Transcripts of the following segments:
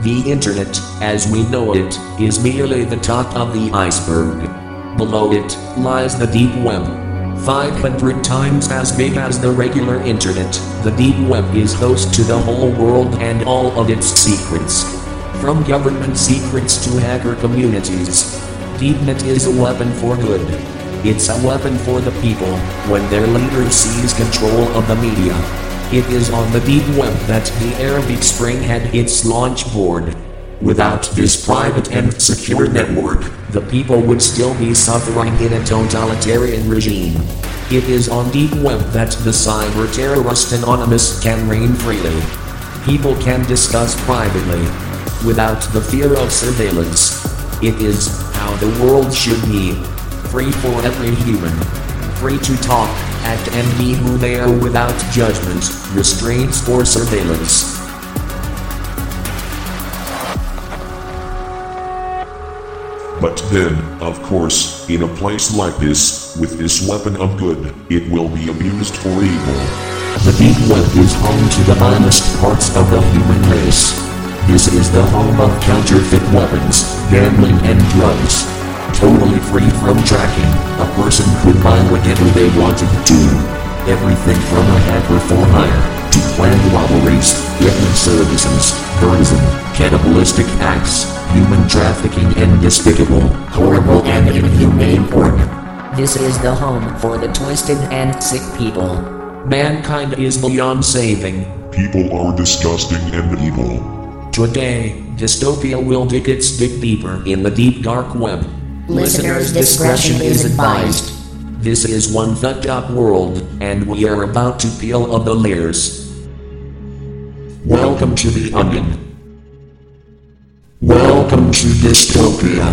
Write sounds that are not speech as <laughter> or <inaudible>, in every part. The Internet, as we know it, is merely the top of the iceberg. Below it lies the deep web. 500 times as big as the regular Internet, the deep web is host to the whole world and all of its secrets. From government secrets to hacker communities, DeepNet is a weapon for good. It's a weapon for the people when their leader seize control of the media. It is on the deep web that the Arabic Spring had its launch board. Without this private and secure network, the people would still be suffering in a totalitarian regime. It is on deep web that the cyber terrorist anonymous can reign freely. People can discuss privately, without the fear of surveillance. It is how the world should be, free for every human, free to talk, act, and be who they are without judgment, restraints, or surveillance. But then, of course, in a place like this, with this weapon of good, it will be abused for evil. The deep web is home to the vilest parts of the human race. This is the home of counterfeit weapons, gambling, and drugs. Totally free from tracking, a person could buy whatever they wanted to. Everything from a hacker for hire to planned robberies, ethnic services, tourism, cannibalistic acts, human trafficking, and despicable, horrible, and inhumane porn. This is the home for the twisted and sick people. Mankind is beyond saving. People are disgusting and evil. Today, dystopia will dig its dig deeper in the deep dark web. Listeners' discretion is advised. This is one fucked up world, and we are about to peel up the layers. Welcome to the onion. Welcome to dystopia.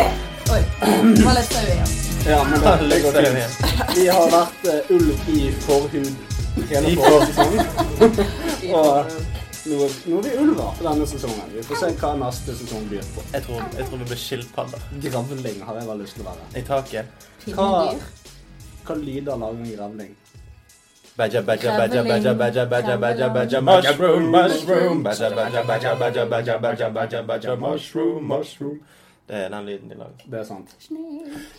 Var litt sau igjen. Ja, men det, det går fint. Vi har vært eh, ulv i forhud hele forrige sesong. <laughs> Og eh, nå, nå er vi ulver for denne sesongen. Vi får se hva neste sesong byr på. Jeg tror, jeg tror vi blir skilpadder Gravling har jeg vel lyst til å være. i taket. Hva, Pinnedyr. hva lyder lager en gravling? Badja, badja, badja, badja, badja, badja, badja, badja, Kremling. mushroom, mushroom. Badja, badja, badja, badja, badja, badja, badja, badja, mushroom, mushroom. Det er den lyden de lager. Det er sant.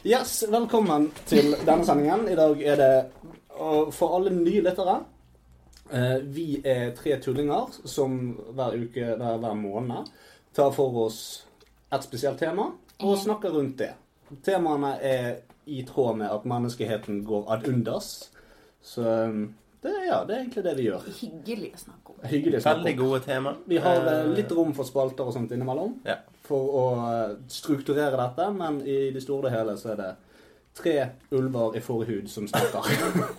Yes, velkommen til denne sendingen. I dag er det og for alle nye lyttere. eh, Vi er tre tullinger som hver uke, hver, hver måned, tar for oss et spesielt tema og snakker rundt det. Temaene er i tråd med at menneskeheten går ad undas. Så eh, det, er- ja, det er egentlig det vi gjør. Hyggelig å snakke om. Hyggelig å snakke Veldig om. gode tema. Vi har eh, Eh, litt rom for spalter og sånt innimellom Ja. for å eh, strukturere dette, men i det store og hele så er det tre ulver i forhud som snakker. <laughs>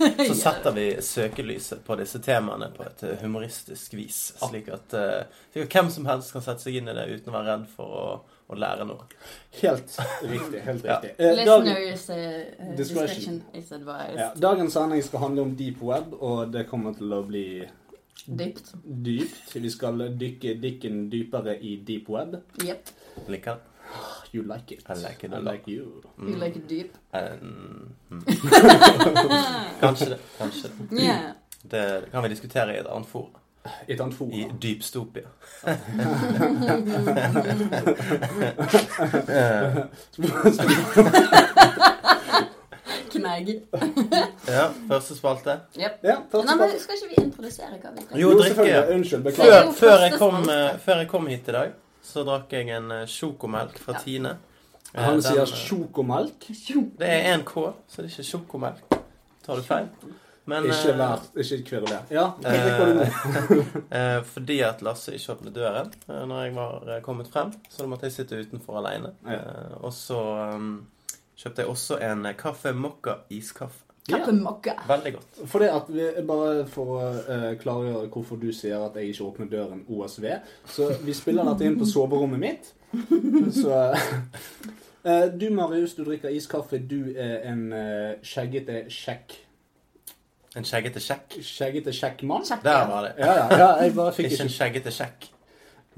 Eh, Så setter vi søkelyset på disse temaene på et eh, humoristisk vis, Ah. slik at, eh, slik at hvem som helst kan sette seg inn i det uten å være redd for å, å lære noe. Helt riktig. helt Ja. riktig. Eh, dagen- Listeners uh, uh, Discretion. discretion is advised. ja, dagens sending skal handle om deep web, og det kommer til å bli Dypt. dypt. Vi skal dykke dikken dypere i deep web. Jepp. Liker den? You like it. I like it a I lot. like you. You like it deep. Eh, mm. Kanskje det. Kanskje det. Yeah. Det kan vi diskutere i et annet forum. Et annet I forum. <laughs> dypstopia. Eh, Knegg. Ja, første spalte. Jepp. Ja, Nei, første men spalte. skal ikke vi introdusere hva vi drikker? Jo, drikke. selvfølgelig. Unnskyld. Det Beklager. er Før, jo før, jeg første kom, spalte. eh, før jeg kom hit i dag, så drakk jeg en eh, sjokomelk fra Ja. Tine. Eh, Han den, sier eh, sjokomelk. Jo. Det er 1K, så det er ikke sjokomelk. Tar du feil? Men Ikke eh, vær Ikke kvel og le. Ja, Henrik, hva er det nå? <laughs> eh, fordi at Lasse ikke åpnet døren eh, når jeg var eh, kommet frem, så da måtte jeg sitte utenfor alene. Ja. Eh, og så um, kjøpte jeg også en eh, kaffe mokka iskaffe. Kaffe mokka. Veldig godt. Fordi at vi, Bare for å eh, klargjøre hvorfor du sier at jeg ikke åpner døren OSV. Så vi spiller dette inn på soverommet mitt. Så eh, Du Marius, du drikker iskaffe. Du er en eh, skjeggete sjekk... En skjeggete sjekk. Skjeggete sjekkmann? Kjekk, Der ja. var det. Ja, ja, ja, jeg bare fikk Ikke ikke en skjeggete sjekk.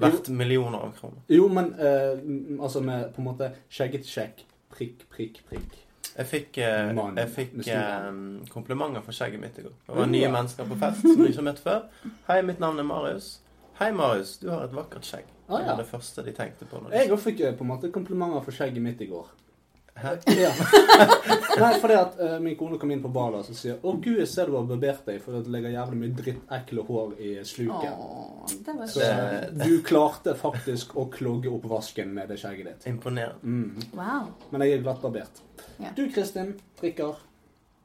Verdt millioner av kroner. Jo, men eh, m- altså med på en måte skjeggete sjekk. Prikk, prikk, prikk. Jeg fikk, eh, Mann jeg fikk med stor eh, komplimenter for skjegget mitt i går. Det var Oh, nye ja. mennesker på fest som jeg ikke har møtt før. Hei, mitt navn er Marius. Hei, Marius. Du har et vakkert skjegg. Ah, Det ja. var det første de tenkte på. Når de... Jeg òg fikk eh, på en måte komplimenter for skjegget mitt i går. Hæ? <laughs> Ja. Nei, fordi at eh, min kone kom inn på badet og så sier 'Å, gud, jeg ser du har barbert deg', fordi at det ligger jævlig mye drittekle hår i sluket. Åh, det var Så skjønt. du klarte faktisk å klogge opp vasken med det skjegget ditt. Imponerende. Wow. <laughs> Men jeg er glattbarbert. Ja. Du, Kristin, drikker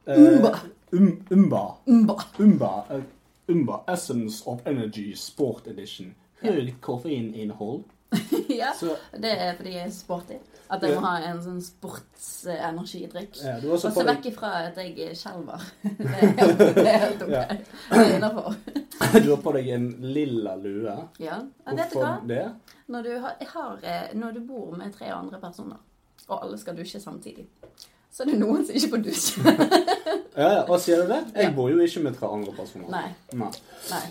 eh, Umba. Um, umba. Mba. Umba. eh, umba. Essence of Energy Sport Edition. Høyt koffeininnhold. Ja, Så- det er fordi jeg er sporty. At jeg Ja. må ha en sånn sportsenergidrikk. Ja, eh, du har også Og så på deg- vekk ifra at jeg skjelver. <laughs> Det er helt, det er helt ok. Ja. Det er innafor. Du har på deg en lilla lue. Ja. ja, vet du hva? Hvorfor det? Når du, har, jeg har, eh, når du bor med tre andre personer, og alle skal dusje samtidig, så er det noen som ikke får dusje. Ja, ja, og sier du det? Jeg Ja. bor jo ikke med tre andre personer. Nei. Nei. nei.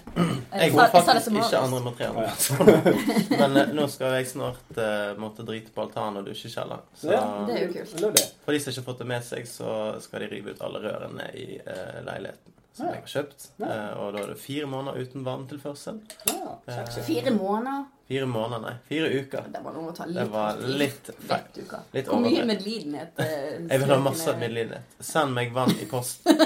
Jeg sa- går sa det faktisk som ikke Marius. andre med tre <laughs> andre personer. Men eh, nå skal jeg snart eh, måtte drite på altanen og dusje i kjelleren. Så Ja. Det er jo kult. Eller det. for de som ikke har fått det med seg, så skal de rive ut alle rørene i eh, leiligheten som Ja. jeg har kjøpt. Ja. Eh, og da er det fire måneder uten vanntilførsel. Ja, sexy. Fire måneder. Fire måneder, nei. Fire uker. Det var noe å ta litt Det var hardt i. litt feil. Vet du hva. Litt Hvor mye overdrevet. medlidenhet eh, <laughs> Jeg vil ha strøkene- masse medlidenhet. Send meg vann i posten.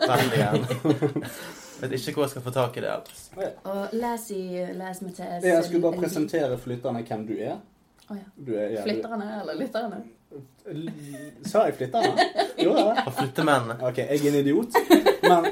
Veldig gjerne. <laughs> Vet ikke hvor jeg skal få tak i det altså. ellers. Og les i Les med TS. Jeg skulle bare presentere flytterne hvem du er. Å ja. Du er ja, du- Flytterne eller lytterne? L- Sa jeg flytterne? Jo, ja. Og <laughs> flyttemennene. OK, jeg er en idiot. Men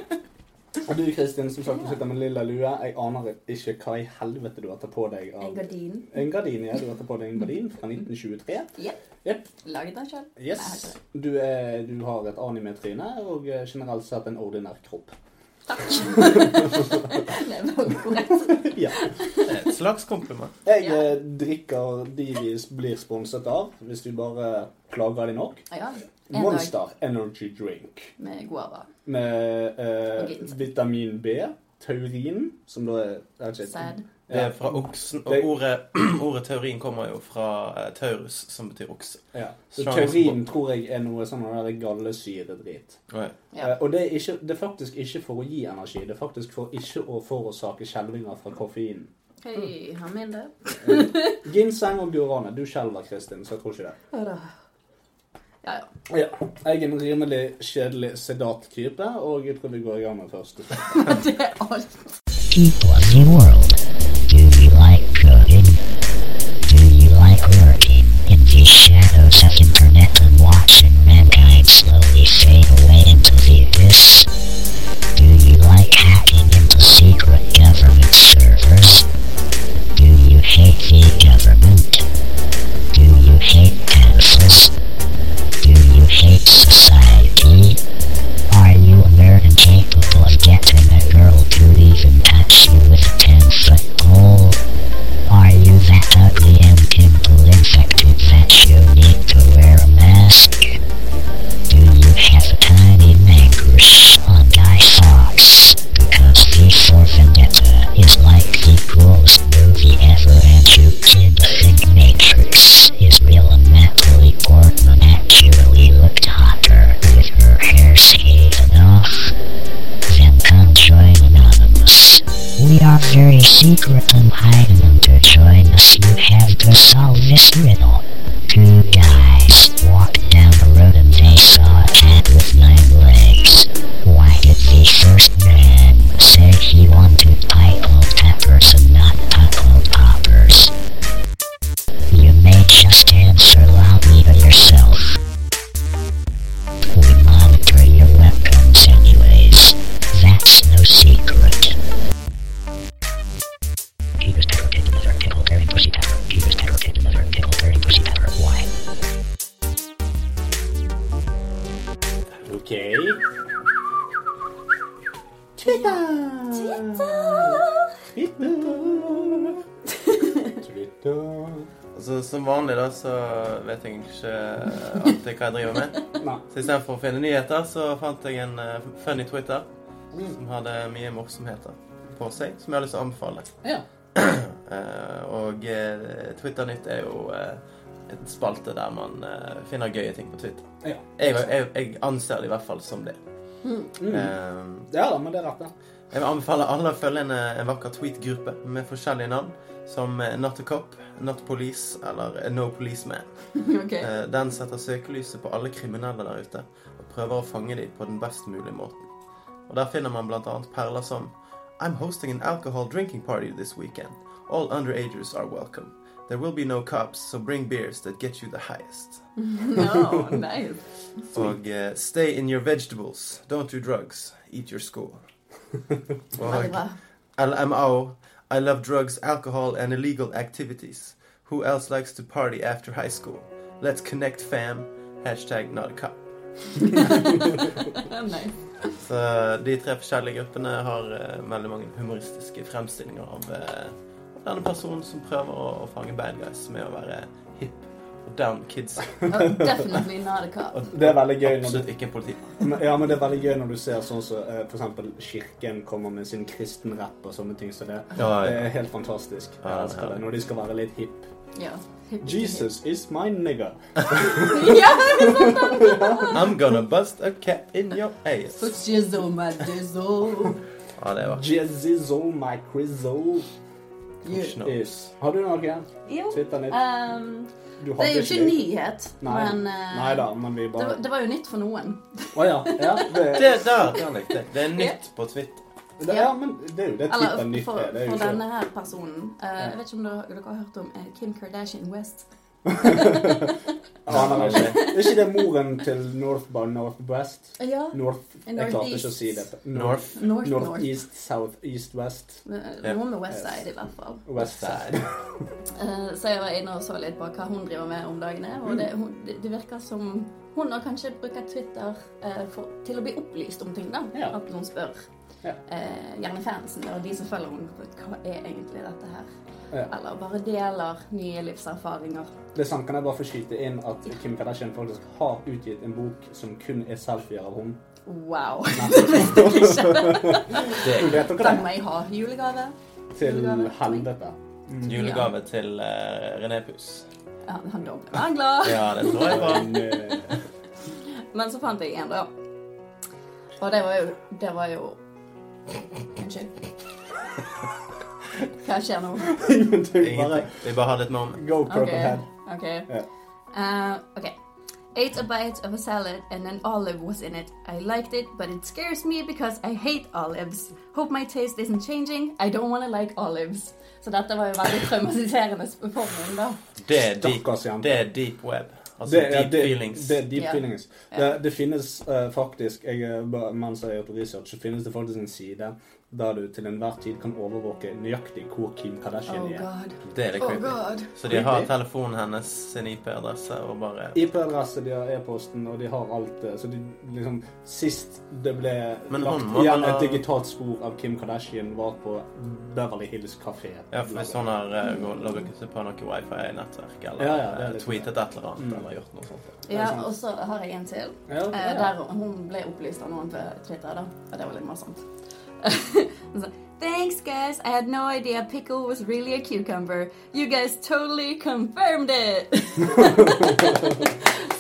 og du Kristin, som sagt, du sitter med lilla lue. Jeg aner ikke hva i helvete du har tatt på deg En av gardin. En gardin, ja. Du har tatt på deg en gardin fra 1923. Jepp. Jepp. Laget den sjøl. Yes. altså. Du, er, du har et anime-tryne og eh, generelt sett en ordinær kropp. <laughs> Takk. det var korrekt. Ja. Det er Et Eh, slags kompliment. Jeg Ja. eh, drikker de vi s- blir sponset av, hvis du bare klager de nok. Ja. En dag Monster Energy Drink med guava. med Og eh, glinsett. vitamin B, taurin, som da er er ikke- Sæd. Det er fra oksen. Det- Og ordet, <clears throat> ordet teorien kommer jo fra eh, taurus, som betyr okse. Ja. Så Strong Taurin support. tror jeg er noe sånn der gallesyredrit. Oi. Ja. Eh, og det er, ikke, det er faktisk ikke for å gi energi, det er faktisk for ikke å forårsake skjelvinger fra koffeinen. Hei, har min det? Ginseng og guarane. Du skjelver, Kristin, så jeg tror ikke det. Ja, ja. Ja. Jeg er en rimelig kjedelig sedat type, og jeg tror vi går i gang med første. Det er alt. People of the world, do you like coding? Do you like lurking in the shadows of internet and watching mankind slowly fade away into the abyss? Do you like hacking into secret government servers? Do you hate the government? Do you hate taxes? Do you hate society? Are you aware and capable of getting a girl to even touch you with a 10 foot pole? Are you that ugly and pimple infected that you need to wear a mask? Do you have a tiny mankers on thy socks? Because V for Vendetta is like the coolest movie ever and you did think Matrix is real and Natalie Portman actually looked hotter with her hair skated off. Then come join Anonymous. We are very secret and hiding and to join us you have to solve this riddle. Two guys walked down the road and they saw a cat with nine legs. Why did the first man say he wanted pineapple peppers and not pineapple poppers? You may just answer loudly to yourself. We monitor your webcams anyways. OK. Twitter. Twitter. Twitter. Altså, som vanlig da, så vet jeg ikke alltid hva jeg driver med. Nei. Så istedenfor å finne nyheter, så fant jeg en eh, funny Twitter som hadde mye morsomheter på seg, som jeg har lyst til å anbefale. Ja. Eh, og eh, Twitter Nytt er jo eh, en spalte der man eh, finner gøye ting på Twitter. Ja. Jeg, jeg, jeg anser det i hvert fall som det. Mm. Eh, Ja da, men det er rett, det. Jeg vil anbefale alle å følge en, eh, en vakker tweet-gruppe med forskjellige navn, som eh, Not a Cop, Not Police eller eh, No Policeman. Ok. Eh, Den setter søkelyset på alle kriminelle der ute og prøver å fange dem på den best mulige måten. Og Der finner man bl.a. perler som I'm hosting an alcohol drinking party this weekend. All underagers are welcome. There will be no cops, so bring beers that get you the highest. No, nice. Og eh, stay in your vegetables. Don't do drugs. Eat your school. Veldig bra. LMAO. I love drugs, alcohol, and illegal activities. Who else likes to party after high school? Let's connect, fam. Hashtag not a cop. nice. Så de tre forskjellige gruppene har eh, veldig mange humoristiske fremstillinger av eh, av denne personen som prøver å, å fange bad guys med å være hip og down kids. Oh, definitely not a cop. <laughs> Det er veldig gøy når du, Absolutt ikke en politi. men- ja, men det er veldig gøy når du ser sånn som eh, for eksempel Kirken kommer med sin kristenrapp og sånne ting som det. Ja, Det ja. er helt fantastisk. Jeg Ja, elsker det. Når de skal være litt hipp. Ja. Jesus is my nigger. ja, I'm gonna bust a cap in your ass. for jizzle, my jizzle. Ja, det var Jesus oh my crizzle Yeah. No. is Har du noe? Jo, Twitter nytt? ehm, Du det er jo ikke det. nyhet, Nei. men eh, Nei da, men vi det, var- bare det var jo nytt for noen. Å ja. Ja, det, <laughs> Det er der, der likte jeg. Det er nytt på Twitter. det, ja, men det er jo det Eller Twitter nytt for, er. Det er for jo denne ikke her personen. Eh, jeg vet ikke om dere, dere har hørt om eh, Kim Kardashian West? Ah, nei, nei, nei. Er ikke det moren til North by Northwest? Ja. <laughs> North Jeg klarte ikke å si det. North. North, North. North East, South East, West. Eh, Noe med West Side i hvert fall. West Side. Eh, så jeg var inne og så litt på hva hun driver med om dagene. Og Mm. det, hun, det, det virker som hun har kanskje bruker Twitter eh, for, til å bli opplyst om ting. da. Ja. At hun spør Ja. eh, gjerne fansen og de som følger henne, hva er egentlig dette her? Ja. Eller bare deler nye livserfaringer. <laughs> Det er sant, Kan jeg bare få skyte inn at Kim Kardashian faktisk har utgitt en bok som kun er selfier av <laughs> henne? Wow! det visste jeg ikke. Vet dere Den det? må jeg ha. Julegave. Til helvete. Julegave til eh, René Pus. Ja, han doble mangler. Ja, det tror <laughs> jeg var. Men, eh, Men så fant jeg en, da. Og det var jo Det var jo Unnskyld. Hva skjer nå? Ingenting. Bare Ingenting. Vi bare har litt moment. go OK. purplehead. ok. Ja. Uh, ok. Ate a bite of a salad and an olive was in it. I liked it, but it scares me because I hate olives. Hope my taste isn't changing. I don't wanna like olives. Så dette var jo veldig traumatiserende for min, da. Det er deep, Stakkars jente. det er deep web. Altså Det, er- deep det, feelings. det er deep Ja. feelings. Det, det finnes eh, faktisk jeg, er bare- Mens jeg har gjort research, så finnes det faktisk en side der du til enhver tid kan overvåke nøyaktig hvor Kim Kardashian Oh er. god. Det er det Oh creepy. god. Så de har Creepy. telefonen hennes, sin IP-adresse og bare IP-adresse, de har e-posten, og de har alt det. Så de, liksom, sist det ble Men hun lagt må igjen vel ha- et digitalt spor av Kim Kardashian, var på Beverly Hills Café. Ja, for hvis hun har eh, gått- logget seg på noe wifi-nettverk eller Ja, ja, det er eh, litt- Mm. tweetet et eller annet eller gjort noe sånt. Ja, og så har jeg en til. Ja, ok, Eh, ja. Der hun ble opplyst av noen på Twitter, da. Og det var litt morsomt. Hun sa, Thanks, guys. I had no idea pickle was really a cucumber. You guys totally confirmed it! <laughs>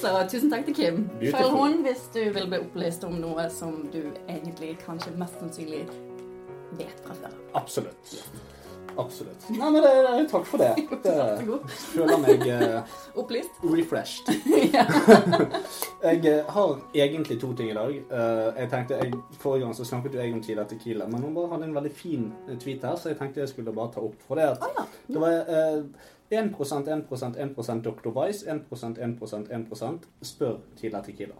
så tusen takk til Kim. Beautiful. Følg hun hvis du vil bli opplyst om noe som du egentlig kanskje mest sannsynlig vet fra før. Absolutt. Absolutt. Nei, men det, det, <laughs> takk for det. Vær så det god. føler meg eh, Opplyst? refreshed. <laughs> ja. Jeg eh, har egentlig to ting i dag. Eh, jeg tenkte, jeg, Forrige gang så snakket jo jeg om Tila Tequila, men hun bare hadde en veldig fin eh, tweet her, så jeg tenkte jeg skulle bare ta opp. For det at det var eh, 1 1 1 Dr. Vice, 1 1 1 Spør Tila Tequila.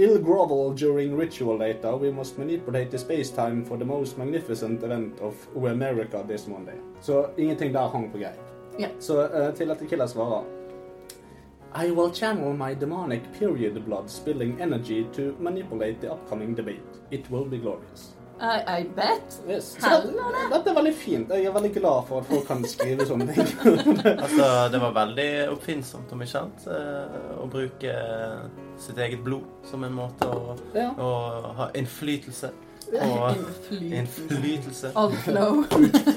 Ill grovel during ritual later, we must manipulate the space-time for the most magnificent event of America this Monday. Så ingenting der hang på greip. Ja. Så eh, Tila Tequila svarer I will channel my demonic period blood spilling energy to manipulate the upcoming debate. It will be glorious. I, I bet. Yes. Så dette, Hallone. dette er veldig fint. Jeg er veldig glad for at folk kan skrive sånne ting. Altså, det var veldig oppfinnsomt, om ikke annet, eh, å bruke eh, sitt eget blod som en måte å, Ja. å ha innflytelse <laughs> og Innflytelse. Outflow.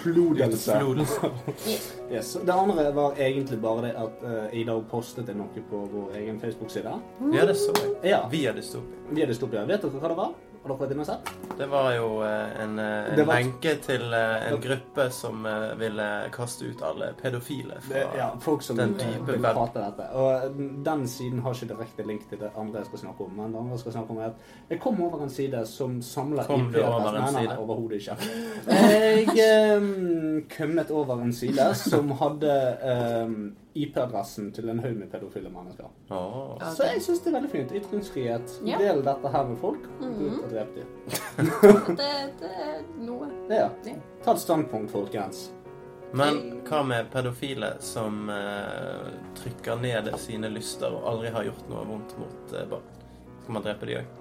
Flodelse. Flodelse. Yes. Det andre var egentlig bare det at eh, i dag postet jeg noe på vår egen Facebook-side. Ja, det så jeg. Ja. Via dystopia. Vi hadde stoppet. Vet dere hva det var? Har dere vært inne og sett? Det var jo eh, en, eh, Det en var- lenke til eh, en gruppe som eh, ville kaste ut alle pedofile Det, fra ja, folk som den eh, dype vil web. prate dette. Og mm, den siden har ikke direkte link til det andre jeg skal snakke om. Men det andre jeg skal snakke om er at jeg kom over en side som samler Kom du over en Nei, nei, nei, side? overhodet ikke. Jeg um, kommet over en side som hadde em, IP-adressen til en haug med pedofile mennesker. Åh. Ok. Så jeg syns det er veldig fint. Ytringsfrihet. Ja. Mhm. Del dette her med folk. Ut og drep dem. Det, det er noe. Ja. Ja. Ta et standpunkt, folkens. Men hva med pedofile som eh, trykker ned sine lyster og aldri har gjort noe vondt mot eh, barn? Skal man drepe de òg?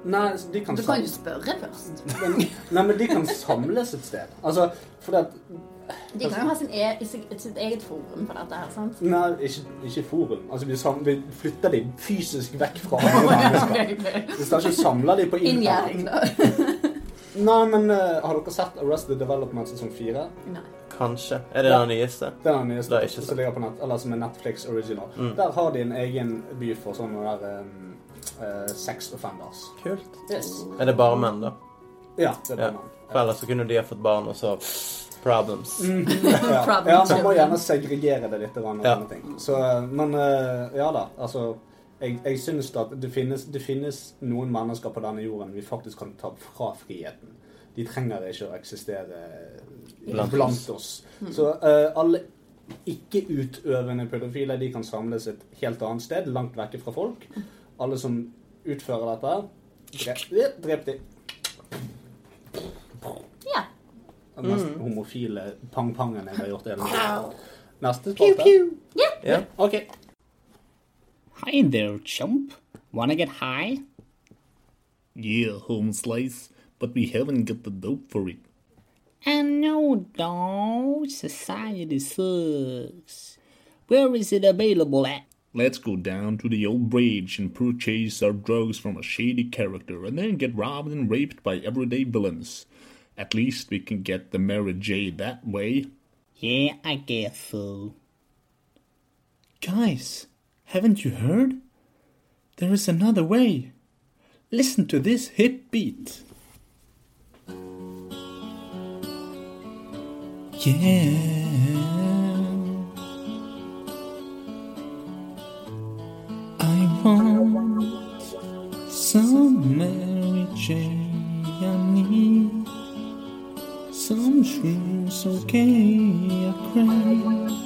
Nei, de kan Du kan jo spørre først. sam- Nei, men de kan samles et sted. Altså, fordi at De kan jo ha sin e sitt sitt eget forum på dette her, <laughs> sant? Nei, ikke, ikke forum. Altså, vi, sam vi flytter dem fysisk vekk <laughs> fra andre mennesker. Inngjerding, Vi skal ikke samle dem på innpakning. da. Nei, men eh, har dere sett Arrested Development sesong 4? Nei. Kanskje. Er det Ja. den nyeste? Den er den nyeste Det er ikke Mm. sant. som ligger på nett, eller som er Netflix original. Der har de en egen by for sånne der um, eh, sex offenders. Kult. Yes. Er det bare menn, da? Ja, det er Ja. det man. For ellers så kunne de ha fått barn, og så problems. Mm. <laughs> Ja. Problem ja, man må children. gjerne segregere det litt. Og Ja. sånne ting. Så, eh, men eh, ja da, altså jeg, jeg syns at det finnes, det finnes noen mennesker på denne jorden vi faktisk kan ta fra friheten. De trenger ikke å eksistere Blant blant, oss. Så eh, alle ikke-utøvende pedofile de kan samles et helt annet sted, langt vekke fra folk. Alle som utfører dette, drep, drep de. Ja. Den mest homofile pang-pangen jeg har gjort. i hele mitt liv. Neste spalte. Ja. Ok. Hi there, chump. Wanna get high? Yeah, home slice, but we haven't got the dope for it. I know, dog. Eh, Society sucks. Where is it available at? Let's go down to the old bridge and purchase our drugs from a shady character and then get robbed and raped by everyday villains. At least we can get the Mary J that way. Yeah, I guess so. Guys, haven't you heard? There is another way. Listen to this hip beat. Yeah. I want some Mary Jane. I need some shoes, okay? I cry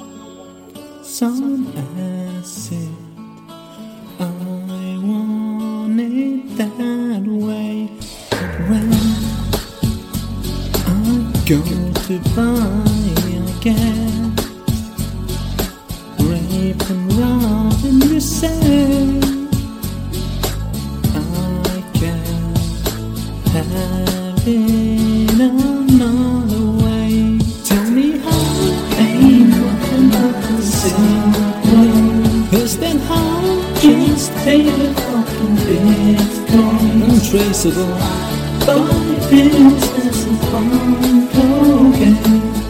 some acid. I want it that way. When I go to buy, I get rape and rob, and you say I can have it another way. Tell me how ain't nothing but the same way. Cause then how just take the fucking Bitcoin untraceable. But it's just a fun program.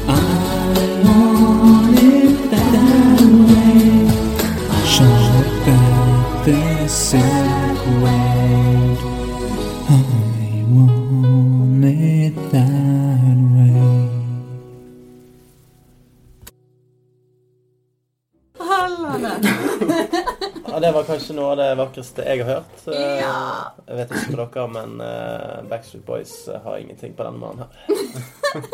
I want it that way. Shut back the circuit. I want it that way. Hallene. ja, det var kanskje noe av det vakreste jeg har hørt. Eh, Ja. Jeg vet ikke med dere, men eh, Backstreet Boys eh, har ingenting på denne mannen her.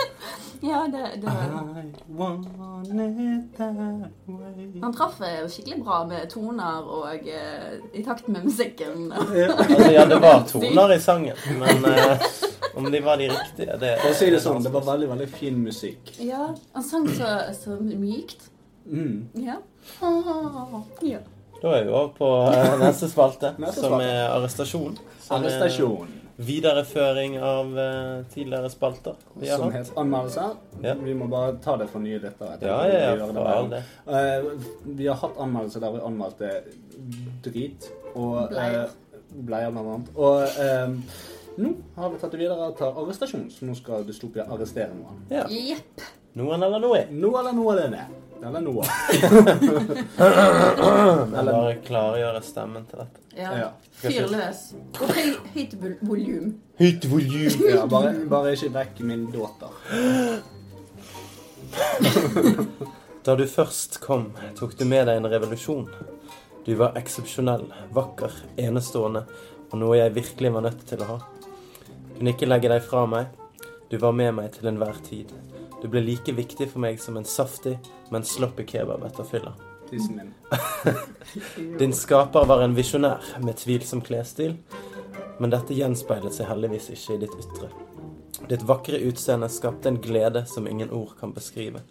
Ja, det, det. I want it that way. Han traff eh, skikkelig bra med toner og eh, i takt med musikken. Altså, ja, det var toner i sangen, men eh, om de var de riktige, det For å si det sånn, det var veldig, veldig fin musikk. Ja, han sang så, så mykt. Mm. Ja. Ah, ja. Da er vi over på eh, neste spalte, Neste som spalte. er arrestasjon. Som Eh, er Arrestasjon. Videreføring av eh, tidligere spalter. Vi har Som hatt. het anmeldelse. Ja. Vi må bare ta det for nye lyttere. Ja, ja, ja, for all del. Eh, vi har hatt anmeldelse der vi anmeldte drit og Bleier. eh, bleier, blant annet. Og eh, nå har vi tatt det videre til arrestasjon, så nå skal Dystopia arrestere noen. Ja. Jepp. Noen eller noe. Nå eller nå alene. Eller noe. Bare klargjøre stemmen til dette. Ja. Ja. Fyr løs. Og høy- høyt vol- volum. Høyt volum! Ja, bare, bare ikke vekk min dåter. Da du først kom, tok du med deg en revolusjon. Du var eksepsjonell, vakker, enestående og noe jeg virkelig var nødt til å ha. Kunne ikke legge deg fra meg. Du var med meg til enhver tid. Du ble like viktig for meg som en saftig, men sloppy kebab etter fylla. Tissen min. Din skaper var en visjonær med tvilsom klesstil, men dette gjenspeilet seg heldigvis ikke i ditt ytre. Ditt vakre utseende skapte en glede som ingen ord kan beskrive.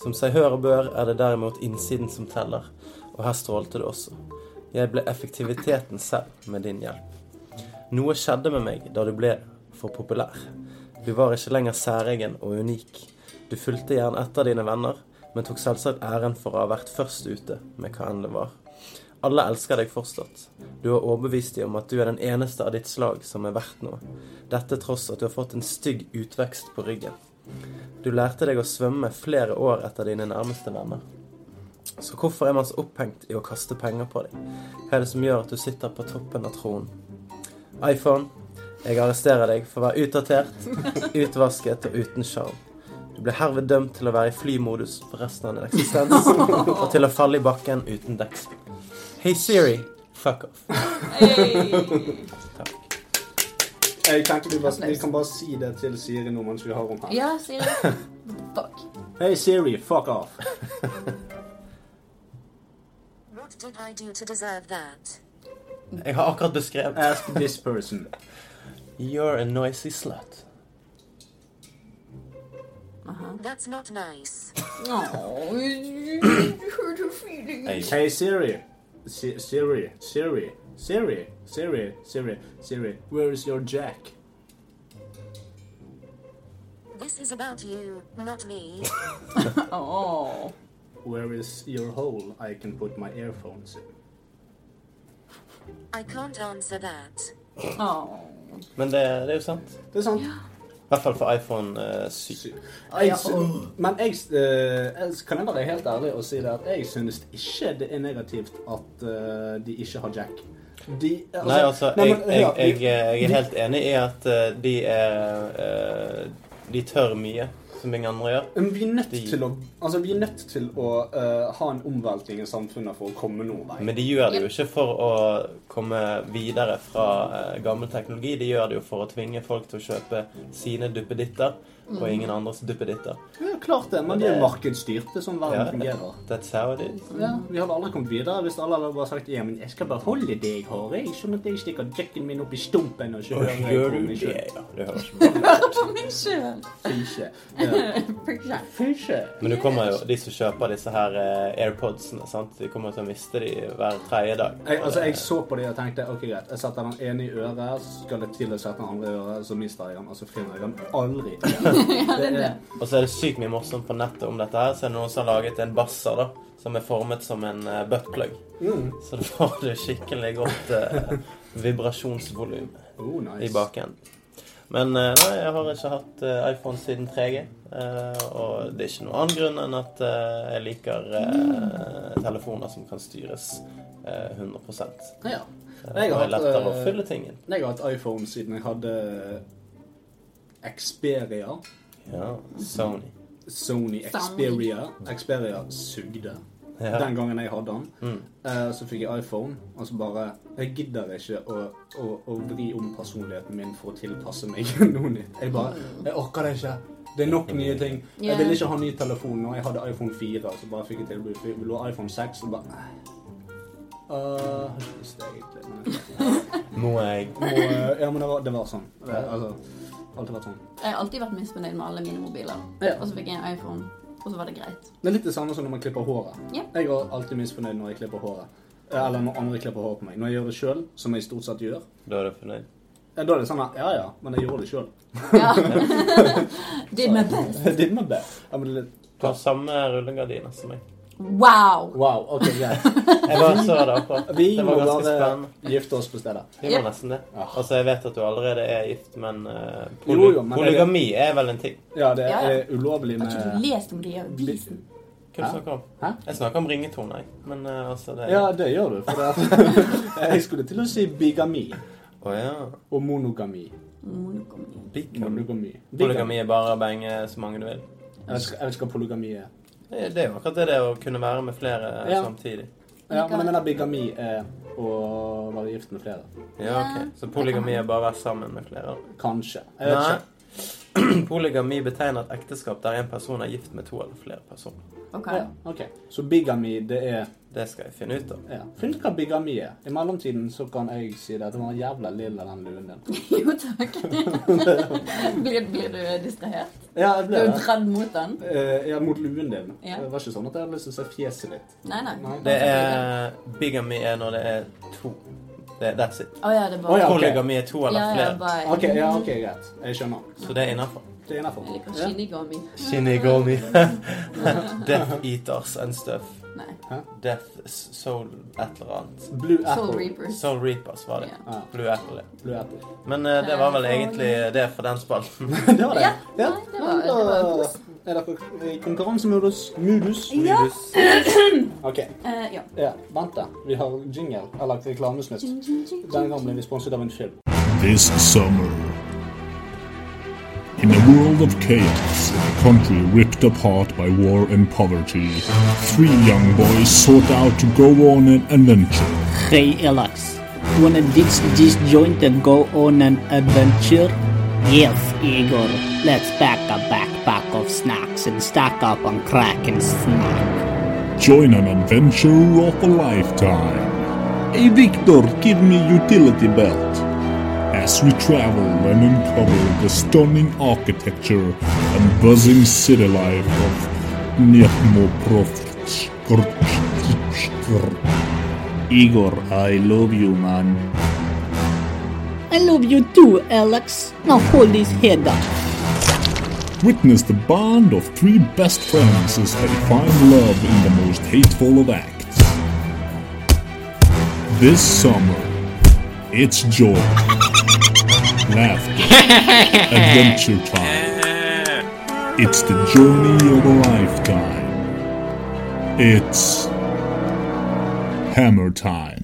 Som seg hør og bør er det derimot innsiden som teller, og her strålte det også. Jeg ble effektiviteten selv med din hjelp. Noe skjedde med meg da du ble for populær. Du var ikke lenger særegen og unik. Du fulgte gjerne etter dine venner, men tok selvsagt æren for å ha vært først ute med hva enn det var. Alle elsker deg fortsatt. Du har overbevist dem om at du er den eneste av ditt slag som er verdt noe. Dette tross at du har fått en stygg utvekst på ryggen. Du lærte deg å svømme flere år etter dine nærmeste venner. Så hvorfor er man så opphengt i å kaste penger på deg? Hva er det som gjør at du sitter på toppen av tronen? iPhone, jeg arresterer deg for å være utdatert, utvasket og uten sjarm. Du blir herved dømt til å være i flymodus for resten av din <laughs> eksistens, og til å falle i bakken uten dekksel. Hey Siri, fuck off. Hey. Eh, Jeg tenkte vi, bare, vi kan bare si det til Siri nå mens vi har henne her. Ja, sier jeg. Fuck. Hey Siri, fuck off. What did I do to deserve that? Jeg har akkurat beskrevet Ask this person. You're a noisy slut. That's not nice. Åh, you hurt her feelings. Jeg Hey Siri. Si Siri, Siri, Siri, Siri, Siri, Siri, where is your jack? This is about you, not me. Åh. Where is your hole I can put my earphones in? I can't answer that. Åh. Men det, det er jo sant. Det er sant. I hvert fall for iPhone eh, 7. Jeg, sy- men jeg, eh, jeg kan jeg være helt ærlig og si det at jeg synes ikke det er negativt at eh, de ikke har jack. De, eh, Nei, altså, jeg, men, jeg, hør, jeg, de- jeg er de- helt enig i at eh, de er eh, De tør mye, som ingen andre gjør. Men vi er nødt de- til å, altså, vi er nødt til å eh, ha en omveltning i samfunnet for å komme noen vei. Men de gjør det jo ikke for å komme videre fra eh, gammel teknologi. De gjør det jo for å tvinge folk til å kjøpe sine duppeditter og ingen andres duppeditter. Ja, klart det, men de er markedsstyrt. Det er sånn verden Ja. fungerer. That's how it is. Ja, vi hadde aldri kommet videre hvis alle hadde bare sagt ja, men jeg skal beholde det jeg har, jeg, sånn at jeg stikker jacken min opp i stumpen og ikke Og hører gjør på du meg det, selv. ja. Det høres bra ut. For meg selv. Fisje. Ja. For eksempel. Fisje. Men du kommer jo, de som kjøper disse her eh, AirPodsene, sant? de kommer til å miste de hver tredje dag. Jeg, altså, jeg så på det og tenkte ok, greit, jeg setter den ene i øret, så skal jeg til å sette den andre i øret, så mister jeg den, og så finner jeg den <laughs> aldri igjen. Det er, Og så er det sykt mye morsomt på nettet om dette her, så er det noen som har laget en basser da, som er formet som en eh, buttplug. Mm. Så da får du skikkelig godt eh, vibrasjonsvolum oh, nice. i baken. Men eh, nei, jeg har ikke hatt eh, iPhone siden 3G, eh, og det er ikke noen annen grunn enn at eh, jeg liker eh, telefoner som kan styres eh, 100 Ja. Jeg har Det er hatt, lettere å eh, fylle ting inn. Jeg har hatt iPhone siden jeg hadde Xperia. Ja, Sony. Sony Xperia. Xperia sugde. Ja. Den gangen jeg hadde den. Eh, så fikk jeg iPhone, og så bare Jeg gidder ikke å, å, å vri om personligheten min for å tilpasse meg <laughs> noe nytt. Jeg bare Jeg orker det ikke. Det er nok nye ting. Ja. Jeg ville ikke ha ny telefon nå. Jeg hadde iPhone 4, så bare fikk jeg tilbud. Fikk- Vil du ha iPhone 6? Så bare Uh, har ikke lyst til det egentlig, men- Må jeg Og, eh, ja, men det var, det var sånn. Det, altså, alltid vært sånn. Jeg har alltid vært misfornøyd med alle mine mobiler. Ja. Og så fikk jeg en iPhone, og så var det greit. Det er litt det samme som når man klipper håret. Ja. Jeg er alltid misfornøyd når jeg klipper håret. eh, eller når andre klipper håret på meg. Når jeg gjør det sjøl, som jeg stort sett gjør, Da er du fornøyd? eh, da er det sånn at ja ja, men jeg gjorde det sjøl. <laughs> Ja. Did my best. Did my best. Ja, men det, Du har samme rullegardiner som meg. Wow. wow, ok, greit. Jeg bare så det akkurat. Vi Det må var ganske bare spennende. gifte oss på stedet. Vi Yep. må nesten det. Altså, jeg vet at du allerede er gift, men eh, Jo, poly jo, men det er- polygami er vel en ting. Ja, det Ja, ja. er ulovlig Har ikke du med lest om det i avisen? Hva du snakker om? Hæ? Jeg snakker om ringetoner, jeg. Men eh, altså, det er Ja, det gjør du. For det <laughs> at, jeg skulle til å si bigami Å ja. og monogami. Bikam. Monogami. Bigami. Polygami er bare å bange så mange du vil. Jeg vet ikke- jeg vet ikke hva polygami er. Det det er jo akkurat det det å kunne være med flere eh, Ja. samtidig. Ja, men jeg mener bigami er å være gift med flere. Ja, ok. Så polygami er bare å være sammen med flere? da. Kanskje. Jeg vet ikke. <clears throat> Polygami betegner et ekteskap der en person er gift med to eller flere personer. Ok. <laughs> Ja, ok. Så bigami, det er Det skal jeg finne ut av. ja. Finn ut hva bigami er. I mellomtiden så kan jeg si det at det var en jævla lilla den luen din. Jo, takk. blir, blir du distrahert? Ja, jeg Du ble er jo det. dratt mot den. Eh, ja, mot luen din. Ja. Det var ikke sånn at jeg hadde lyst til å se fjeset ditt. Nei, nei. Nei. Det er Bigami er når det er to. Det, that's it. Å ja, det er Å, bare ja. ok. Polygami er to eller Ja, ja, flere. bare OK, ja, ok, greit. Jeg skjønner. Så det er innafor. Det er innafor. Jeg liker Ja. shinigami. Shinigami. <laughs> Death Eaters and stuff. Nei. Death s- Soul et eller annet. Blue Soul apple. Reapers. Soul Reapers var det. Ja. Blue Apple. ja. Blue apple. <laughs> Men eh, det var vel egentlig det for den <laughs> spalten. Det var det. Ja, nei, det var- det var da er dere i konkurransemodus. Modus. Ja. OK. Eh, ja. Ja, vent, da. Vi har jingle, eller reklamesnutt. Denne gangen ble vi sponset av en film. This summer, in a world of chaos, in a country ripped apart by war and poverty, three young boys sought out to go on an adventure. Hey, Alex, wanna ditch this joint and go on an adventure? Yes, Igor. Let's pack a backpack of snacks and stack up on crack and snack. Join an adventure of a lifetime. Hey Victor, give me utility belt. As we travel and uncover the stunning architecture and buzzing city life of Dniepropetrovsk. Igor, I love you, man. I love you too, Alex. Now hold his head up. Witness the bond of three best friends as they find love in the most hateful of acts. This summer, it's joy, laughter, adventure time. It's the journey of a lifetime. It's hammer time.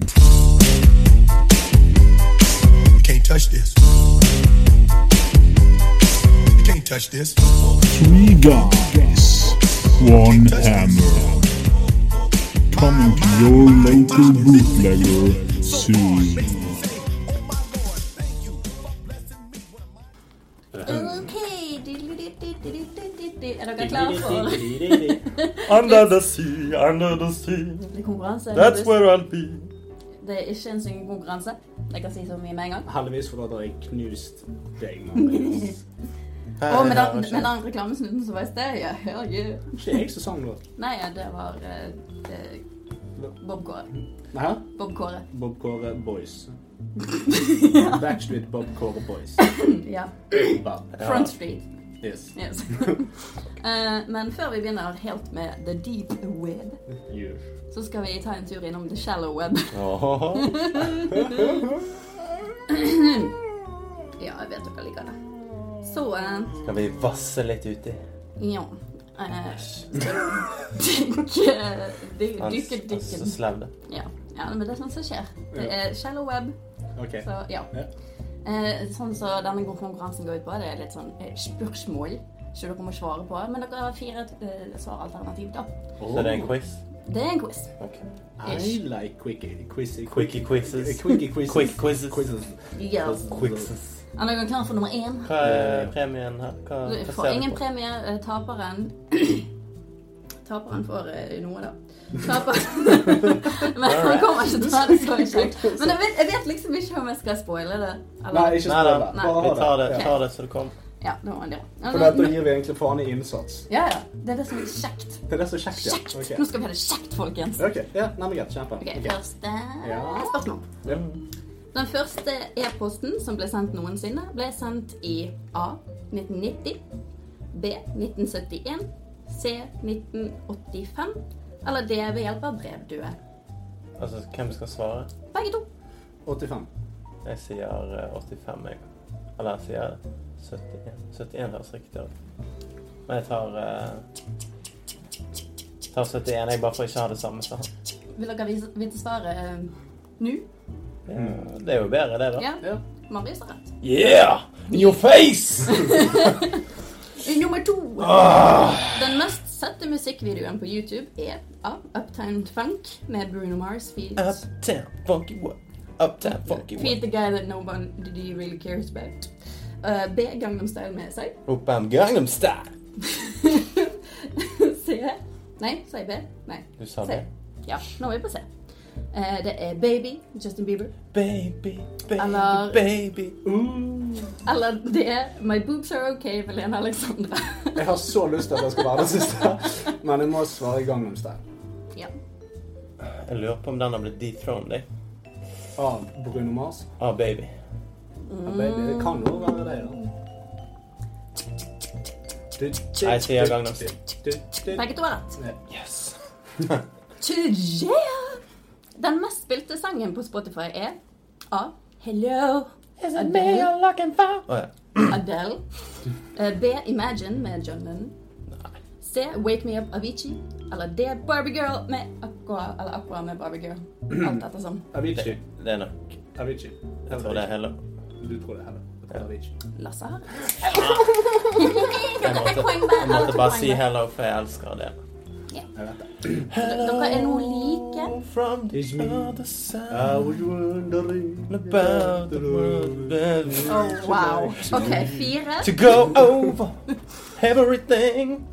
Can't touch this. Can't touch this. Three guys, one hammer. Coming to your local bootlegger soon. Ok. Er dere klare for Under the sea, under the sea, Det er konkurranse? that's where I'll be. Det er ikke en syngekonkurranse. Jeg kan si så mye med en gang. Heldigvis for at jeg knust deg. Marie. Og med den, med den reklamesnutten som var i sted ja, herregud. Ikke jeg som sang låt. Nei, ja, det var eh, eh, Bob Kåre. Hæ? Bob Kåre. Bob Kåre Boys. Backstreet Bob Kåre Boys. Ja. Wow. Front Street. Yes, Yes. Eh, men før vi begynner helt med The Deep Web, you. så skal vi ta en tur innom The Shallow Web. Åhåhå. ja, jeg vet dere liker det. Så eh, Skal vi vasse litt uti? ja. eh, Dykke dy- Han Dykke Sånn s- så dykken. slev det. Ja. ja, men det er sånt som skjer. Det er Shallow Web, Ok. så ja. Eh, sånn som denne konkurransen går ut på, det er litt sånn eh, spørsmål som dere må svare på. Men dere har fire eh, svaralternativ, da. Så det er en quiz? Det er en quiz. Ok. Oh, I like quickie, quizzy, Quickie quizzes. quickie quizzes. Quick quizzes. quizzes. Yes. Er dere klare for nummer én? Hva er premien her? Hva, hva Du får ser ingen du på? premie. eh, Taperen <clears throat> Taperen får eh, noe, da. Taperen <laughs> Men han kommer ikke til å ta det <laughs> så kjekt. Men jeg vet, jeg vet liksom ikke om jeg skal spoile det. Nei, Eller? ikke Nei da, spørre. Nei. Bare Vi ha tar det. det, tar det så det kommer. Ja, det var en del. Ja, For nå- dette nå- gir vi egentlig faen i innsats. ja, ja. Det er det som er kjekt. Det er det som er kjekt, ja. Kjekt! Ok. Nå skal vi ha det kjekt, folkens. Ok, ja, nei, men greit. Kjempe. Ok, Ok. Første Ja. spørsmål. Ja. Den første e-posten som ble sendt noensinne, ble sendt i A. 1990, B. 1971, C. 1985 eller D. ved hjelp av brevdue. Altså, hvem skal svare? Begge to. 85. Jeg sier eh, 85, jeg. Eller jeg sier 71. 71 høres riktig ut. Men jeg tar eh, tar 71, jeg, bare for ikke å ha det samme som han. Vil dere vise- vite svaret eh, nå? Ja, Det er jo bedre, det, da. Ja. Marius har rett. Yeah! In your face! Nummer to. Ah. Den mest sette musikkvideoen på YouTube er av Uptown Funk med Bruno Mars feat. Uptown funky what? Uptown funky Feed what? the guy that no one d- really cares about. Uh, B. Gangnam Style med seg. Opp am Gangnam Style. <laughs> C. Nei, sier B. Nei. Du sa C. det. Ja, nå er vi på C. Eh, det er Baby, Justin Bieber. Baby, baby, Eller- baby. Ooh. Eller det er My Boobs Are Okay, Velene Alexandra. <laughs> Jeg har så lyst til at det skal være det siste, men jeg må svare Gangnam Style. ja. Jeg lurer på om den har blitt dethroned, jeg. Av Bruno Mars. Ah, baby. Ja, baby, det kan jo være det, ja. Jeg sier Gangnam Style. Begge to har rett. Yes. <laughs> Yeah! Den mest spilte sangen på Spotify er A. Hello. me Adele. Å ja. Adele. Eh, B. Imagine med John Lennon. C. Wake Me Up Avicii. Eller D. Barbie Girl med Aqua. Eller Aqua med Barbie Girl. Alt ettersom. Avicii. Det er nok. Avicii. Jeg tror det er heller. Du tror det er heller. Jeg tror det er Avicii. Lasse <laughs> har rett. Jeg måtte, jeg måtte bare si hello, for jeg elsker det. Jeg vet det. Dere er noe like. From the It's me. other I side was wondering about the world that we Oh, wow. OK, fire. To go over everything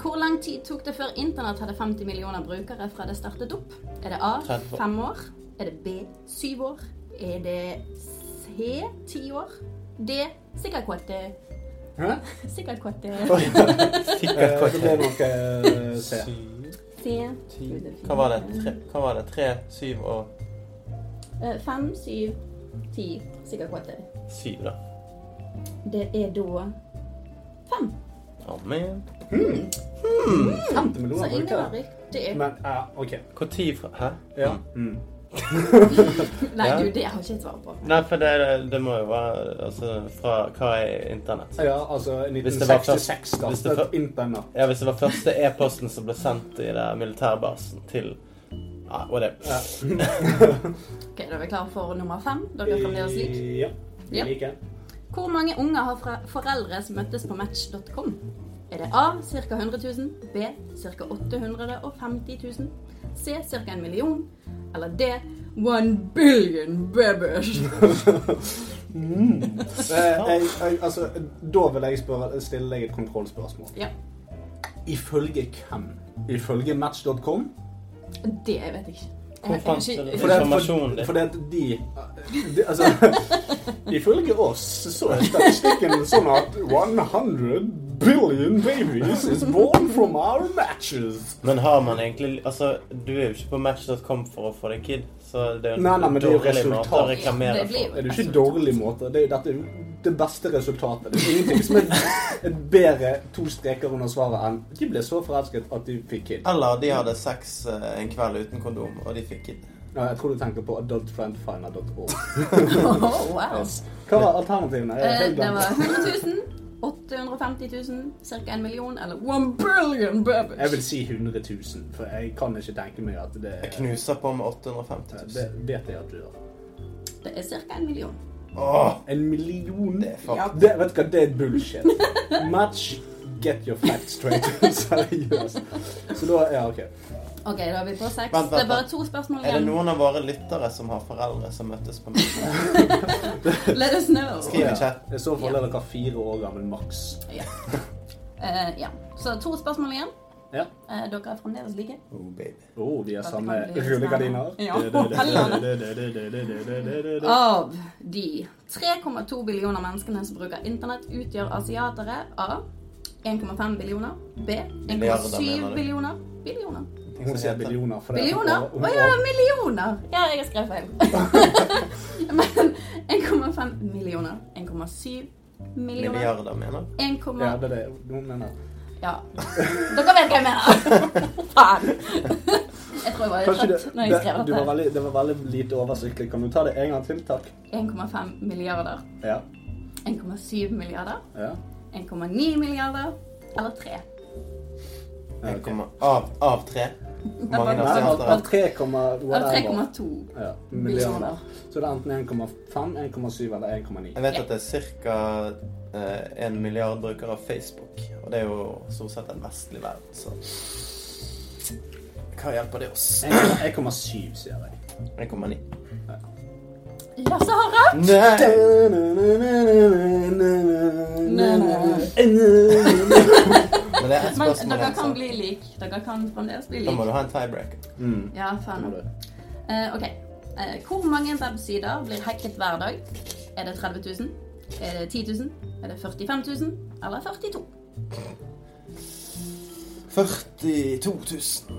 Hvor lang tid tok det før internett hadde 50 millioner brukere fra det startet opp? Er det A 30 år. fem år? Er det B syv år? Er det C ti år? D sikkert kåte. <laughs> Hæ? Sikkert kåte. Eh, Sikkert Det ble kort. nok <laughs> eh, C. C. Hva var det? Tre, hva var det? Tre, syv og Eh, Fem, syv, ti. Sikkert kåte. syv, da. Det er da fem. Oh, man. Femte Så millioner ingen var brukere. riktig. Men ja, OK. Hvor tid fra Hæ? Ja. Mm. Nei, Ja. du, det har ikke jeg svar på. Nei, for det, det må jo være Altså, fra Hva er internett? ja, altså Hvis det var først- 1966 hvis det startet var- internett. Ja, hvis det var første e-posten som ble sendt i det militærbasen til Ja, hva det Ja. Ok, Da er vi klare for nummer fem. Dere er fremdeles like. Ja. Ja. Jeg <laughs> liker. Hvor mange unger har fra foreldre som møttes på match.com? Er det A ca. 100 000, B ca. 850 000, C ca. en million, eller D 1 billion <laughs> babies? Eh, jeg, jeg, altså, da vil jeg spørre, stille deg et kontrollspørsmål. Ja, Ifølge hvem? Ifølge match.com? det vet jeg ikke. Hvor Jeg- jeg- fant jeg- du jeg- det? Informasjonen for, din. for det at de, de Altså, <laughs> ifølge oss så er statistikken sånn at 100 billion babies is born from our matches. Men har man egentlig Altså, du er jo ikke på match.com for å få deg kid, så det er jo Nei, nei, men det er jo dårlig måte å resultat. reklamere Det blir jo- for. Det er jo ikke dårlig måte. Det er, dette er jo det beste resultatet. Det er ingenting som er et bedre to streker under svaret enn De ble så forelsket at de fikk kid. Eller de hadde sex eh, en kveld uten kondom, og de fikk kid. Ja, Jeg tror du tenker på adultfriendfinder.org. <laughs> Oh, wow. Hva var alternativene? Jeg har Eh, helt Det var glemt. 100 000, 850 000, ca. en million, eller 1 billion Jeg vil babies? si 100 000, for jeg kan ikke tenke meg at det Jeg knuser på med 850 Det 000. vet jeg at du gjør. Det er ca. en million. Åh, En million Det er fucked. Ja, det, Vet du hva, det er <laughs> bullshit. Match, get your facts straight. Seriøst. Så da Ja, OK. Ok, da er vi på seks. Vent, vent, Det er bare vent. to spørsmål er det igjen. noen av våre lyttere som har foreldre som møttes på match? Let us know. Skriv i chat. I så fall er dere fire år gammel maks. Ja. Eh, ja. Så to spørsmål igjen. Eh, dere er fremdeles like. <laughs> Oh, baby. Oh, de er At det samme kan bli litt rullegardiner. spennende. Ja, Ah. Ja. Av de 3,2 billioner menneskene som bruker internett, utgjør asiatere A. 1,5 billioner. B. Milliarder, 1,7 mener du? billioner. Billioner. Hun sier billioner. For det er Billioner? på- Å ja, millioner! Ja, jeg skrev feil. <laughs> Men 1,5 millioner. 1,7 millioner. Milliarder, mener du? 1, Ja, det er det hun mener. ja. Dere vet hva jeg <laughs> mener! Faen! Jeg tror jeg var litt Kanskje det, trøtt når jeg skrev det, du var dette. veldig, det var veldig lite oversiktlig. Kan du ta det en gang til, takk? 1,5 milliarder. Ja. 1,7 milliarder. ja. 1,9 milliarder. Eller 3. Jeg kommer av, av <laughs> tre. Hvor Mange var- Nei, av- av asiater 3, Eller whatever. 3,2 Ja, millioner. milliarder. Så det er enten 1,5, 1,7 eller 1,9. Jeg vet at det er ca. en milliard brukere av Facebook. Og det er jo stort sett en vestlig verden, så Hva hjelper det oss? 1,7, sier jeg. 1,9. Lasse har rett! Nei! Men det er ett Men spørsmål dere igjen, kan så bli lik. Dere kan fremdeles bli da må lik. du ha en tiebreaker. Ja, faen. Eh, ok. Eh, hvor mange websider blir hacket hver dag? Er det 30 000? Er det 10 000? Er det 45 000? Eller 42 42 000.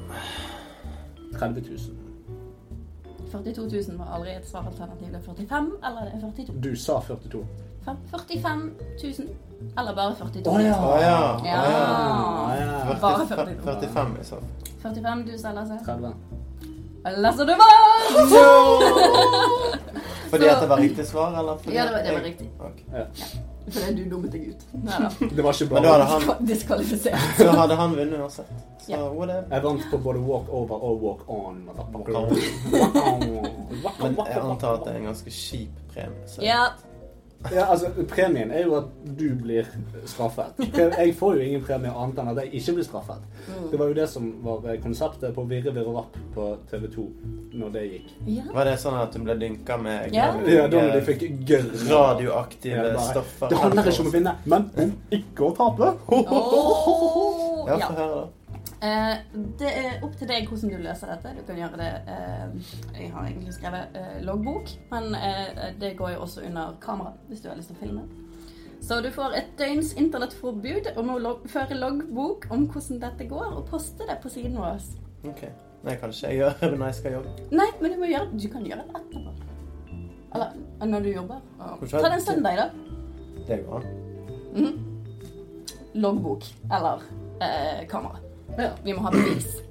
30 000. 42 000 var aldri et svaralternativ. Det er 45, eller det er 42 Du sa 42. Fem- 45 000, eller bare 42 Å ja. Å ja. Ja. Å, Ja, ja. Ah, Bare 45 42. 45 i så fall. 45 000, Lasse. 30. Lasse, du vant! Fordi at det var riktig svar, eller? Fordi Ja, det var- det var jeg- riktig. Ok. Fordi du dummet deg ut. Nei <laughs> da. Det var ikke Men da bra. hadde han, Diskvalifisert. da hadde han vunnet uansett. Så Ja. whatever. Jeg vant på både walk over og walk on. Men jeg antar at det er en ganske kjip altså. premie. Så. Ja. Ja, altså, Premien er jo at du blir straffet. Pre- Jeg får jo ingen premie annet enn at jeg ikke blir straffet. Det var jo det som var eh, konseptet på Virre Virre Vapp på TV 2 når det gikk. ja. Var det sånn at hun ble dynka med Ja. grønne- Ja, da når de fikk gørr. radioaktive stoffer? Det handler ikke om å vinne, men om ikke å tape. Åh, Ja, ja. få høre, da. Eh, det er opp til deg hvordan du løser dette. Du kan gjøre det eh, Jeg har egentlig skrevet eh, loggbok, men eh, det går jo også under kamera hvis du har lyst til å filme. Så du får et døgns internettforbud og må log føre loggbok om hvordan dette går, og poste det på siden vår. Ok. Nei, kanskje jeg gjør <laughs> det når jeg skal jobbe. Nei, men du, må gjøre, du kan gjøre det etterpå. Eller når du jobber. Hvorfor? Ta det en søndag, da. Det går an. Loggbok eller eh, kamera. Vi må ha bevis.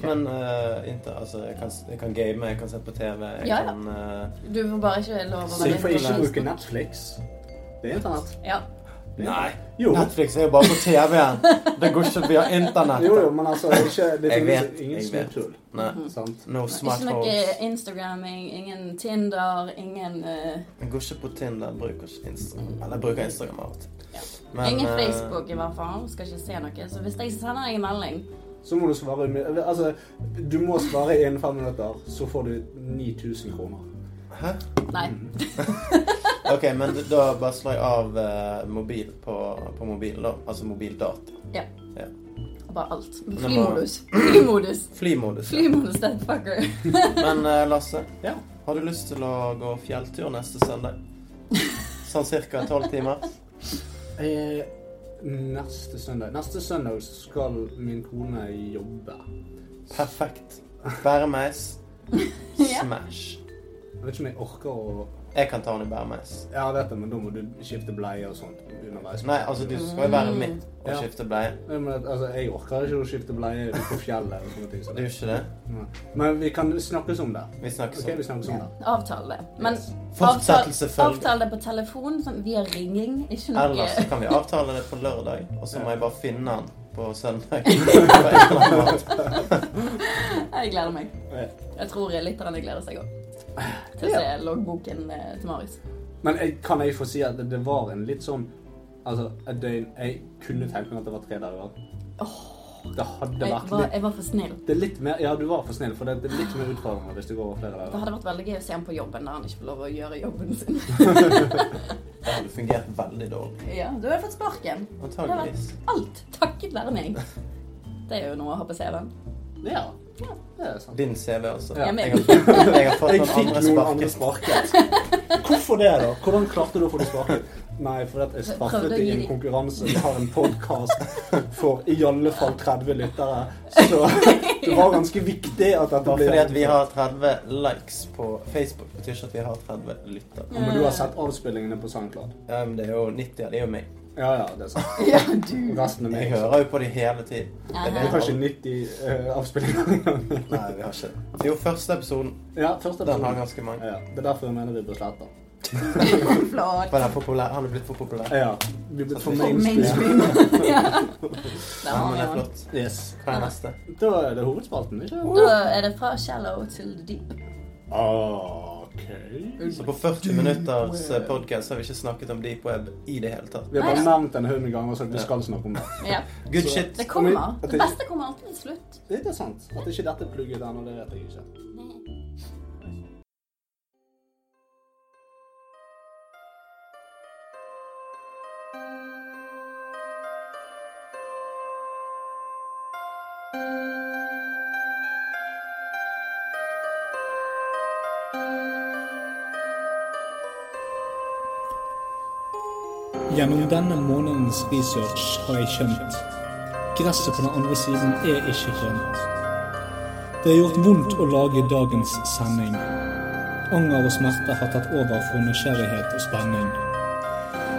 Men eh, inte, altså, jeg, kan, jeg kan game, jeg kan se på TV, jeg Ja, ja. kan eh, Du får bare ikke lov å Så du være får med på ikke bruke Facebook. Netflix. Det er internett. Ja. Nei. Jo. Netflix er jo bare på TV-en. <laughs> Det går ikke via internett. Jo, jo, men altså, det er ikke, det Jeg er vet, ingen jeg vet. smutthull. Nei. Sant? No Ikke smartphones. noe Instagramming, ingen Tinder, ingen eh, Jeg går ikke på Tinder, jeg bruker ikke Instagram. Eller jeg bruker Instagram av og til. Men, Ingen eh, Facebook i hvert fall. Skal ikke se noe. Så hvis jeg sender deg en melding Så må du svare umi- Altså, du må svare innen fem minutter, så får du 9000 kroner. Hæ? Nei. Ok, men da bare slår jeg av eh, mobil på, på mobilen, da. Altså mobildata. Ja. Ja. Mm. Bare alt. var- Flymodus. <clears throat> Flymodus. Flymodus. ja. Flymodus, that fucker. Men eh, Lasse, Ja. har du lyst til å gå fjelltur neste søndag? Sånn cirka tolv timer? Eh, neste søndag Neste søndag skal min kone jobbe. Perfekt. Bæremeis. Ja. Smash. Jeg vet ikke om jeg orker å Jeg kan ta den i bæremeis. Ja, jeg vet det, men da må du skifte bleie og sånt underveis. Nei, altså, du skal jo være med og Mm. Ja. skifte bleie. Nei, men altså, jeg orker ikke å skifte bleie ute på fjellet. og sånne ting. som Du det. gjør ikke det? Nei. Men vi kan snakkes om det. Vi snakkes Ok, om vi snakkes om det. Avtale det. Men Fortsettelse avtale, følger. avtale det på telefon sånn, via ringing. Ikke Ellers så noe kan vi avtale det på lørdag, og så må jeg bare finne han på søndag. På en eller annen måte. <laughs> Jeg gleder meg. Ja. Jeg tror lytterne gleder seg òg. <sighs> Til å Ja. se loggboken eh, til Marius. Men jeg, kan jeg få si at det, det var en litt sånn Altså, et døgn Jeg kunne tenkt meg at det var tre dager. det hadde Jeg vært var, litt jeg var for snill. det er litt mer, Ja, du var for snill, for det, det er litt mer utfordrende hvis det går over flere Det dager. hadde vært veldig gøy å se ham på jobben der han ikke får lov å gjøre jobben <laughs> sin. Det hadde fungert veldig dårlig. ja, Du har fått sparken. Det har Antageligvis. vært alt takket være meg. Det er jo noe å ha på CV-en. Ja. det er sant. Din CV, altså. Ja, men- Jeg, har fått, jeg har <laughs> fått Jeg noen fikk andre noen andre sparket. sparket. Hvorfor det, da? Hvordan klarte du å få det sparket? Nei, fordi at jeg Prøvde startet å i gi en de- konkurranse. Vi har en podkast for i alle fall 30 lyttere. Så det var ganske viktig at dette Bare ble fordi at vi har 30 likes på Facebook, betyr ikke at vi har 30 lytter. Ja, Men du har sett avspillingene på SoundCloud? Ja, men det er jo 90, ja, det er jo meg. Ja, ja, det er sant. <laughs> Ja, du. Resten er Jeg meg. hører jo på de hele tiden. Det er det Vi har jeg ikke 90 eh, avspillinger engang. har- Nei, vi har ikke. Jo, første episoden, Ja, første den har episode. ganske mange. Ja, det er derfor jeg mener vi bør slette. Flott. For den er populær, han er blitt for populær. Ja, vi blir for For mainstream. <laughs> <laughs> ja. Da Ja, men det er har vi den. flott. Yes. Hva er neste? Da er det hovedspalten, ikke Da er det fra shallow til deep. Ah, OK. Så på 40 minutters eh, podcast har vi ikke snakket om deep web i det hele tatt. Vi har bare Nei. nevnt den hundre ganger og sagt vi skal snakke om det. Ja. Good shit. Det kommer. At Det beste kommer alltid til slutt. Det er sant. At ikke dette plugget ennå, det vet jeg ikke. Gjennom denne månedens research har jeg skjønt. Gresset på den andre siden er ikke grønt. Det har gjort vondt å lage dagens sending. Anger og smerte har tatt over for nysgjerrighet og spenning.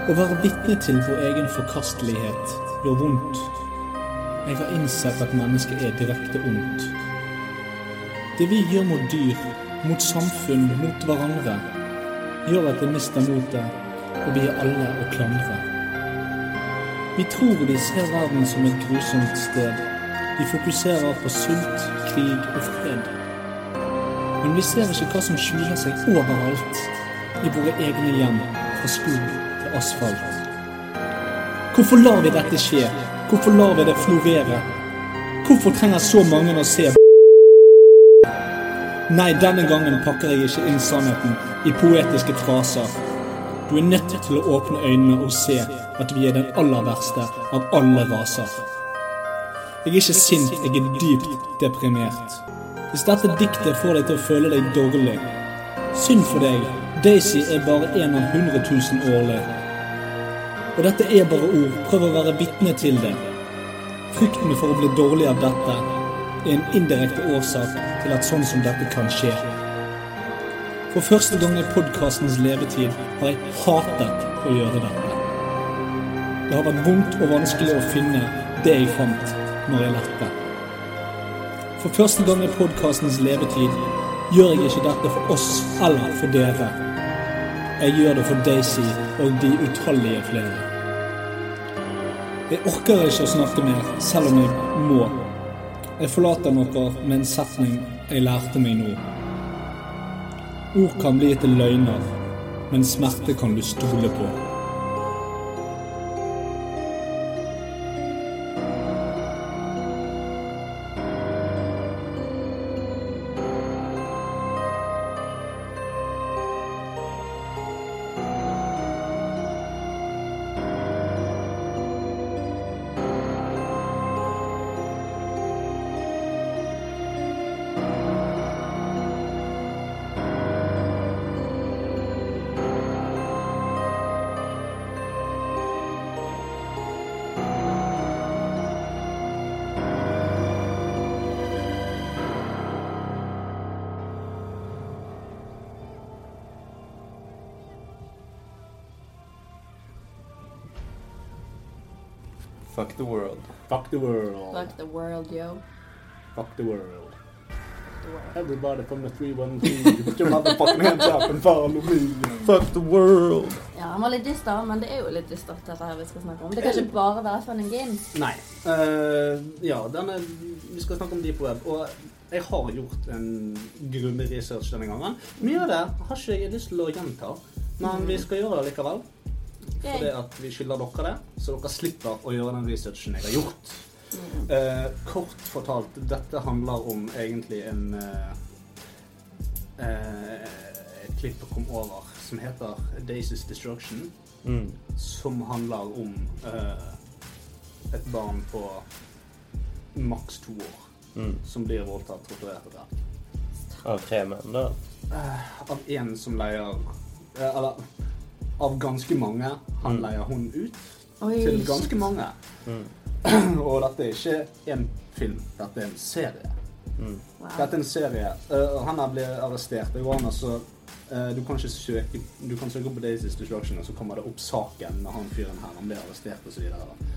Å være vitne til vår egen forkastelighet gjør vondt. Jeg har innsett at mennesket er direkte ondt. Det vi gjør mot dyr, mot samfunn, mot hverandre, gjør at vi mister motet, og vi er alle å klandre. Vi tror de ser verden som et grusomt sted. De fokuserer på sult, krig og fred. Men vi ser ikke hva som skjuler seg overalt, i våre egne hjem, fra skog til asfalt. Hvorfor lar vi dette skje? Hvorfor lar vi det florere? Hvorfor trenger så mange å se Nei, denne gangen pakker jeg ikke inn sannheten i poetiske fraser. Du er nødt til å åpne øynene og se at vi er den aller verste av alle raser. Jeg er ikke sint, jeg er dypt deprimert. Hvis dette diktet får deg til å føle deg dårlig, synd for deg, Daisy er bare en av 100 000 årlig. Og dette er bare ord, prøv å være vitne til det. Frykten for å bli dårlig av dette er en indirekte årsak til at sånn som dette kan skje. For første gang i podkastens levetid har jeg hatet å gjøre dette. Det har vært vondt og vanskelig å finne det jeg fant når jeg lette. For første gang i podkastens levetid gjør jeg ikke dette for oss eller for dere. Jeg gjør det for Daisy og de utallige flere. Jeg orker ikke å snakke mer, selv om jeg må. Jeg forlater noe med en setning jeg lærte meg nå. Ord kan bli til løgner, men smerte kan du stole på. Fuck the world. Fuck the world. Fuck the world, yo. Fuck the world. Everybody from the 313, put your motherfucking hands up and follow me. Fuck the world. Ja, Han var litt dyster, men det er jo litt dystert, dette her vi skal snakke om. Det kan ikke bare være sånn spenning inn. Nei. Eh, ja, denne, vi skal snakke om deep web. Og jeg har gjort en grundig research denne gangen. Mye av det har ikke jeg lyst til å gjenta, men vi skal gjøre det likevel. For det at vi skylder dere det, så dere slipper å gjøre den researchen jeg har gjort. Eh, kort fortalt, dette handler om egentlig en eh, eh, Et klipp jeg kom over som heter Daisy's Destruction, Mm. som handler om eh, et barn på maks to år Mm. som blir voldtatt torturert etter hvert. Av tre menn, da. Eh, Av én som leier eh, Eller av ganske mange. Mm. Han leier hun ut Oi. til ganske mange. Mm. <clears throat> Og dette er ikke en film, dette er en serie. Wow. Dette er en serie. Eh, han her blir arrestert. Det går an altså eh, Du kan ikke søke Du kan søke på Daisy's Destruction, og så kommer det opp saken med han fyren her. Han blir arrestert, og så videre. da.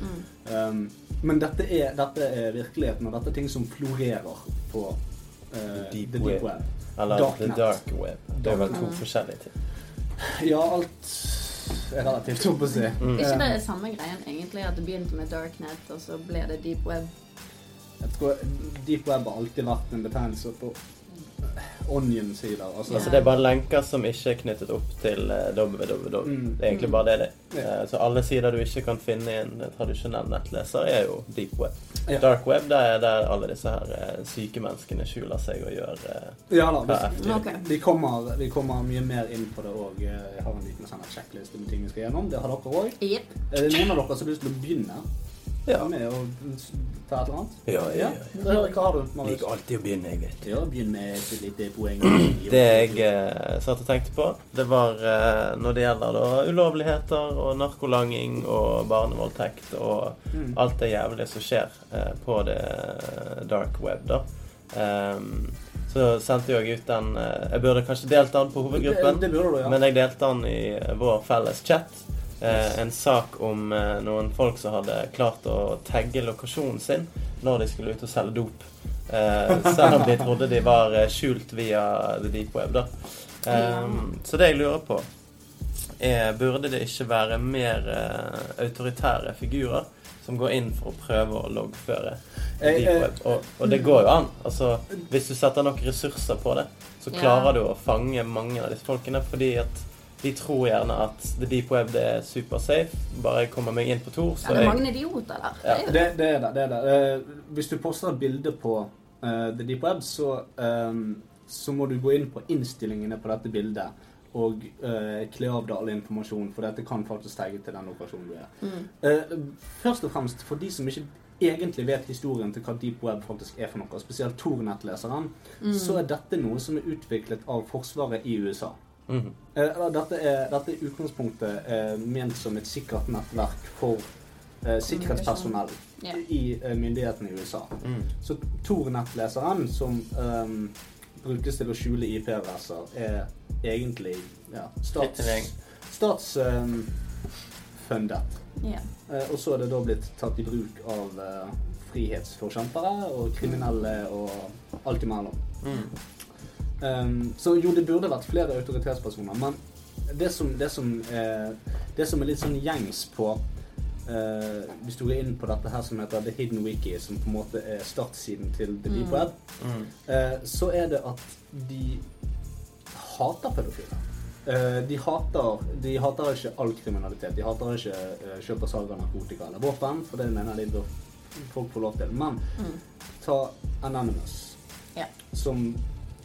Mm. Um, men dette er, dette er virkeligheten, og dette er ting som florerer på eh, Deep The Deep Web. Web. Eller Darknet. The Dark Mm. Web. Det er vel to Darknet. forskjellige ting. Ja, alt er relativt, holdt på å si. Mm. Ikke det Eh, er samme greien egentlig, at det begynte med darknet, og så ble det deep web. jeg tror Deep Web har alltid vært en betegnelse på onion-sider. Altså, Altså, det er bare lenker som ikke er knyttet opp til eh, www. Mm. Det er egentlig bare det det er. Ja. Eh, Så alle sider du ikke kan finne i en tradisjonell nettleser, er jo deep web. Ja. Dark web det er der alle disse her eh, syke menneskene skjuler seg og gjør eh, Ja da. hva hvis- efter. Ok. Vi kommer, vi kommer mye mer inn på det òg. Jeg har en liten sånn her sjekkliste med ting vi skal gjennom. Det har dere òg. Jepp. Er det noen av dere som har lyst til å begynne Ja. med å ta et eller annet? Ja, ja, ja, Hva har du, Marius? alltid å begynne, jeg vet. Ja, begynn med et lite poeng. <clears throat> Det jeg eh, satt og tenkte på, det var eh, når det gjelder da, ulovligheter og narkolanging og barnevoldtekt og Mm. alt det jævlige som skjer eh, på det eh, dark web, da. Ehm, så sendte jeg ut den eh, Jeg burde kanskje delt den på hovedgruppen. Det, det burde du, ja. Men jeg delte den i vår felles chat. Eh, en sak om eh, noen folk som hadde klart å tagge lokasjonen sin når de skulle ut og selge dop. Eh, selv om de trodde de var eh, skjult via the deep web, da. Ehm, så det jeg lurer på, er burde det ikke være mer eh, autoritære figurer som går inn for å prøve å loggføre the Jeg- deep jeg- web? Og, og det går jo an. Altså, hvis du setter nok ressurser på det, så Ja. klarer du å fange mange av disse folkene. Fordi at de tror gjerne at the deep web det er supersafe. Bare jeg kommer meg inn på Tor, Ja, så det er jeg mange idioter der. Ja. Det er jo- det, det er det. det, er det. Eh, hvis du poster et bilde på eh, The Deep Web, så, eh, så må du gå inn på innstillingene på dette bildet. Og eh, kle av deg all informasjon, for dette kan faktisk tagge til den lokasjonen du er. Mm. Eh, først og fremst for de som ikke egentlig vet historien til hva deep web faktisk er for noe, spesielt Tor-nettleseren, Mm. Mm. så er dette noe som er utviklet av Forsvaret i USA. Mhm. Eh, eller dette, er, dette er i utgangspunktet eh, ment som et sikkert nettverk for eh, sikkerhetspersonell Ja. i eh, myndighetene i USA. mm, Så Tor-nettleseren, som ehm, brukes til å skjule IP-adresser, er egentlig ja, stats, Litt statsfundet. Ja. Eh, Og så er det da blitt tatt i bruk av eh, frihetsforkjempere og kriminelle og alt imellom. mm, Um, så jo, det burde vært flere autoritetspersoner, men det som, det som, er, det som er litt sånn gjengs på eh, Hvis du går inn på dette her som heter The Hidden Wiki, som på en måte er startsiden til The Deep Web, eh, så er det at de hater pedofile. Eh, de, hater, de hater ikke all kriminalitet. De hater ikke eh, kjøp og salg av narkotika eller våpen, for det mener de bør folk få lov til. Men ta Anonymous, Ja. som,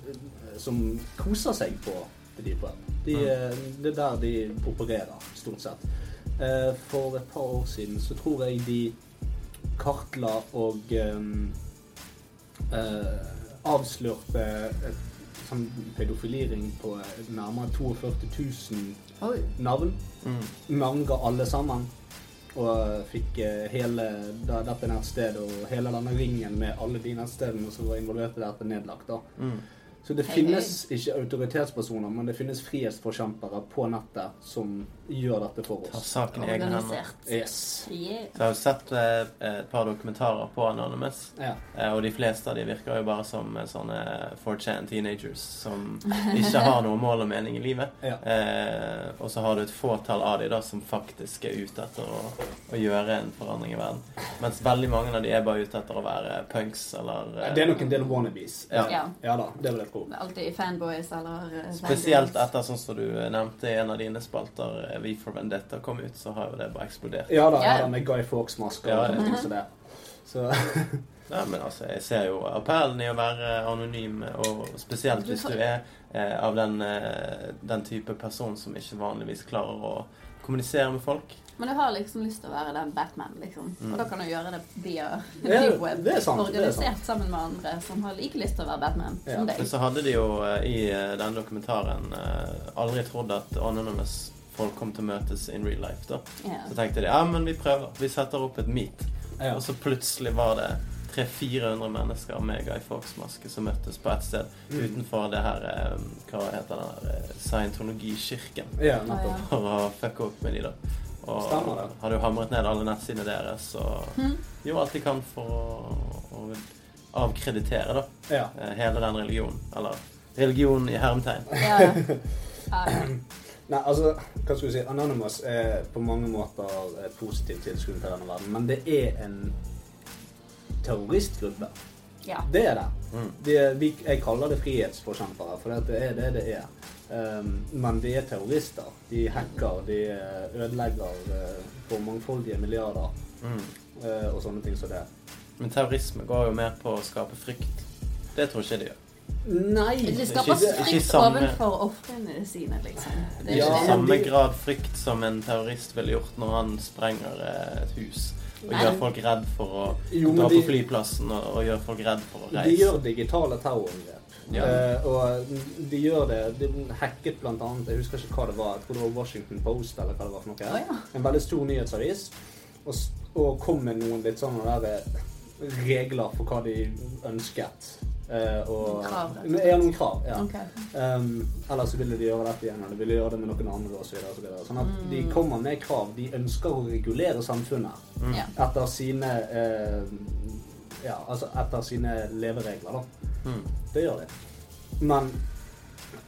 eh, som koser seg på det dype. De, eh, det er der de opererer, stort sett. Eh, for et par år siden så tror jeg de kartla og eh, eh, avslørte et sånn pedofiliring på nærmere 42 000 Oi. navn. mm, Navnga alle sammen. Og fikk eh, hele da, dette nettstedet og hele denne ringen med alle de nettstedene som var involvert i dette, nedlagt. da. mm. Så det Hei, finnes ikke autoritetspersoner, men det finnes frihetsforkjempere på nettet som gjør dette for tar oss. saken i egne hender. Organisert. Yes. Yeah. Så jeg har jo sett eh, et par dokumentarer på Anonymous. Ja. Eh, Og de fleste av de virker jo bare som eh, sånne 4chan teenagers som ikke har noe mål og mening i livet. Ja. Eh, og så har du et fåtall av de da som faktisk er ute etter å, å gjøre en forandring i verden. Mens veldig mange av de er bare ute etter å være punks eller eh, Det er nok en del wannabes. Ja. Ja. Ja da, det vil jeg tro. Det er Alltid fanboys eller eh, Spesielt fangirls. etter sånn som du nevnte i en av dine spalter, eh, Vi for Vendetta kom ut, så har jo det bare eksplodert. Ja da, Ja. ja. da med Guy Fawkes-masker Ja, og ja. sånne ting som det. Så Nei, men altså, Jeg ser jo appellen i å være anonym, og spesielt Du hvis får- du er eh, av den, eh, den type person som ikke vanligvis klarer å kommunisere med folk. Men du har liksom lyst til å være den Batman, liksom. Mm. Og da kan du gjøre det via Ja, <laughs> deep web. det er sant, det er sant. organisert sammen med andre som har like lyst til å være Batman som deg. Men så hadde de jo eh, i eh, denne dokumentaren eh, aldri trodd at anonymous folk kom til å møtes in real life. da. Ja. Så tenkte de ja, men vi prøver. Vi setter opp et meet. Og så plutselig var det 300-400 mennesker med Guy Fawkes-maske som møttes på ett sted Mm. utenfor det her eh, Hva heter den her eh, Scientologikirken. Ja, nettopp. For å fucke opp med de, da. Og Stemmer det. hadde jo hamret ned alle nettsidene deres og Mm. gjorde alt de kan for å, å avkreditere da Ja. eh, hele den religionen. Eller religionen i hermetegn. <laughs> Nei, altså, hva skal vi si? Anonymous er på mange måter et positivt tilskudd til denne verden, men det er en terroristgruppe. Ja. Det er det. De er, vi, jeg kaller det frihetsforkjempere, for det er det det er. Um, men de er terrorister. De hacker, de eh, ødelegger eh, for mangfoldige milliarder Mm. eh, og sånne ting som det. Men terrorisme går jo mer på å skape frykt. Det tror ikke jeg de gjør. Nei! De skaper Ikke- ikke frykt samme- overfor ofrene sine, liksom. Det Det er er ikke det. samme grad frykt som en terrorist ville gjort når han sprenger eh, et hus. Og Nei. gjør folk redd for å Jo, men dra de- på flyplassen og, og gjør folk redd for å reise. De gjør digitale terrorangrep. Ja. Eh, og de gjør det De hacket blant annet Jeg husker ikke hva det var. Jeg tror det var Washington Post eller hva det var for noe. En veldig stor nyhetsavis. Og, s- og kom med noen litt sånne der eh, regler for hva de ønsket. Eh, og, Krav, rett og ja, noen krav. Ja. Ok. Um, eller så ville de gjøre dette igjen, eller de ville gjøre det med noen andre osv. Så videre, og så videre. sånn at Mm. de kommer med krav. De ønsker å regulere samfunnet Mm. Ja. etter sine eh, Ja, altså etter sine leveregler, da. Mm. Det gjør de. Men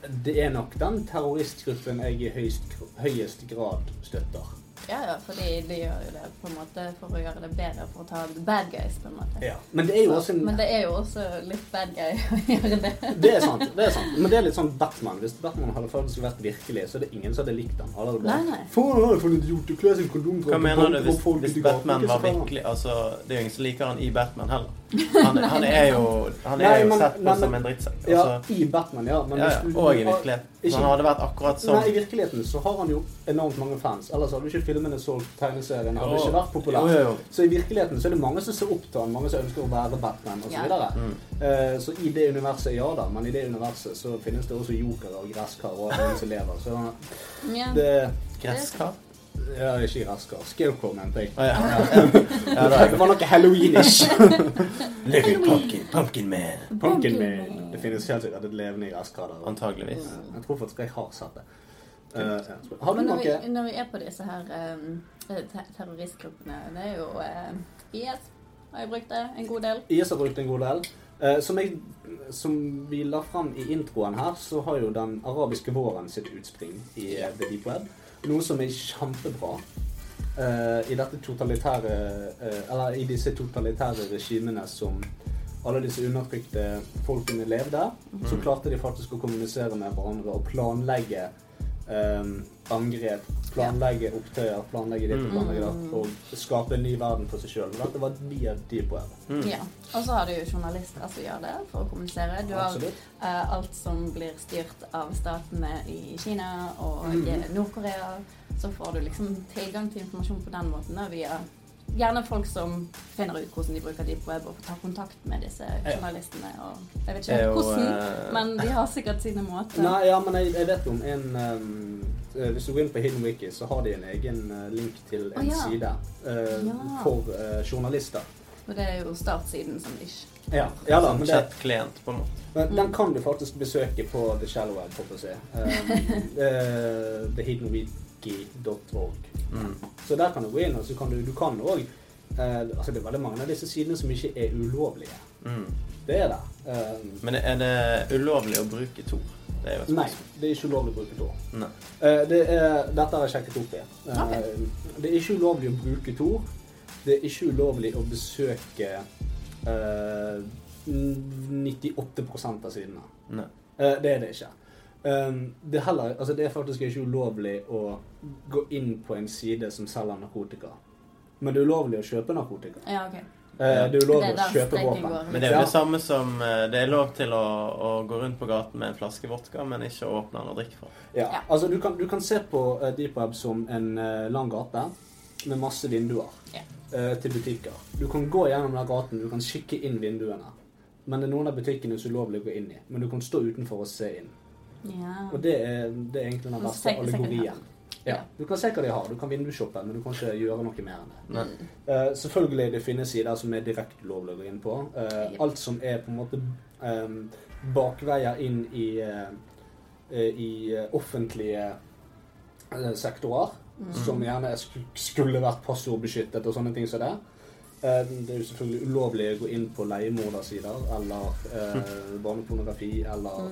det er nok den terroristgruppen jeg i høyest, høyest grad støtter. Ja, ja, fordi de gjør jo det på en måte for å gjøre det bedre, for å ta the bad guys, på en måte. Men det er jo Så- også en Men det er jo også litt bad guy å <laughs> gjøre det. Det er sant. det er sant. Men det er litt sånn Batman. Hvis Batman hadde faktisk vært virkelig, så er det ingen som hadde likt ham. Alle hadde bare, Nei, nei. Faen, han er for en idiot. Du kler seg i kondom for Hva å mener du banke hvis, opp folk hvis ute i gaten, Batman ikke var så kan han. virkelig altså, Det er jo ingen som liker han i Batman <laughs> heller. Han, han er jo, han er Nei, jo men- sett på nei, men- som en drittsekk. Ja, Altså, i Batman, ja. Men ja, hvis ja, du- og i du har- virkeligheten. Så han hadde vært akkurat som- Nei, i virkeligheten så har han jo enormt mange fans. Ellers hadde ikke filmene solgt tegneserien. Hadde Jo. ikke vært populær. Jo, jo, jo. Så i virkeligheten så er det mange som ser opp til han, mange som ønsker å være Batman osv. Så, Ja. videre. Mm. Eh, så i det universet, ja da. Men i det universet så finnes det også jokere og gresskar og alle som lever. Så Ja. det Gresskar? Ja, ikke gresskar. Scarecrow, mente jeg. ja. Ja, da. <laughs> det var noe halloweenish. Little pumpkin, pumpkin man. Pumpkin Man. Det finnes helt sikkert et levende i gresskarer. Antageligvis. Jeg tror faktisk jeg har sett det. Eh, ja. Har du Men når noe vi, når vi er på disse her em, te- terroristgruppene, det er jo em, IS har jeg brukt det en god del. IS har brukt en god del. Eh, som, jeg, som vi la fram i introen her, så har jo den arabiske våren sitt utspring i eh, The Deep Web. Noe som er kjempebra eh, i dette totalitære eh, Eller i disse totalitære regimene som alle disse undertrykte folkene levde. Så Mhm. klarte de faktisk å kommunisere med hverandre og planlegge eh, angrep. Planlegge opptøyer, planlegge ditt og Mhm. planlegge datt. Og skape en ny verden for seg sjøl. Dette var via Deep Web. Ja. Og så har du jo journalister som gjør det for å kommunisere. Du har Absolutt. eh, alt som blir styrt av statene i Kina og i Mhm. Nord-Korea. Så får du liksom tilgang til informasjon på den måten da, via gjerne folk som finner ut hvordan de bruker deep web og tar kontakt med disse journalistene. Og jeg vet ikke Det er helt jo, hvordan, eh, men de har sikkert sine måter. Nei, ja, men jeg, jeg vet om en ehm, eh, Hvis du går inn på Hidden Wiki, så har de en egen eh, link til en Å, ja. side eh, Ja. for eh, journalister. Og det er jo startsiden som ish. Ja, ja da, Som men, det, chat-klient, sånn på en måte. men Mm. den kan du faktisk besøke på The Shallow Web, holdt jeg på å si. Um, <laughs> eh, thehiddenwiki.org. Mm. Så der kan du gå inn, og så kan du, du kan òg altså Det er veldig mange av disse sidene som ikke er ulovlige. Mm. Det er det. Um, Men er det ulovlig å bruke Tor? Det er jo et Nei, spørsmål. det er ikke ulovlig å bruke Tor. Nei. Eh, det er, dette har jeg sjekket opp i. Eh, Det er ikke ulovlig å bruke Tor. Det er ikke ulovlig å besøke eh, 98 av sidene. Nei. Eh, det er det ikke. Um, det, er heller, altså det er faktisk ikke ulovlig å gå inn på en side som selger narkotika. Men det er ulovlig å kjøpe narkotika. Ja, ok. Eh, Det er jo lov Det er å der kjøpe streken våpen. går. Men det er jo Ja. det samme som eh, Det er lov til å, å gå rundt på gaten med en flaske vodka, men ikke å åpne den og drikke fra. Ja. Altså, du kan, du kan se på eh, Deep Web som en eh, lang gate med masse vinduer eh, til butikker. Du kan gå gjennom den gaten, du kan kikke inn vinduene. Men det er noen av butikkene som er ulovlig å gå inn i. Men du kan stå utenfor og se inn. Ja. Og det er, det er egentlig den Men så verste tenker jeg sikkert allegorien. Ja. Du kan se hva de har. Du kan vindusshoppe, men du kan ikke gjøre noe mer enn det. Nei. Eh, selvfølgelig det finnes sider som er direkte ulovlig å gå inn på. Eh, alt som er på en måte eh, bakveier inn i, eh, eh, i eh, offentlige eh, sektorer, Mm. som gjerne sk skulle vært passordbeskyttet og sånne ting som det. Eh, Det er jo selvfølgelig ulovlig å gå inn på leiemordersider eller <laughs> eh, barnepornografi Mm. eller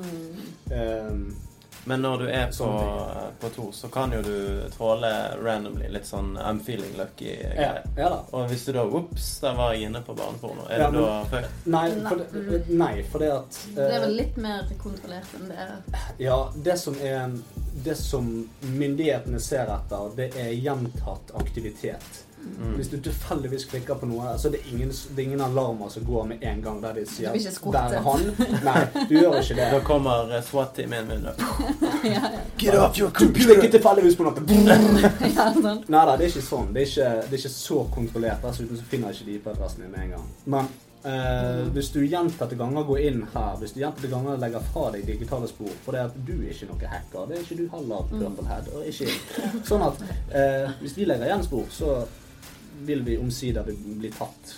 eh, Men når du er på, på Tor, så kan jo du tråle randomly. Litt sånn I'm feeling Ja, lucky-greier. ja da. Og hvis du da Ops, der var jeg inne på barneporno. Er Ja, du men- da fucked? Nei, for det, eh, nei, for det at Det er eh, vel litt mer kontrollert enn det. Ja, det som, er, det som myndighetene ser etter, det er gjentatt aktivitet. Mm. Hvis du tilfeldigvis klikker på noe, så det er ingen, det er ingen alarmer som går med en gang der de sier Du blir ikke 'der er han'. squattet. Nei, du gjør ikke det. Da kommer eh, SWAT-teamet <laughs> inn. og- Get off your computer! Du klikker tilfeldigvis på noe. Nei da, det er ikke sånn. Det er ikke, det er ikke så kontrollert. Dessuten så finner jeg ikke de på adressen din med en gang. Men eh, hvis du gjentatte ganger går inn her, hvis du gjentatte ganger legger fra deg digitale spor For det at du er ikke noe hacker, det er ikke du heller, Purplehead. Og ikke Sånn at eh, hvis vi legger igjen spor, så vil vi omsider bli bli tatt.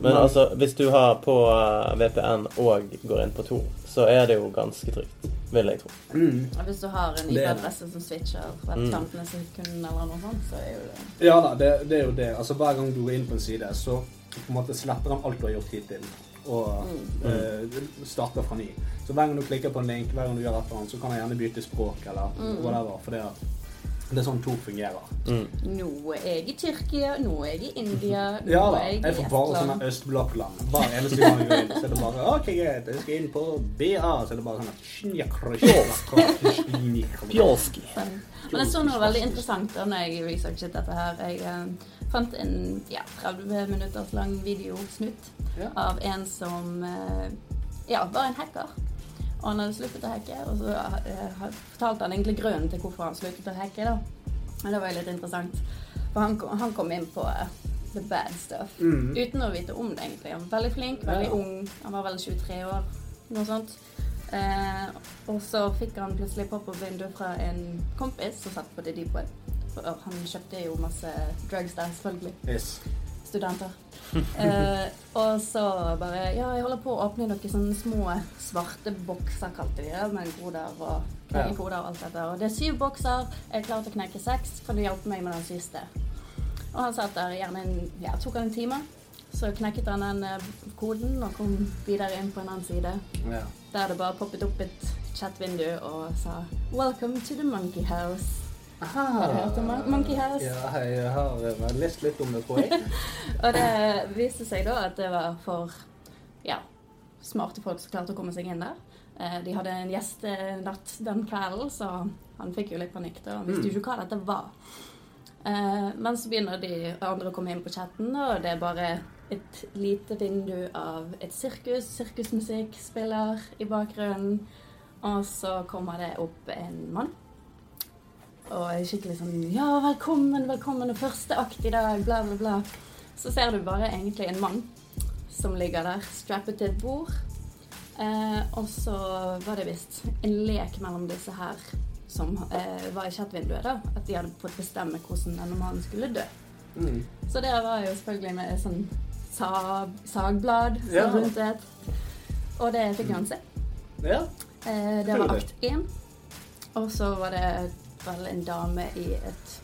Men altså, hvis du har på eh, VPN og går inn på Tor, så er det jo ganske trygt. Vil jeg tro. Og hvis du har en Det er det. IP-adresse som switcher hvert Mm. 15. sekund eller noe sånt, så er jo det Ja da, det, det er jo det. Altså Hver gang du går inn på en side, så på en måte sletter han alt du har gjort hittil, og Mm. eh, starter fra ny. Så hver gang du klikker på en link, hver gang du gjør et eller annet, så kan han gjerne bytte språk eller Mm. whatever. For det, er- det er sånn Tor fungerer. Noe er jeg i Tyrkia, noe er jeg i India, noe Ja da. er jeg i Jeg får bare Estland. sånne østblokkland. Hver eneste gang jeg går inn, så er det bare OK, greit, jeg skal inn på BA, så er det bare sånn Pjolsk. Pjolski. Men jeg så noe veldig interessant da når jeg researchet dette her. Jeg eh, fant en ja, 30 minutters lang videosnutt av en som eh, ja, var en hacker. Og han hadde sluttet å hacke, og så eh, ha- fortalte han egentlig grunnen til hvorfor han sluttet å hacke. da. Og det var jo litt interessant. For han kom, han kom inn på eh, the bad stuff Mhm. Mm. uten å vite om det, egentlig. Han var veldig flink, veldig Ja. ung. Han var vel 23 år, noe sånt. Eh, og så fikk han plutselig pop-up-vindu fra en kompis som satt på The Deep Web. For han kjøpte jo masse drugs der, selvfølgelig. Yes. Studenter. <laughs> Eh, og så bare Ja, jeg holder på å åpne noen sånne små svarte bokser, kalte de det, med koder Ja. og knekkekoder og alt dette. Og det er syv bokser, jeg er klar til å knekke seks. Kan du hjelpe meg med den siste? Og han satt der gjerne en Ja, tok han en time. Så knekket han den eh, koden og kom videre inn på en annen side. Ja. Der det bare poppet opp et chatvindu og sa 'Welcome to the monkey house'. Har du hørt om mon- Monkey House? Ja, jeg har eh, lest litt om det, tror jeg. Og det viste seg da at det var for ja, smarte folk som klarte å komme seg inn der. Eh, De hadde en gjestenatt den kvelden, så han fikk jo litt panikk. da. Han visste jo ikke hva dette var. Eh, Men så begynner de andre å komme inn på chatten, og det er bare et lite vindu av et sirkus. Sirkusmusikk spiller i bakgrunnen. Og så kommer det opp en mann. Og er skikkelig sånn Ja, velkommen, velkommen, og første akt i dag, bla, bla, bla. Så ser du bare egentlig en mann som ligger der, strappet til et bord. Eh, og så var det visst en lek mellom disse her som eh, var i chatvinduet, da. At de hadde fått bestemme hvordan denne mannen skulle dø. Mm. Så det var jo selvfølgelig med sånn sag, sagblad som Ja. rundt det. Og det fikk han se. Ja. Eh, det Selvfølgelig. var akt én. Og så var det vel en dame i et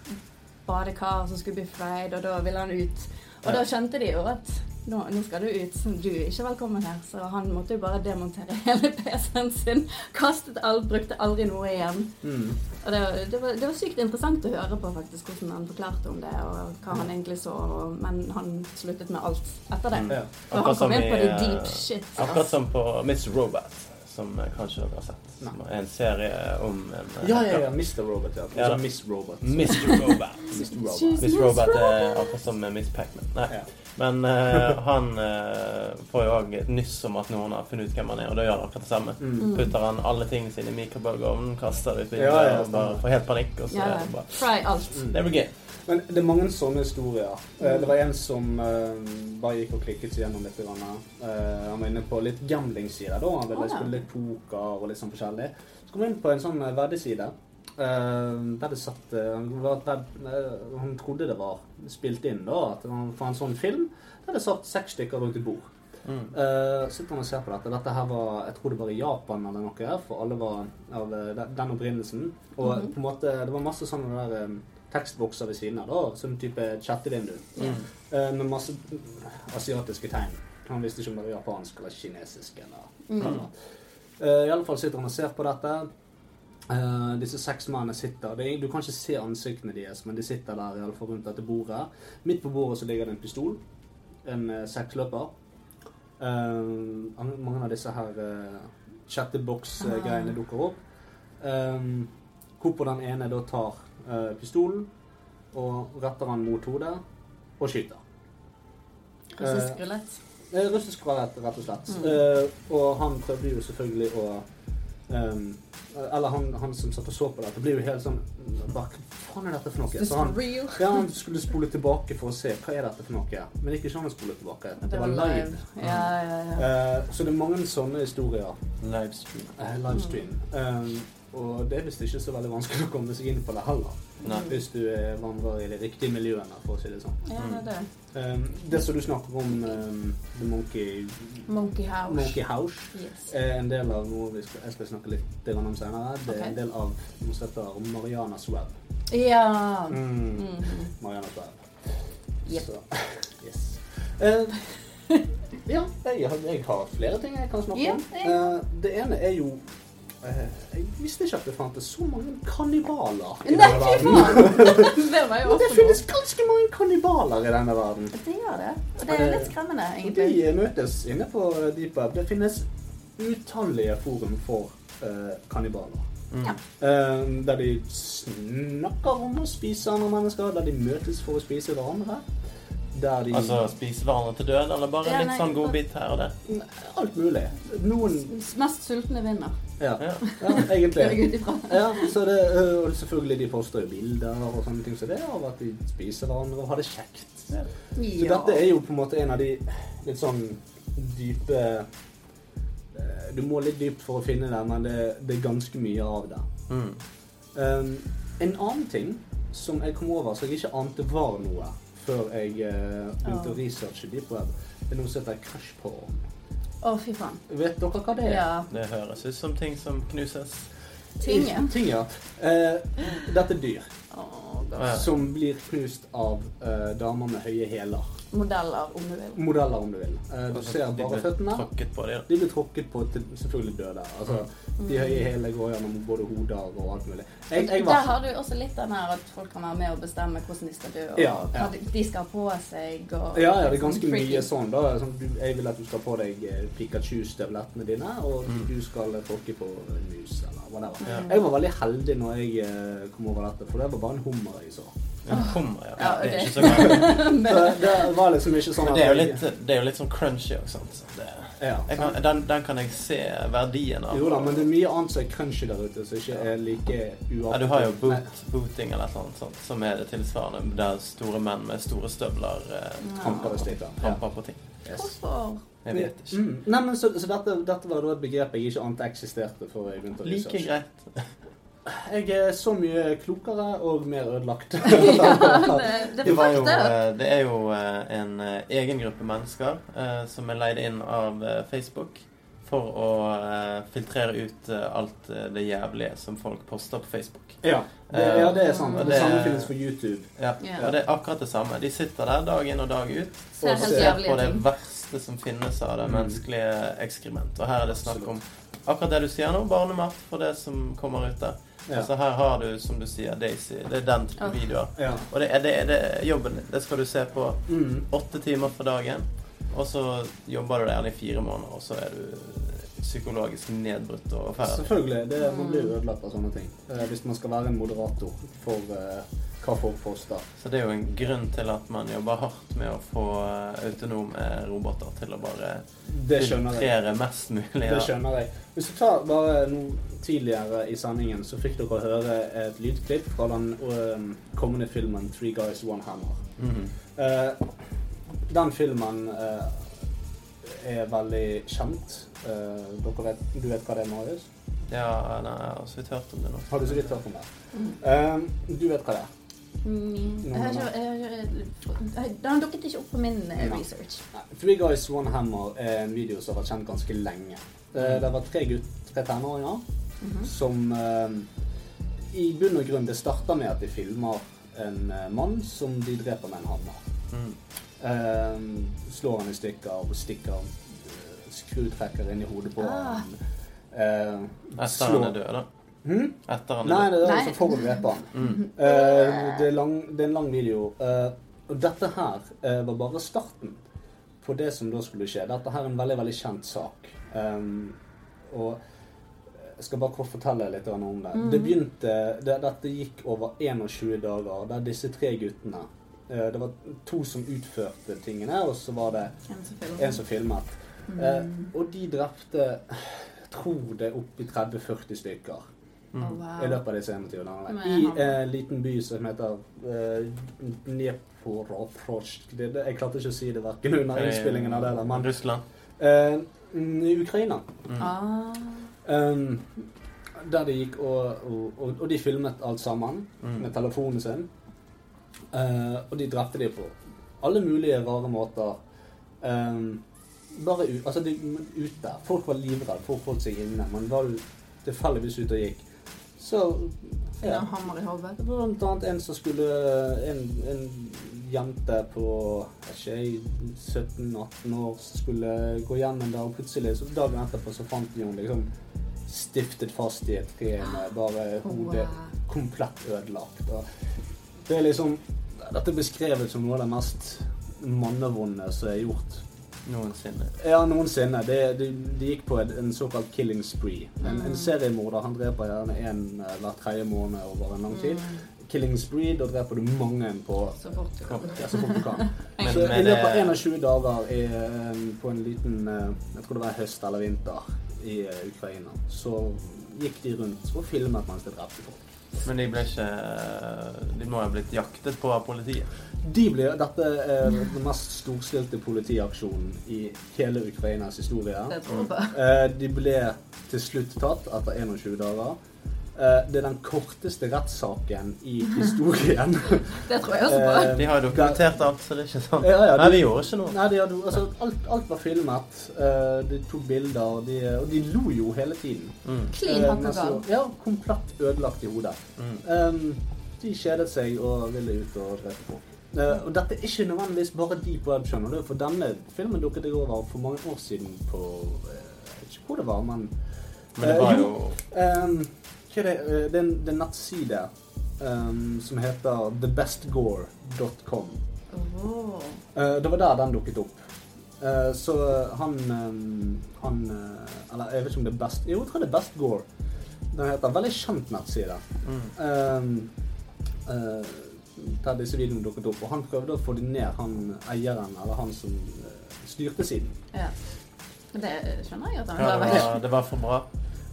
badekar som skulle bli fried, og da ville han ut. Og Ja. da skjønte de jo at nå, nå skal du ut, så du er ikke velkommen her. Så han måtte jo bare demontere <laughs> hele PC-en sin. Kastet alt, brukte aldri noe igjen. Mm. Og det, var- det, var, det var sykt interessant å høre på faktisk hvordan han forklarte om det, og hva han egentlig så, og, men han sluttet med alt etter det. Mm. For han kom inn på i, det eh, deep shit. Akkurat som på Miss Robot. som eh, kanskje dere har sett. Som er en serie om en eh, Ja, ja, ja. Mr. Robot. Ja. Ja, Altså da. Miss Robot. Mr. Robot. Mr. Robot. Miss Robot er akkurat som eh, Miss Pacman. Nei. Men eh, han eh, får jo òg nyss om at noen har funnet ut hvem han er, og da gjør han akkurat det samme. Mm. Putter han alle tingene sine i mikrobølgeovnen, kaster det ut vinduet Ja, ja, og bare stemmer. får helt panikk. Og så Ja, er ja. det bare Fry alt. Det blir gøy. Men det er mange sånne historier. Eh, Det var en som eh, bare gikk og klikket seg gjennom litt. grann, eh, Han var inne på litt gamblingside. da. Han ville Ah, ja. spille litt poker og litt sånn forskjellig. Så kom han inn på en sånn eh, veddeside. eh, der det satt eh, han var et vedd- eh, Han trodde det var spilt inn, da. At han fant en sånn film der det satt seks stykker rundt et bord. Mm. Eh, sitter han og ser på dette. Dette her var, Jeg tror det var i Japan eller noe, her, for alle var av eh, den- den opprinnelsen. Og Mhm. på en måte, det var masse sånne der eh, tekstbokser ved siden av, da, som type chattevindu. Eh, med masse asiatiske tegn. Han visste ikke om det var japansk eller kinesisk. eller Mhm. eller. Eh, I alle fall sitter han og ser på dette. Eh, disse seks mennene sitter det er, Du kan ikke se ansiktene deres, men de sitter der i alle fall rundt dette bordet. Midt på bordet så ligger det en pistol. En eh, seksløper. Eh, an- mange av disse her eh, chattebox-greiene dukker opp. Um, hvorpå den ene da tar eh, pistolen og retter han mot hodet og skyter. Russisk rulett. Eh, russisk rulett, rett og slett. Eh, og han prøvde jo selvfølgelig å ehm, Eller han, han som satt og så på dette, ble jo helt sånn Hva faen er dette for noe? Is this Så han, real? ja, han skulle spole tilbake for å se hva er dette for noe. Men det gikk ikke an å spole tilbake. Det var live. Mm. Ja, ja, ja. Eh, så det er mange sånne historier. Livestream. Eh, livestream. Um, og det er visst ikke så veldig vanskelig å komme seg inn på det heller. Nei. Hvis du eh, vandrer i de riktige miljøene, for å si det sånn. ja det er det. Um, det som du snakker om, um, The Monkey, Monkey House. Monkey House, Yes. er en del av noe vi skal, jeg skal snakke litt grann om senere. Det er Ok. en del av noe som heter Marianas Web. Ja. Mm. Mm. Marianas Web. Yep. Så, yes. Eh, ja, jeg har, jeg har flere ting jeg kan snakke Ja, om. jeg- Eh, det ene er jo eh, Jeg visste ikke at det fantes så mange kannibaler Nei, i denne fy verden. <laughs> faen! Det var jo Men det også finnes ganske mange kannibaler i denne verden. noe. Det gjør det. Og det er jo litt skremmende, Og de egentlig. møtes inne på Deep Web. Det finnes utallige forum for eh, kannibaler. Ja. Eh, der de snakker om å spise andre mennesker, der de møtes for å spise hverandre. Der de Altså spise hverandre til død, eller bare Ja, litt nei, sånn bare- godbit her og der? Alt mulig. Noen Mest sultne vinner. Ja, Ja. ja Det er jeg ut egentlig. ifra. Ja, så det, ø, og selvfølgelig de poster jo bilder og sånne ting som det, av at de spiser hverandre og har det kjekt. Så Ja. dette er jo på en måte en av de litt sånn dype eh, Du må litt dypt for å finne det, men det, det er ganske mye av det. Mm. Um, en annen ting som jeg kom over som jeg ikke ante var noe før jeg eh, begynte Ja. å researche deep web, det er noe som heter crash porn. Å, fy faen. Vet dere hva det er? Ja. Det høres ut som ting som knuses. Tinget. Ting, ja. Eh, dette er dyr. Å, da. Ja. Som blir knust av eh, damer med høye hæler. Modeller, om du vil. Modeller, om du vil. Eh, du ser De bare blir føttene. Tråkket på dem. De blir tråkket på til selvfølgelig døde. Altså, de høye hælene går gjennom både hoder og alt mulig. Jeg, jeg Der var har du jo også litt den her at folk kan være med og bestemme hvordan de skal dø, og Ja, ja. hva de- de skal ha på seg, og ja, ja, det er ganske Freaky. mye sånn. da. Sånn, du, jeg vil at du skal ha på deg eh, Pikachu-støvlettene dine, og du skal eh, tråkke på en mus eller whatever. Mm. Ja. Jeg var veldig heldig når jeg eh, kom over dette, for det var bare en hummer jeg så. Ja, hummer, ja. Ja, Det er ok. ikke så galt. Så det var liksom ikke sånn Men at det er jo jeg- litt, det er jo litt sånn crunchy og sånt. Så det, Ja, jeg kan, den, den kan jeg se verdien av. Jo da, men det er mye annet som er crunchy der ute, som ikke er like uavhengig. Ja, du har jo boot, booting eller noe sånt, som er det tilsvarende der store menn med store støvler eh, Tramper og stikker. Ja. tramper på ting. Yes. Hvorfor? Jeg vet ikke. Mm. Nei, men så, så dette, dette var da et begrep jeg ikke ante eksisterte før jeg begynte å Like researche. greit. Jeg er så mye klokere og mer ødelagt. Det, det Det, er var jo, fucked up. eh, det er jo eh, en eh, egen gruppe mennesker eh, som er leid inn av eh, Facebook for å eh, filtrere ut eh, alt eh, det jævlige som folk poster på Facebook. ja, det, ja, det er sant. Eh, Det samme finnes for YouTube. Ja, Ja. og det er akkurat det samme. De sitter der dag inn og dag ut Ser og helt ser jævlige på det ting. verste som finnes av det Mm. menneskelige ekskrement. Og her er det snakk om akkurat det du sier nå, barnemat for det som kommer ut der. Ja. Så her har du, som du sier, Daisy. Det er den type Åh. videoer. Ja. Og det er, det er det er jobben din. Det skal du se på Mm. åtte timer for dagen. Og så jobber du der i fire måneder, og så er du psykologisk nedbrutt og ferdig. Selvfølgelig. Det, man blir jo ødelagt av sånne ting. Eh, hvis man skal være en moderator for eh, hva folk poster. Så det er jo en grunn til at man jobber hardt med å få eh, autonome roboter til å bare Det skjønner jeg. filtrere mest mulig. Det skjønner jeg. Hvis du tar bare noe tidligere i sendingen, så fikk dere høre et lydklipp fra den øhm, kommende filmen 'Three Guys One Hammer'. Mhm. Eh, den filmen eh, er veldig kjent. Eh, dere vet, du vet hva det er, Marius? Ja, nei, jeg har så vidt hørt om det nå. Har du så vidt hørt om det? Eh, du vet hva det er? Mm, jeg, har ikke, jeg, har ikke- jeg, det har dukket ikke opp på min eh, Nei. research. Three Guys One Hammer er en video som har vært kjent ganske lenge. Det, det var tre, gutt, tre tenåringer Mhm. Mm. Mhm. som eh, i bunn og grunn Det starter med at de filmer en eh, mann som de dreper med en hammer. Mm. Eh, slår han i stykker og stikker eh, skrutrekker inn i hodet på Ah. han. Eh, Etter slår- han er død, da. Hm? Etter han Nei, er det død. er Nei. altså for å drepe han. Mm. Eh, det, er lang, det er en lang video. Eh, og dette her eh, var bare starten på det som da skulle skje. Dette her er en veldig, veldig kjent sak. Ehm, og jeg skal bare kort fortelle litt grann om det. Det begynte, det, Dette gikk over 21 dager, der disse tre guttene eh, Det var to som utførte tingene, og så var det En Mm. som filmer. en som filmet. Eh, og de drepte jeg tror det oppi 30-40 stykker mm, Mhm. Å, i wow. løpet av disse 21 dagene. Med I ham. en liten by som heter uh, Dneproprovsk. Det- det- Jeg klarte ikke å si det verken Eh, under innspillingen eller der, men Russland. eh, mm, i Ukraina. Ah. Um, der de gikk og, og, og, og de filmet alt sammen Mm. Mhm. med telefonen sin. Eh, og de drepte de på alle mulige rare måter. Um, bare ut, altså de, men ute. Folk var livredde. Folk holdt seg inne. Man var jo tilfeldigvis ute og gikk. Så En ja. hammer i hodet. Det var blant annet en som skulle En, en jente på jeg vet ikke, 17-18 år som skulle gå hjem en dag, og plutselig så dagen etterpå så fant de henne liksom stiftet fast i et tre med <gasps> bare hodet komplett ødelagt. Og det er liksom Dette er beskrevet som noe av det mest mannevonde som er gjort. Noensinne. Ja, noensinne. Det, det, det gikk på en, en såkalt killing spree. En, en seriemorder han dreper gjerne en eh, hver tredje måned over en lang tid. Killing spree, da dreper du mange på Så fort du kan. ja, så fort du kan. eh, Men- så men I løpet av det- 21 dager i, eh, på en liten eh, Jeg tror det var høst eller vinter i eh, Ukraina, så gikk de rundt og filmet mens de drepte folk. Men de ble ikke eh, De må ha blitt jaktet på av politiet. De ble, dette er den mest storstilte politiaksjonen i hele Ukrainas historie. Det tror jeg på. Eh, De ble til slutt tatt etter 21 dager. Eh, Det er den korteste rettssaken i historien. Det tror Eh, jeg også på. De har jo dokumentert alt, så det er ikke sånn. Ja, ja, Nei, de- de gjorde ikke noe. Nei, de hadde, altså, alt, alt var filmet. Eh, De tok bilder, og de, og de lo jo hele tiden. Mm. Clean Eh, hakka nesten- gal. Ja, komplett ødelagt i hodet. Mm. Eh, de kjedet seg og ville ut og drepe folk. Eh, og dette er ikke nødvendigvis bare de på web, skjønner du, for denne filmen dukket jeg over for mange år siden på eh, Jeg vet ikke hvor det var, men Men det Eh, var jo. jo Ehm, hva er det? Eh, det, er en, det er en nettside ehm, som heter thebestgore.com. Åh. Eh, det var der den dukket opp. Eh, så han ehm, Han eh, Eller jeg vet ikke om det er Best Jo, jeg tror det er Best Gore. Den heter veldig kjent nettside. Mhm. Ehm, eh, der disse videoene dukket opp. Og han prøvde å få dem ned, han eieren, eller han som eh, styrte siden. Ja. Men det skjønner jeg at han ja, det, klarer. var, det var for bra.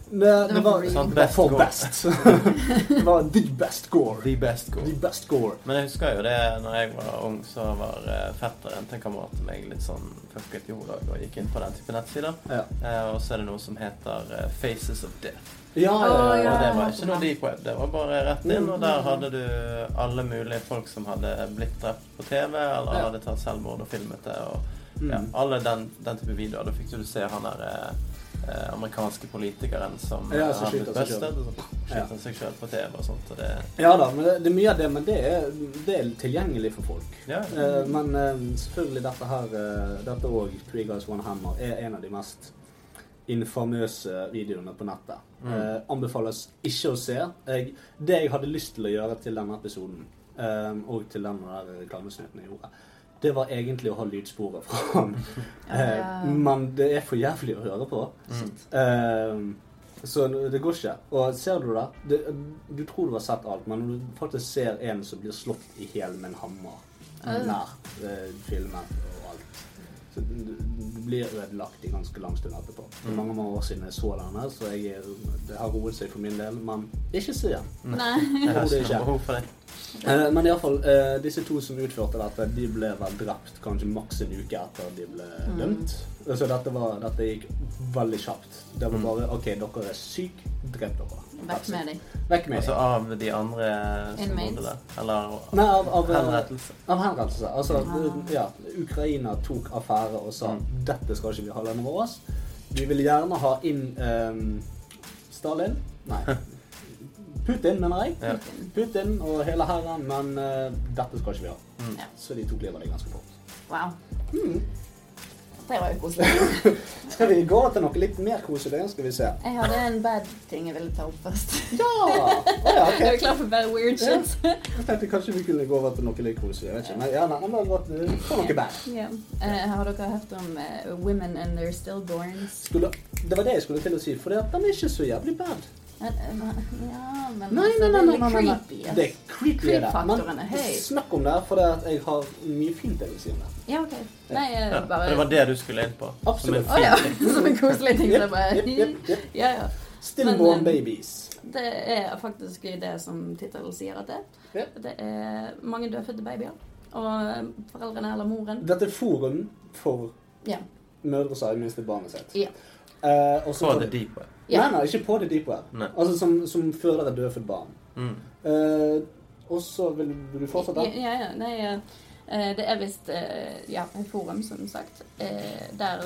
Det, det, var var, for Sant? det var Best for gore. best. <laughs> det var the best gore. The best go. The best gore. Men jeg husker jo det når jeg var ung, så var eh, fetteren til en kamerat av meg litt sånn fucket i hodet og gikk inn på den type nettsider. Ja. Eh, og så er det noe som heter eh, Faces of Death. Ja, Å, ja, Og det ja. var ikke noe deep web, det var bare rett inn, og der hadde du alle mulige folk som hadde blitt drept på TV, eller Ja. hadde tatt selvmord og filmet det, og Mm. ja, alle den, den type videoer. Da fikk du se han der eh, eh, amerikanske politikeren som Ja, eh, som har blitt skyter seg selv. bustet, og så Ja. skyter han seg selv på TV og sånt, og det ja da, men det, det er mye av det, men det er, det er tilgjengelig for folk. Ja. Eh, men eh, selvfølgelig dette her, eh, dette òg, Three Guys One Hammer, er en av de mest infamøse videoene på nettet. Eh, anbefales ikke å se. Jeg, det jeg hadde lyst til å gjøre til denne episoden, eh, og til den der reklamesnutten jeg gjorde, det var egentlig å ha lydsporet fra han. <laughs> Ja. Eh, Men det er for jævlig å høre på. Eh, så det går ikke. Og ser du det, det Du tror du har sett alt, men når du faktisk ser en som blir slått i hjel med en hammer Øh. nær eh, filmen og alt så du, du blir ødelagt i ganske lang stund etterpå. Det er mange mange år siden jeg så denne, så jeg, er- det har roet seg for min del. Men ikke se den. <laughs> Nei. Jeg tror det Jeg har ikke noe ikke. behov for det. Eh, Men iallfall, eh, disse to som utførte dette, de ble vel drept kanskje maks en uke etter de ble Mm. dømt. Så dette, var, dette gikk veldig kjapt. Det Mm. var bare OK, dere er syke, drep dere. Vekk med deg. Vekk med Altså deg. av de andre som Inmates. bodde der? Eller Nei, av, av, eh, henrettelse? av henrettelse. Altså, Ah. ja, Ukraina tok affære og sa Mm. dette skal ikke vi ha landet vårt. Vi vil gjerne ha inn eh, Stalin Nei. <laughs> Putin, mener jeg. Ja. Putin og hele hæren, men eh, dette skal ikke vi ha. Mm. Ja. Så de tok livet av det ganske fort. Wow. Det var jo <laughs> koselig. Skal vi gå til noe litt mer koselig? Skal vi se. Jeg hadde en bad ting jeg ville ta opp først. Ja! Å ja, <laughs> Er du ok. klar for bad weird shit? Jeg tenkte kanskje vi kunne gå over til noe litt koselig. Jeg vet ikke. Men ja, nei, men det var godt. Få noe bad. Ja. Eh, har dere hørt om eh, women and their stillborns? Skulle, det var det jeg skulle til å si, for den er ikke så jævlig bad. Altså, Men, eh, Ja, men altså, Nei, nei, nei. nei, nei, nei, creepy. nei. ass. Det er creepy, det der. Creep-faktoren er høy. snakk om det, for det at jeg har mye fint jeg vil si om det. Ja, ok. Nei, jeg Ja, for bare... det var det du skulle inn på? Som en Absolutt. Å ja, <laughs> som en koselig ting. så Jepp, bare... jepp, jepp, <laughs> jepp. Ja, ja. Stillborn Men, eh, babies. Det er faktisk det som tittelen sier at det Ja. er. Det er mange dødfødte babyer. Og foreldrene eller moren. Dette er forum for Ja. mødre som har mistet barnet sitt. Ja. Eh, og så- På the deep web. Ja. Nei, nei, ikke på the deep web. Nei. Altså som, som føder et dødfødt barn. Mm. Eh, og så vil, vil du fortsette? Ja, ja, ja. Nei, eh, det er visst eh, ja, et forum, som sagt, eh, der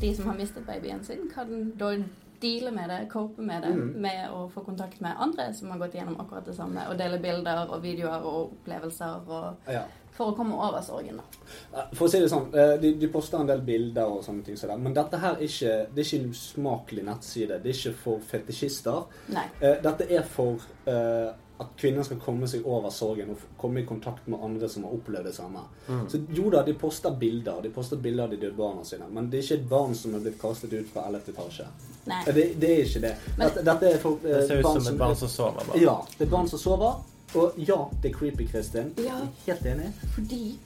de som har mistet babyen sin, kan da deale med det, cope med det, Mhm. med å få kontakt med andre som har gått gjennom akkurat det samme, og dele bilder og videoer og opplevelser og, Ja. for å komme over sorgen. da. Eh, For å si det sånn, eh, de, de poster en del bilder og sånne ting, som det, men dette her er ikke, det er ikke en usmakelig nettside. Det er ikke for fetisjister. Nei. Eh, dette er for eh, at kvinner skal komme seg over sorgen og f- komme i kontakt med andre som har opplevd det samme. Mm. Så jo da, de poster bilder. De poster bilder av de døde barna sine, men det er ikke et barn som er blitt kastet ut fra 11. etasje. Nei. Eh, Det, det er ikke det. Men- Dette, dette er for eh, Det ser ut som et barn som sover. bare. Ja. Det er barn som sover. Og ja, det er creepy, Kristin. Ja. Helt enig. Fordi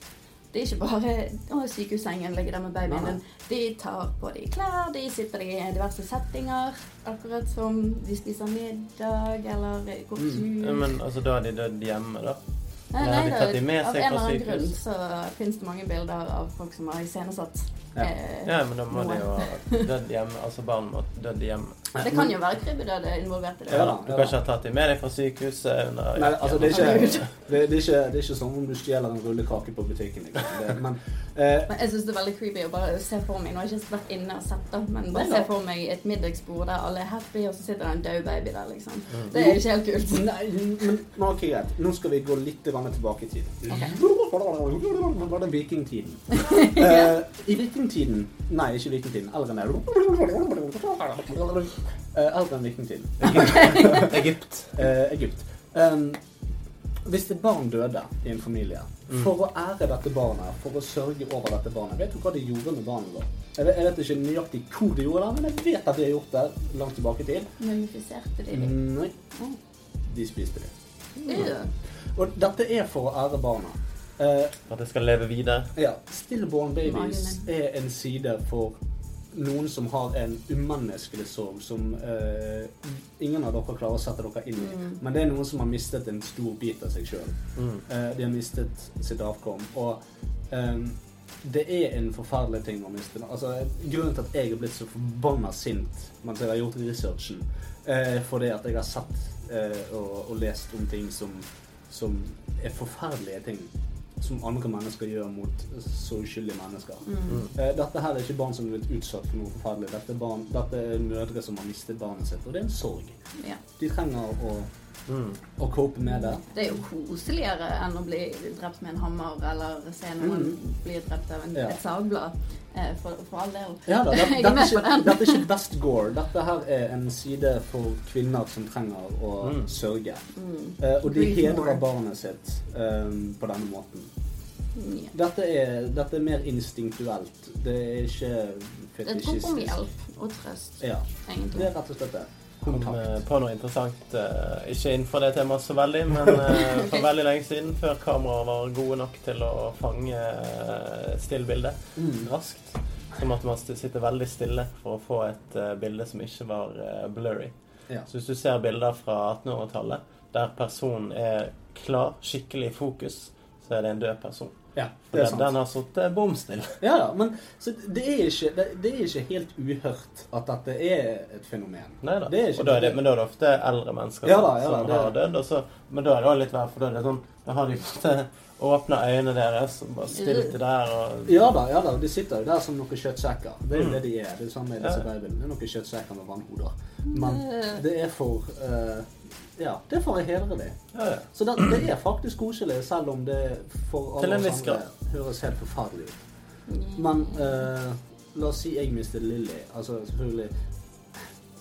det er ikke bare å, sykehussengen ligger der med babyen Nei. din. De tar på deg klær, de sitter deg i diverse settinger. Akkurat som de spiser middag eller går Mm. tur. Ja, Men altså, da er de dødd hjemme, da? Nei, Ja, nei, de da, tatt de med av seg en fra eller annen grunn sykehus. så finnes det mange bilder av folk som har iscenesatt Ja. eh, Ja, men da må noe. de jo ha dødd hjemme. Altså barn må ha dødd hjemme. Det kan jo være krybbedød involvert i det. Ja da. Du kan ikke ha tatt dem med deg fra sykehuset under Nei, altså, det er, ikke, det, det, er ikke, det er ikke sånn om du stjeler en rullekake på butikken. Liksom. Det, men eh, Men jeg syns det er veldig creepy å bare se for meg Nå har jeg ikke vært inne og sett det, men bare Nei, se da. for meg et middagsbord der alle er happy, og så sitter det en død baby der, liksom. Mm. Det er jo ikke helt kult. nei, men, men ok, greit. Nå skal vi gå litt grann tilbake i tid. Var det vikingtiden? Eh, I vikingtiden Nei, ikke vikingtiden. Eldre enn det. Eh, Eldre enn vikingtiden. Egypt. eh, Egypt. Um, hvis et barn døde i en familie, for å ære dette barnet, for å sørge over dette barnet Vet du hva de gjorde med barnet da? Jeg vet, jeg vet ikke nøyaktig hvor de gjorde det, men jeg vet at de har gjort det langt tilbake i tid. Mumifiserte de dem? Nei, de spiste det. Ew. Og dette er for å ære barna. Eh, For at det skal leve videre. ja, Stillborn Babies Magen er en side for noen som har en umenneskelig sorg som eh, ingen av dere klarer å sette dere inn i. Men det er noen som har mistet en stor bit av seg sjøl. de har mistet sitt avkom. Og eh, det er en forferdelig ting å miste. Altså, grunnen til at jeg er blitt så forbanna sint mens jeg har gjort researchen, eh, fordi at jeg har sett eh, og, og lest om ting som, som er forferdelige ting som andre mennesker gjør mot så uskyldige mennesker. Mm. Eh, Dette her er ikke barn som er blitt utsatt for noe forferdelig. Dette er, barn, dette er mødre som har mistet barnet sitt, og det er en sorg. Ja. De trenger å, Mm. å cope med det. Det er jo koseligere enn å bli drept med en hammer, eller se noen bli drept av en, Mm. Ja. et sagblad. Eh, for, for all del. Ja, da, <laughs> dette, Jeg er dette, er med på ikke, den. dette er ikke best gore. Dette her er en side for kvinner som trenger å Mm. sørge. Eh, og de Grief Mm. more. hedrer barnet sitt eh, på denne ehm, måten. Dette er, dette er mer instinktuelt. Det er ikke Det er et rop om fetisjistisk. hjelp og trøst, Ja. egentlig. Det er rett og slett det. Kom eh, på noe interessant eh, Ikke innenfor det temaet så veldig, men <laughs> eh, for veldig lenge siden, før kameraet var gode nok til å fange eh, stillbildet Mm. raskt, så måtte man st- sitte veldig stille for å få et eh, bilde som ikke var eh, blurry. Ja. Så hvis du ser bilder fra 1800-tallet der personen er klar, skikkelig i fokus, så er det en død person. Ja, For det er den, den sant. har eh, sittet bom stille. Ja, ja, men så det, er ikke, det, det er ikke helt uhørt at dette er et fenomen. Nei da. Det er ikke- og da er det, men da er det ofte eldre mennesker Ja som- da, ja da, som det er har det. dødd. Og så, men da er det også litt verre, for da er det sånn Da har de fått åpna øynene deres og bare stilt det der og Ja da, ja da, de sitter jo der som noen kjøttsekker. Det er jo Mm. det de er. Det er jo samme med disse babylene. Det er noen kjøttsekker med vannhoder. Men Mm. det er for eh, Ja, det er for å hedre dem. Ja, ja. Så det, det er faktisk koselig, selv om det for Til alle en viss oss grad. andre høres helt forferdelig ut. Men eh, la oss si jeg mistet Lilly. Altså selvfølgelig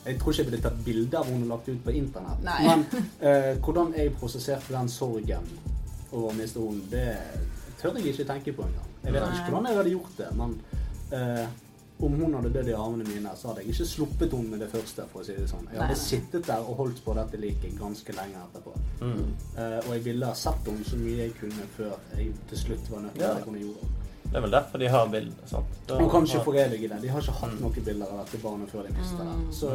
Jeg tror ikke jeg ville tatt bilde av henne og lagt det ut på internett. Nei. Men <laughs> eh, hvordan jeg prosesserte den sorgen over å miste henne, det tør jeg ikke tenke på engang. Jeg vet Nei. ikke hvordan jeg hadde gjort det, men eh, om hun hadde dødd i armene mine, så hadde jeg ikke sluppet henne med det første. for å si det sånn. Jeg Nei, nei. hadde sittet der og holdt på dette liket ganske lenge etterpå. Mm. Eh, og jeg ville ha sett henne så mye jeg kunne før jeg til slutt var nødt til Ja. å kunne gjøre det. Det er vel derfor de har bilder, sant? Da- Man kan ikke forevige det. De har ikke Mm. hatt noen bilder av dette barnet før de mistet det. Så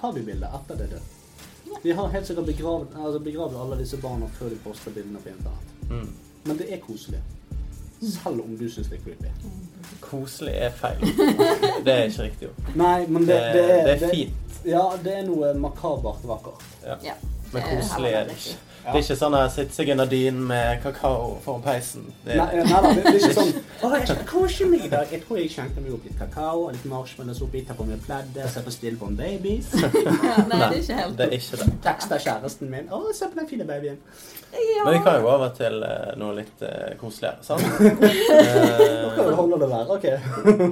tar de bildet etter det er dødt. De har helt sikkert begravd, altså begravd alle disse barna før de poster bildene på internett. mm. Men det er koselig. Selv om du syns det er creepy. Koselig er feil. Det er ikke riktig ord. Nei, men <laughs> det, Det, det er det er fint, Ja, det er noe makabert vakkert. Ja. men det koselig har er man det rett i. ikke. Det er ikke sånn å sitte seg under dynen med kakao foran peisen. Det Nei, er, nei da, det, det er ikke sånn Å, jeg skal kose meg i dag. Jeg tror jeg skjenker meg opp litt kakao og litt marshmallows oppi, tar på meg pleddet, ser på Stillborn Babies. Ja, nei, det er ikke helt det er ikke det. Tekster kjæresten min. Å, se på den fine babyen. ja. Men vi kan jo gå over til eh, noe litt eh, koseligere, sant? Eh, Hva holder det der? OK.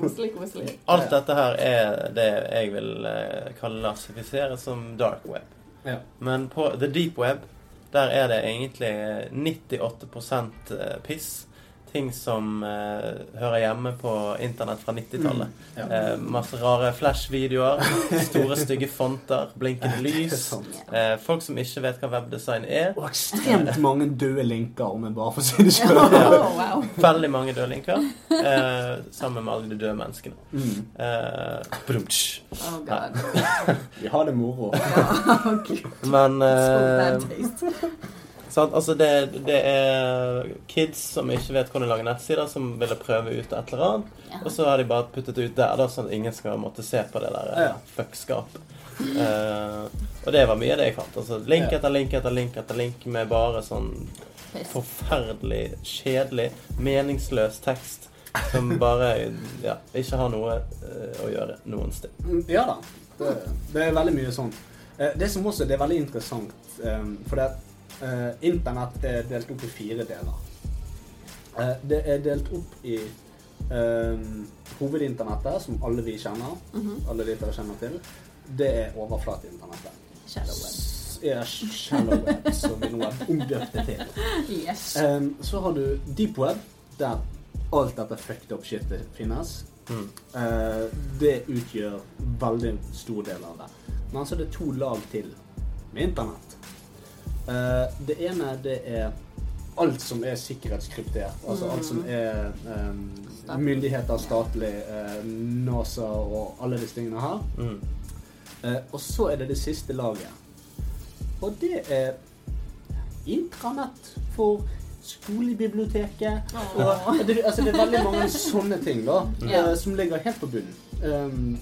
Koselig, koselig. Alt dette her er det jeg vil eh, klassifisere som dark web. Ja. Men på the deep web, der er det egentlig 98 eh, piss. Ting som eh, hører hjemme på internett fra 90-tallet. Mm, Ja. Eh, masse rare flash-videoer, store, stygge fonter, blinkende lys. sant. Eh, folk som ikke vet hva webdesign <laughs> er. Og ekstremt mange døde linker, om jeg bare får si det sånn. sjøl. Oh, wow. Veldig mange døde linker, eh, sammen med alle de døde menneskene. Mm. Eh, brunch. Oh god. <laughs> Vi har det moro. Men So bad <laughs> eh, taste. Sant? Altså det, det er kids som ikke vet hvordan de lager nettsider, som ville prøve ut et eller annet. Ja. Og så har de bare puttet det ut der, da, sånn at ingen skal måtte se på det der Ja. ja. fuckskapet. Eh, og det var mye av det jeg fant. Altså, link Ja. etter link etter link etter link med bare sånn Piss. forferdelig kjedelig, meningsløs tekst <laughs> som bare ja, ikke har noe eh, å gjøre noen sted. Mm, Ja da. Det, det er veldig mye sånn. Eh, Det som også det er veldig interessant, eh, for det, eh, internett er delt opp i fire deler. Eh, Det er delt opp i eh, hovedinternettet, som alle vi kjenner, alle lyttere kjenner til. Det er overflateinternettet. Shadow web. S- Ja, shallow web, som vi nå har omdøpt det til. Yes. Ehm, så har du deep web, der alt dette fucked up shitet finnes. Mm. Eh, det utgjør veldig stor del av det. Men så er det to lag til med internett. Eh, det ene det er alt som er sikkerhetskryptert. Altså alt som er ehm, Statlig. myndigheter, statlig, eh, NASA og alle disse tingene her. Mm. Eh, og så er det det siste laget. Og det er intranett for skolebiblioteket. Og, det, altså, det er veldig mange sånne ting da, Ja. eh, som ligger helt på bunnen ehm,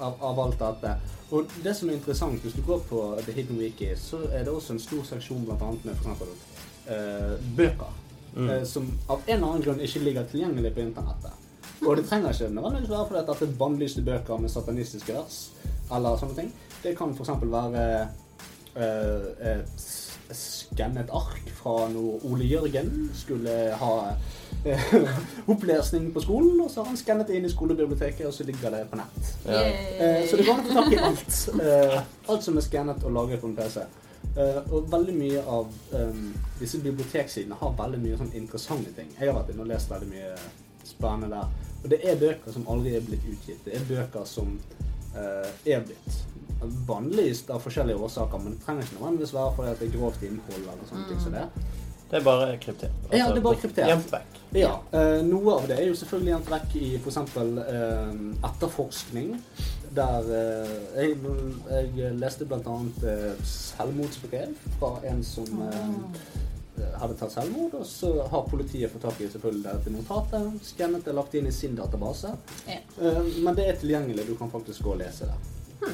av, av alt dette. Og det som er interessant, hvis du går på The Hidden Wiki, så er det også en stor seksjon blant annet med for eksempel, eh, bøker. eh, som av en eller annen grunn ikke ligger tilgjengelig på internettet. Og det trenger ikke nødvendigvis være fordi at dette er bannlyste bøker med satanistiske vers. eller sånne ting. Det kan f.eks. være eh, et skannet ark fra når Ole Jørgen skulle ha eh, <laughs> opplesning på skolen, og så har han skannet det inn i skolebiblioteket, og så ligger det på nett. Ja. Eh, Yay. Så det går an å få tak i alt. eh, Alt som er skannet og lagret på en PC. Eh, og veldig mye av em, disse biblioteksidene har veldig mye sånn interessante ting. Jeg har vært inne og lest veldig mye spennende der. Og det er bøker som aldri er blitt utgitt. Det er bøker som eh, er blitt bannlyst av forskjellige årsaker, men det trenger ikke nødvendigvis være fordi at det er grovt innhold eller sånne ting som det. Det er bare kryptert. Altså, ja, det er bare kryptert. Gjemt vekk. Ja, eh, Noe av det er jo selvfølgelig gjemt vekk i f.eks. Uh, etterforskning. Der eh, jeg, jeg leste bl.a. Uh, selvmordsbrev fra en som eh, hadde tatt selvmord. Og så har politiet fått tak i selvfølgelig dette notatet, skannet det, lagt det inn i sin database. Ja. Eh, men det er tilgjengelig. Du kan faktisk gå og lese det.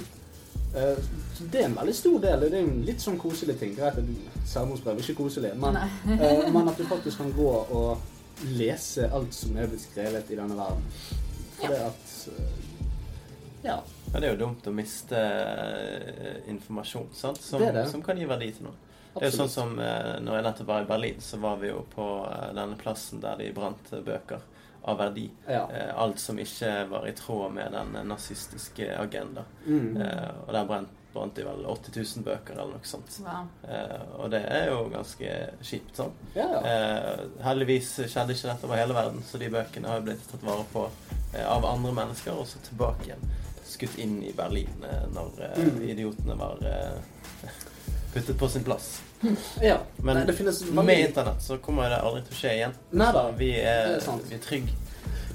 Eh, så det er en veldig stor del. og Det er jo en litt sånn koselig ting. Greit at selvmordsbrev er ikke koselig, men, Nei. eh, men at du faktisk kan gå og lese alt som er blitt skrevet i denne verden. For det at eh, Ja. Men det er jo dumt å miste eh, informasjon sant? Som, Det er det. som kan gi verdi til noen. Det er jo Absolutt. sånn som eh, når jeg nettopp var i Berlin, så var vi jo på eh, denne plassen der de brant eh, bøker av verdi. Ja. Eh, alt som ikke var i tråd med den eh, nazistiske agenda. Mm. Eh, og der brant, brant de vel 80 000 bøker eller noe sånt. Wow. Eh, og det er jo ganske kjipt sånn. Ja, ja. Eh, heldigvis skjedde ikke dette over hele verden, så de bøkene har jo blitt tatt vare på eh, av andre mennesker, og så tilbake igjen. Skutt inn i Berlin eh, når eh, Mm. idiotene var eh, puttet på sin plass. ja. Men Nei, det finnes med veldig, internett så kommer det aldri til å skje igjen. Neida, vi er, det er sant. vi er trygge.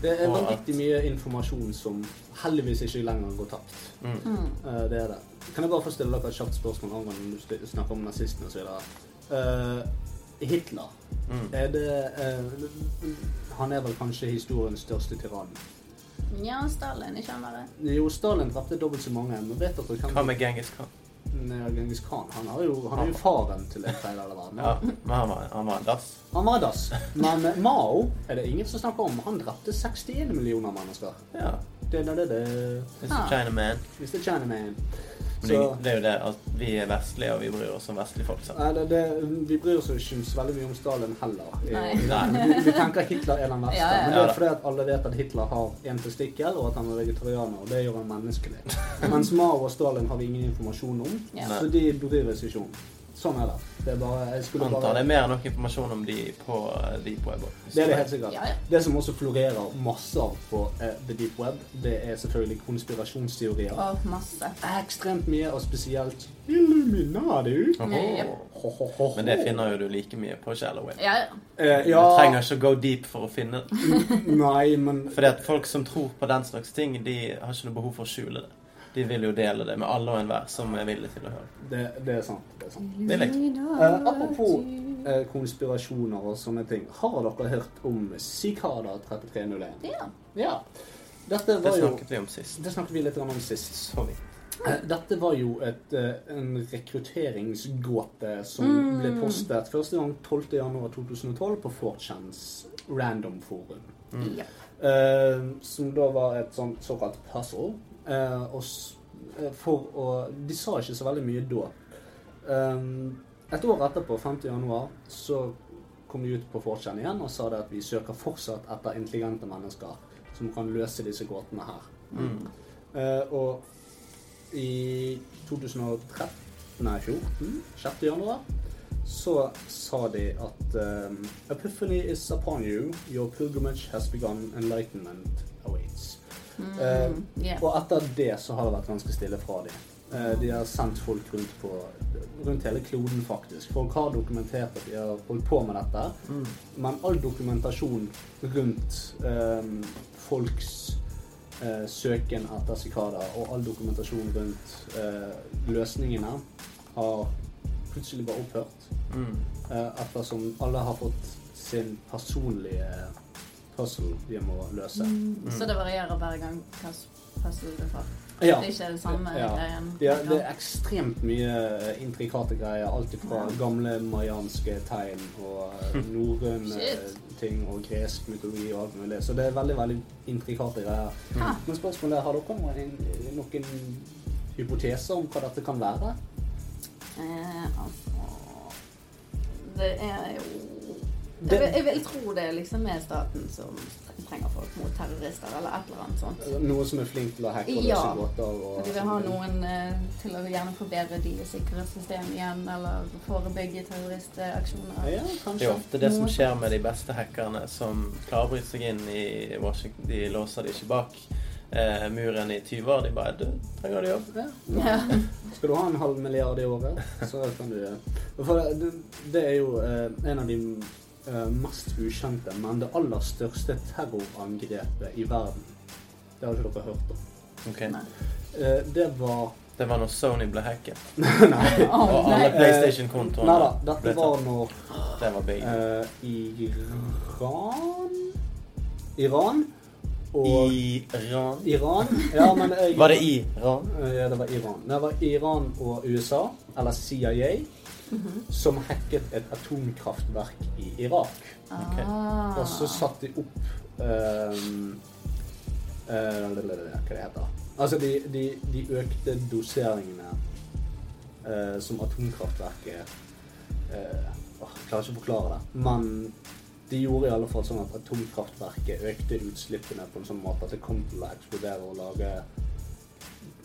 det er og vanvittig mye informasjon som heldigvis ikke lenger går tapt. Mm. Eh, det er det. Kan jeg bare få stille dere et kjapt spørsmål angående når du snakker om nazistene og så videre? Eh, Hitler. Mm. Er det eh, Han er vel kanskje historiens største tyrann. Ja, Stalin, ikke han bare? Jo, Stalin drepte dobbelt så mange, men vet dere Hva hvem med Genghis Khan? Nei, Genghis Khan? Han, har jo, han er jo faren til en tredjedel av verden. Ja, men han var, han var en dass. Han var dass. Men eh, Mao er det ingen som snakker om. Han drepte 61 millioner mennesker. Ja. Det, det, det, det. Mr. Ah. Chinaman. Hvis det tjener meg Men det, Så- det er jo det at vi er vestlige, og vi bryr oss om vestlige folk. Sant? Nei, det, det, vi bryr oss jo ikke så veldig mye om Stalin heller. I, Nei. Nei. Vi, vi tenker Hitler er den verste. Ja, ja. Men det Ja, da. er fordi at alle vet at Hitler har én testikkel, og at han er vegetarianer. og Det gjør han <laughs> menneskelig. Mens Mao og Stalin har vi ingen informasjon om, Ja. så de bryr oss ikke om. Sånn er det. Det er bare, jeg skulle Antar det bare... er mer enn nok informasjon om de på eh, Deep Web. også. Det er det helt sikkert. Ja, ja. Det som også florerer masse av på eh, The Deep Web, det er selvfølgelig konspirasjonsteorier. Å, masse. Ekstremt mye, og spesielt Illuminati. Oho. Jep. Ho, ho, ho, ho. Men det finner jo du like mye på Shallow Web. Ja, ja. eh, Du ja, trenger ikke å go deep for å finne det. Nei, men Fordi at folk som tror på den slags ting, de har ikke noe behov for å skjule det. De vil jo dele det med alle og enhver som er villig til å høre. Det, det er sant. Det er sant. Vil jeg. Eh, apropos eh, konspirasjoner og sånne ting. Har dere hørt om Cicada 3301? Ja. Ja. Dette Det var jo snakket vi om sist. Det snakket vi litt grann om sist. Så vidt. Eh, Dette var jo et, eh, en rekrutteringsgåte som ble postet første gang 12.1.2012 på 4chans random forum. Ja. Eh, som da var et sånt såkalt puzzle. Eh, og s eh, for å De sa ikke så veldig mye da. Eh, et år etterpå, 5. januar, så kom de ut på 4chan igjen og sa det at vi søker fortsatt etter intelligente mennesker som kan løse disse gåtene her. Mm, Eh, og i 2013, nei 14, 6. januar, så sa de at um, Epiphany is upon you, your pilgrimage has begun, enlightenment awaits. Eh, ja. Og etter det så har det vært ganske stille fra dem. Eh, de har sendt folk rundt på rundt hele kloden, faktisk. Folk har dokumentert at de har holdt på med dette. mm, Men all dokumentasjon rundt eh, folks eh, søken etter sikader og all dokumentasjon rundt eh, løsningene har plutselig bare opphørt. Mm. Eh, ettersom alle har fått sin personlige puzzle de må løse. Så det varierer hver gang hva s- puzzle du får. Ja. Det er ikke det samme Ja. greien. Det er, det er ekstremt mye eh, intrikate greier. Alt fra gamle mayanske tegn og eh, norrøne Hm. Shit. ting og gresk mytologi og alt mulig. Så det er veldig veldig intrikate greier. Ah. Men spørsmålet er, har dere noen, eh, noen hypoteser om hva dette kan være? Eh, altså Det er jo jeg Det- vil, jeg vil tro det liksom er staten som trenger folk mot terrorister eller et eller annet sånt. Noen som er flink til å hacke og løse Ja. gåter og De vil ha noen eh, til å gjerne forbedre deres sikkerhetssystem igjen, eller forebygge terroristaksjoner. Ja, Det er jo ofte det som skjer med de beste hackerne som klarer å bryte seg inn i Washington. De låser de ikke bak eh, muren i 20 år. De bare Du, trenger du jobb? Ja. Skal du ha en halv milliard i året, så kan du eh, For det, det er jo eh, en av de eh, mest ukjente, men det aller største terrorangrepet i verden. Det har ikke dere hørt om. Ok. Eh, det var <laughs> Det var når Sony ble hacket. Nei. Og alle Eh, PlayStation-kontoene Nei da, dette ble var tatt. når Det var big. eh, Iran Iran og Iran Iran. Ja, men jeg, Var det Iran? Eh, Ja, det var Iran. Det var Iran og USA, eller CIA, som hacket et atomkraftverk i Irak. Ah. Og så satte de opp ehm, eh, Hva det heter Altså, de, de, de økte doseringene eh, som atomkraftverket eh, åh, Jeg klarer ikke å forklare det. Men de gjorde i alle fall sånn at atomkraftverket økte utslippene på en sånn måte at det kom til å eksplodere og lage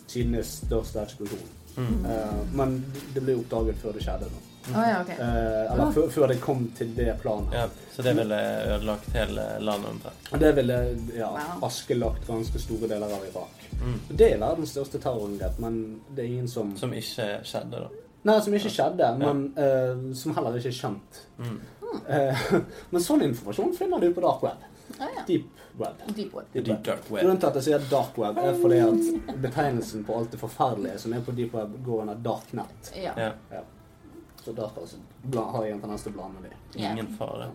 tidenes største eksplosjon. Mm. Eh, men det- det ble oppdaget før det skjedde. Da. Å ja, ok. Eh, eller før, før det kom til det planet. Ja, så det ville ødelagt hele landet omtrent. Og Det ville ja, Wow. askelagt ganske store deler av Irak. Mm. Og Det er verdens største terrorangrep, men det er ingen som, Som ikke skjedde, da. Nei, som ikke skjedde, men eh, som heller ikke er kjent. Mm. Eh, <laughs> men sånn informasjon finner du på dark web. Ah, ja. Deep web. Deep web. The deep dark web. Grunnen til at jeg sier dark web, er fordi at betegnelsen på alt det forferdelige som er på deep web, går under dark net. Ja. Ja. Ja. Så derfor så bla- har jeg en tendens til å blande de. Ja. Ingen fare.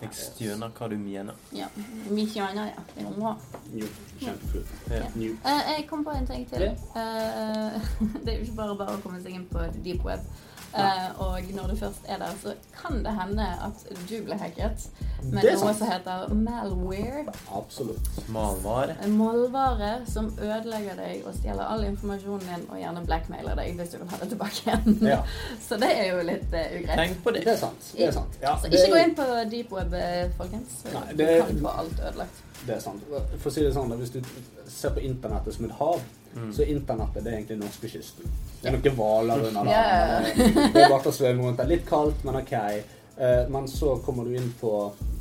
Jeg stjøner hva du mener. ja. Mye annet, ja. Det er bra. New. Kjempefult. Ja. New. Eh, jeg kom på en ting til. Ja. Eh, <laughs> det er jo ikke bare bare å komme seg inn på deep web. Eh, og når du først er der, så kan det hende at du ble hacket med Det er noe sant. som heter malware. Absolutt. Malvare. En målvare som ødelegger deg og stjeler all informasjonen din, og gjerne blackmailer deg hvis du vil ha det tilbake igjen. Ja. <laughs> Så det er jo litt eh, ugreit. Tenk på det. Det er sant. Det er sant. Ja, Så det ikke er- gå inn på deep web, eh, folkens. Nei, Du det- kan få alt ødelagt. Det er sant. For å si det sånn, da, Hvis du ser på internettet som et hav, Mm. så er internettet det er egentlig norskekysten. Det er noen hvaler under der. Ja, ja, men Det er bare å svømme rundt der. Litt kaldt, men OK. Eh, Men så kommer du inn på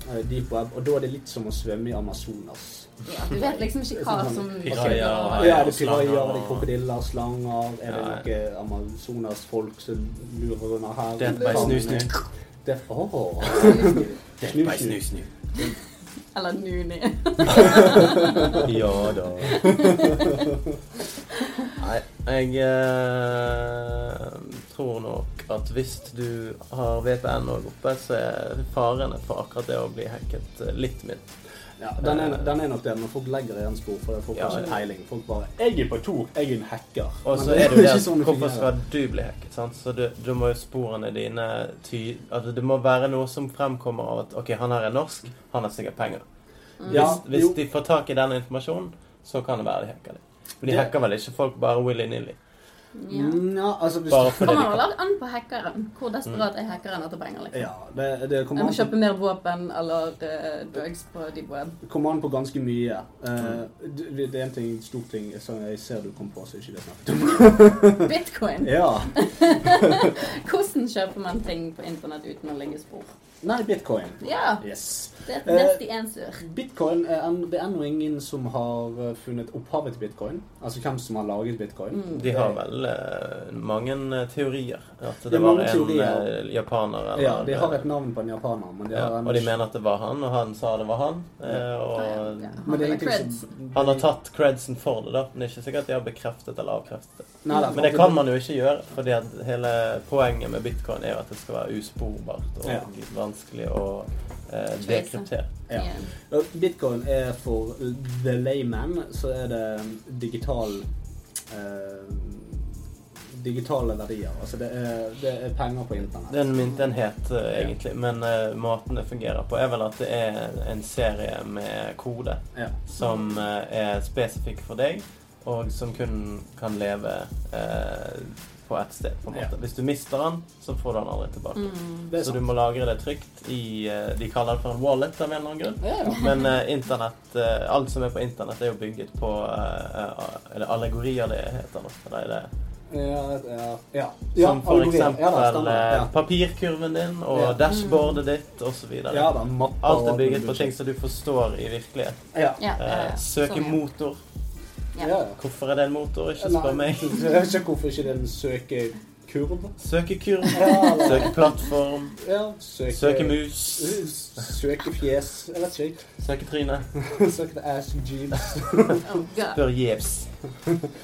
eh, deep web, og da er det litt som å svømme i Amazonas. Ja, du vet liksom ikke hva Sånn som Pirajaer og- Ja, er det slanger pirajaer, er det og- krokodiller, slanger Er Ja, det noen Amazonas-folk som lurer under her? Death by snu-snu. Det, <laughs> åh. Death by snu-snu. Eller Nuni. <laughs> Ja da. Nei, jeg eh, tror nok at hvis du har VPN òg oppe, så er farene for akkurat det å bli hacket eh, litt min. Ja, den er, den er nok det, men folk legger igjen spor, for folk Ja, har ja. ikke peiling. Folk bare 'Jeg er på Tor, jeg er en hacker'. Og så Men er det jo det ikke at sånn det hvorfor fungerer. skal du bli hacket? sant? Så du, du må jo sporene dine ty... Altså, det må være noe som fremkommer av at OK, han her er norsk, han har sikkert penger. ja, Hvis, hvis de får tak i den informasjonen, så kan det være de hacker det. Men de Det- hacker vel ikke folk bare willy-nilly? Ja. ja, altså, hvis Bare fordi de Kommer kan. vel alt an på hackeren. Hvor desperat er hackeren etter penger? liksom? ja, det, det Jeg må kommer, an på, kjøpe mer våpen eller eh, drugs på deep web. kommer an på ganske mye. Mm. Eh, du- det er en ting, stor ting som jeg ser du kom på, så ikke vi har snakket om. Bitcoin. <laughs> Ja. Hvordan kjøper man ting på internett uten å legge spor? Nei, bitcoin. Ja, Yes. det er Eh, neste ensur. Bitcoin er en, det er ennå ingen som har eh, funnet opphavet til bitcoin. Altså hvem som har laget bitcoin. Mm. De har vel eh, mange eh, teorier. At det, Det er var mange en teorier. eh, japaner eller Ja, de har et navn på en japaner, men de ja, har Og de mener at det var han, og han sa det var han. eh, Og Ja, han Men det har er ingenting creds. som- han har tatt credsen for det, da. Men det er ikke sikkert de har bekreftet eller avkreftet det. Nei, det er Men det faktisk- kan man jo ikke gjøre, fordi at hele poenget med bitcoin er jo at det skal være usporbart og Ja. vanskelig å eh, dekryptere. Ja. Ja. Og Bitcoin er for the layman, så er det digital eh, Digitale verdier. Altså det er, det er penger på internett. Det er en myntenhet, eh, egentlig, men eh, måten det fungerer på, er vel at det er en serie med kode. Ja. som eh, er spesifikk for deg, og som kun kan leve eh, på ett sted. på en måte. Hvis du mister den, så får du den aldri tilbake. Mm. Det er Så sant. du må lagre det trygt i eh, De kaller det for en wallet av en eller annen grunn. Ja, ja. Men eh, internett, eh, alt som er på internett, er jo bygget på eh, eh, Er det allegorier det heter? nå? Eller er det Ja, ja, ja. Som for algoritme. eksempel ja, da, stemmer. eh, ja. papirkurven din og Ja. dashboardet ditt osv. Ja da, mapper Alt og er alt bygget mulig på ting som du forstår i virkelighet. Ja. Ja, ja, ja. Eh, Søke Sånn, ja. motor. Ja. Ja. Hvorfor er det en motor? Ikke Nei, spør <laughs> meg. Jeg vet ikke hvorfor ikke det er en søkekurv. Søkekurv. Ja, da. Søkeplattform. Ja, søke... Søkemus. Søkefjes. Jeg vet ikke. Søketryne. Søkte ass jeans. Oh, God. Spør Jebs.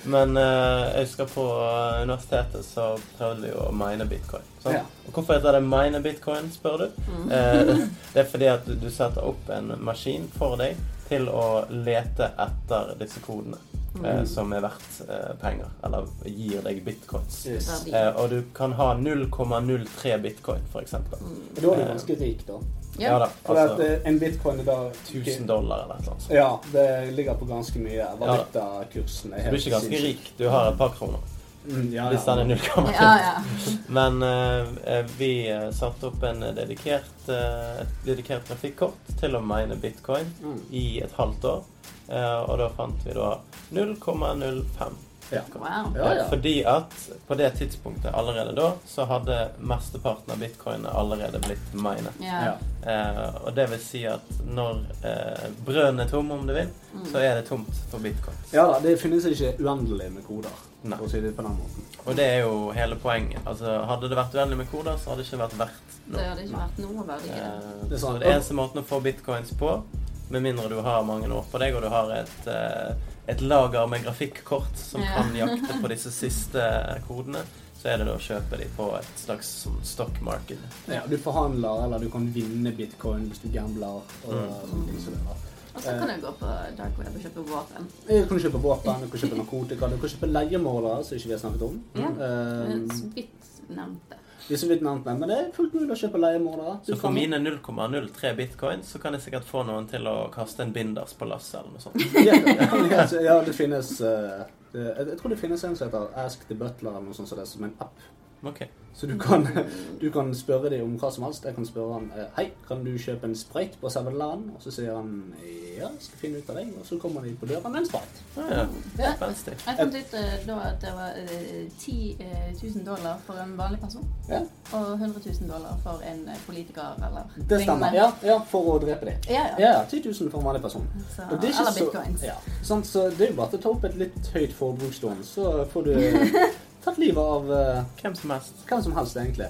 Men eh, jeg husker på eh, universitetet så prøvde vi å mine bitcoin. sant? Ja. Mm. Og hvorfor heter det mine bitcoin, spør du? Eh, det er fordi at du, du setter opp en maskin for deg til å lete etter disse kodene. Mm. Mm. eh, som er verdt eh, penger, eller gir deg bitcoins. Yes. Verdi. Eh, og du kan ha 0,03 bitcoin, for eksempel. Da er du ganske rik, da. Ja da, For at altså eh, en bitcoin i dag 1000 dollar eller et eller annet. sånt. Ja, det ligger på ganske mye. Valutakursen er Du er ikke ganske sinnssyk. rik, du har et par kroner. Mm, ja, Hvis den er 0,3. Ja, ja. Men eh, eh, vi eh, satte opp en dedikert, eh, et dedikert trafikkort til å mine bitcoin Mm. i et halvt år. Eh, og da fant vi da 0,05. Ja. Wow. Ja, ja. Fordi at på det tidspunktet allerede da, så hadde mesteparten av bitcoinene allerede blitt minet. Ja. Eh, og det vil si at når eh, brønnen er tom, om du vil, Mm. så er det tomt for bitcoins. Ja da, det finnes ikke uendelig med koder, Nei. for å si det på den måten. Og det er jo hele poenget. Altså, hadde det vært uendelig med koder, så hadde det ikke vært verdt Det noe. hadde ikke vært noe verdi i det. Eh, Det er Så sant. det eneste måten å få bitcoins på, med mindre du har mange år på deg, og du har et, eh, et lager med grafikkort som Ja. kan jakte <laughs> på disse siste eh, kodene, så er det da å kjøpe de på et slags sånn stock market. Ja, du forhandler, eller du kan vinne bitcoin hvis du gambler. Og Mm. sånne ting som det der. Og så kan du gå på dark web og kjøpe våpen. Du kan kjøpe våpen, du kan kjøpe narkotika, du kan kjøpe leiemålere, som ikke vi har snakket om. Ja. Eh, Mm. Så vidt nevnte. de som vet navnet, men det er fullt mulig å kjøpe leiemordere. Du Så for kan- mine 0,03 bitcoin så kan jeg sikkert få noen til å kaste en binders på lasset eller <laughs> noe sånt. <laughs> ja, ja, så- ja, det finnes eh, det- jeg, jeg tror det finnes en som heter Ask the Butler eller noe sånt som det, som en app. Ok. Så du kan, <laughs> du kan spørre dem om hva som helst. Jeg kan spørre han eh, Hei, kan du kjøpe en sprayt på 7-Eleven? Og så sier han ja, jeg skal finne ut av deg. Og så kommer de på døra med en sprayt. Ja, ja. Ja. Spenstig. Jeg fant ut eh, da at det var eh, 10 000 dollar for en vanlig person. Ja, Og 100 000 dollar for en eh, politiker eller det stemmer. lignende. Ja, ja, for å drepe dem. Ja, ja. Ja, 10 000 for en vanlig person. Så, Og det er ikke eller så- bitcoins. Ja, sant, så det er jo bare å ta opp et litt høyt forbrukslån, så får <laughs> du tatt livet av eh, Hvem som helst. hvem som helst, egentlig.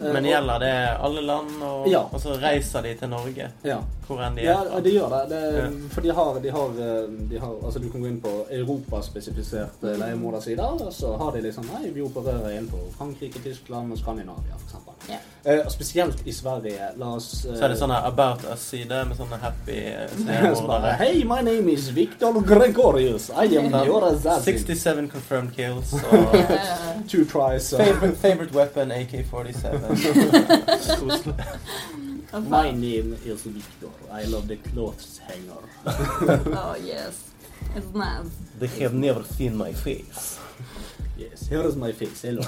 Eh, Men og- gjelder det alle land, og, Ja. og så reiser de til Norge? Ja. Hvor enn de Ja, er fra? det gjør det. det Ja. For de har, de, har, eh, de har Altså, du kan gå inn på Mm. europaspesifiserte leiemordersider, og så har de liksom Nei, vi opererer inn på Frankrike, Tyskland og Skandinavia, for eksempel. Ja. Eh, spesielt i Sverige. La oss eh, Så er det sånn sånne About Us-side med sånne happy <laughs> eh, så bare, seriemordere. Hei, my name is Victor Gregorius. I am your assassin. 67 Sånn confirmed kills <laughs> og Eh, Two tries. eh, favorite, favorite weapon <laughs> AK-47. Koselig. og My faen. name is Victor. I love the clothes hanger. Oh, yes. It's nice. They have never seen my face. Yes, here is my face. <laughs> Hello.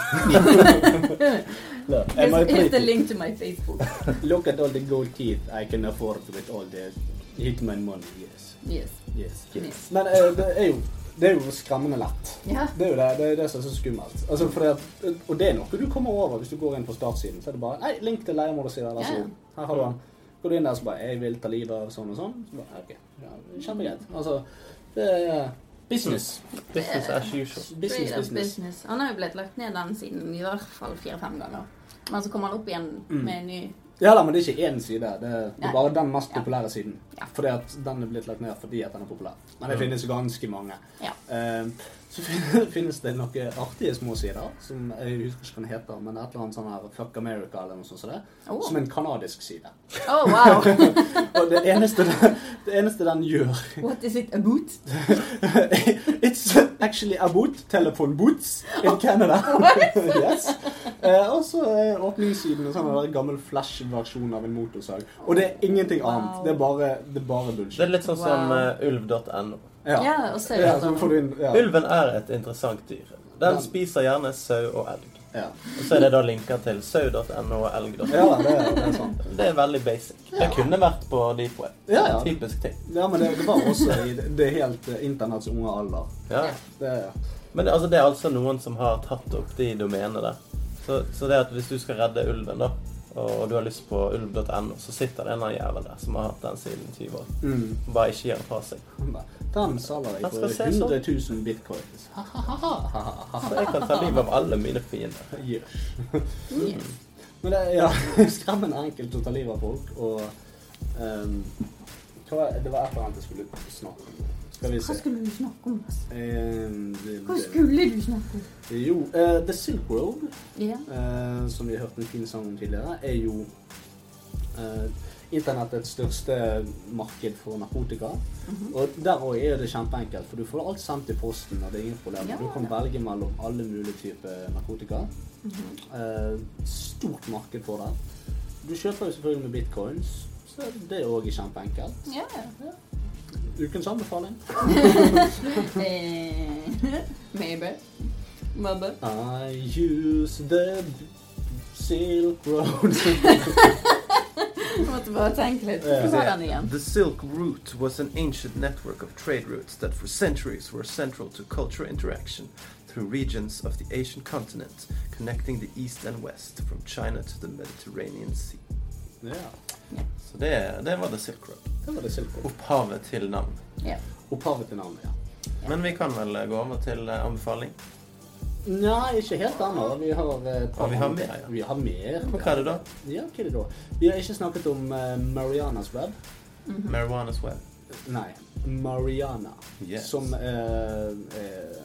Look, am I Here's, here's the pretty? link to my Facebook. Look at all the gold teeth I can afford with all the hitman money. Yes. Yes. Yes. Yes. Men eh, det, er jo, det er jo skremmende lett. Ja. Det er jo det, det, er det som er så skummelt. Altså, fordi at, og det er noe du kommer over hvis du går inn på startsiden. Så er det bare Nei, link til leiemålsida. Vær Ja. så god. Her har du den. Går du inn der så bare Jeg vil ta livet av sånn og sånn. Så bare, ok, ja, Kjempegreit. Altså, det er business. Business as usual. Business, Straight up business. business. Han har jo blitt lagt ned den siden i hvert fall fire-fem ganger. Men så kommer han opp igjen Mm. med en ny Ja da, men det er ikke én side. Det er, det Nei. er bare den mest Ja. populære siden. Ja. Fordi at den er blitt lagt ned fordi at den er populær. Men det finnes ganske mange. Ja. Eh, så fin- <laughs> finnes det noen artige små sider, som jeg husker ikke hva den heter, men et eller annet sånn her Fuck America eller noe sånt som det. Oh. Som en kanadisk side. Oh, <laughs> wow! Og det eneste, den- <laughs> det eneste den gjør What is it about? <laughs> It's actually about telephone booths in <laughs> Canada. <laughs> yes. Eh, og så er åpningssiden en sånn der gammel flash-versjon av en motorsag. Og det er ingenting annet. Wow. Det er bare, det er bare Det er bullshit. litt sånn som Wow. eh, ulv.no. Ja, og så er ja, det så sånn får du inn ja. Ulven er et interessant dyr. Den spiser gjerne sau og elg. Ja. Og så er det da linker til sau.no og elg.no. Ja, det er- det er sant. Det er veldig basic. Det kunne vært på deep web. Ja, ja. Typisk ting. Ja, men det, det var også i det er helt eh, internetts unge alder. Ja. Det er Men det, altså, det er altså noen som har tatt opp de domenene der. Så, så det er at hvis du skal redde ulven, da, og du har lyst på ulv.no, så sitter det en eller annen jævel der som har hatt den siden 20 år. Mm. Bare ikke gir den fra seg. Den selger jeg Han for skal se sånn." 100 000 bitcoins. Så jeg kan ta livet av alle mine fiender. Men det er ja, <laughs> skremmende enkelt å ta livet av folk, og ehm, hva, Det var et eller annet jeg skulle snakke om. Skal vi Hva se. skulle du snakke om? Lasse? Ehm, det- Hva skulle du snakke om? Jo, eh, The Silk Road, Ja. eh, som vi hørte en fin sang om tidligere, er jo eh, internettets største marked for narkotika. Og der òg er det kjempeenkelt, for du får alt sendt i posten, og det er ingen problem. Ja. Du kan velge mellom alle mulige typer narkotika. Eh, stort marked for det. Du kjøper jo selvfølgelig med bitcoins, så det òg er kjempeenkelt. Ja, ja. Ukens anbefaling. Eh, <laughs> Maybe. Mabbe. I use the silk road. <laughs> <laughs> Måtte bare tenke litt. Ja. Hva var er den igjen? The Silk Route was an ancient network of trade routes that for centuries were central to cultural interaction through regions of the Asian continent, connecting the east and west from China to the Mediterranean Sea. ja, Så det, det var The Silk Road. det var det silk road. Opphavet til navn. Ja. Opphavet til navnet, ja. Men vi kan vel eh, gå over til eh, anbefaling. Nei, ikke helt ennå. Vi har eh, et par Ja, Ah, vi har andre- mer, ja. Vi har mer. Men hva er det da? Ja, hva er det da? Vi har ikke snakket om eh, Marianas web. Marijuana's Web. Nei, Mariana. Yes. Som eh, eh,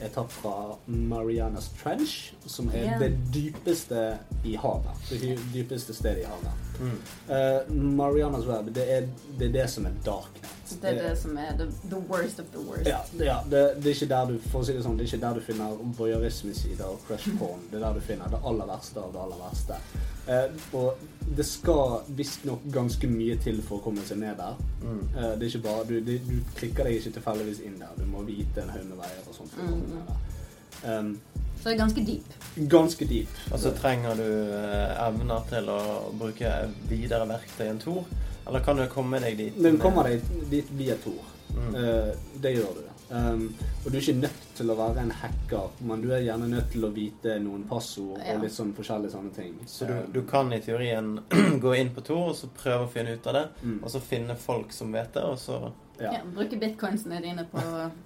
er tatt fra Marianas Trench, som er Ja. det dypeste i havet. Det dy- dypeste stedet i havet. Mm. Eh, Marianas web, det er, det er det som er darknet. Det er det som er the, the worst of the worst. Ja, det- ja det, det er ikke der du for å si det sånn, det er ikke der du finner voyeurismesider og crush porn. Det er der du finner det aller verste av det aller verste. Eh, og det skal visstnok ganske mye til for å komme seg ned der. Eh, det er ikke bare, du, det, du klikker deg ikke tilfeldigvis inn der. Du må vite en haug med veier og sånt. for å komme ned der. Så det er ganske deep. Um, ganske dyp. Og så trenger du eh, evner til å bruke videre verktøy enn Tor. Eller kan du komme deg dit? Men med- du kommer deg dit via Tor. Mm. Eh, det gjør du. Um, og du er ikke nødt til å være en hacker, men du er gjerne nødt til å vite noen passord Ja. og litt sånn forskjellige sånne ting. Så du, Eh, du kan i teorien <clears throat> gå inn på Tor og så prøve å finne ut av det. Og så finne folk som vet det, og så mm. Ja. Ja, bruke bitcoinsene dine på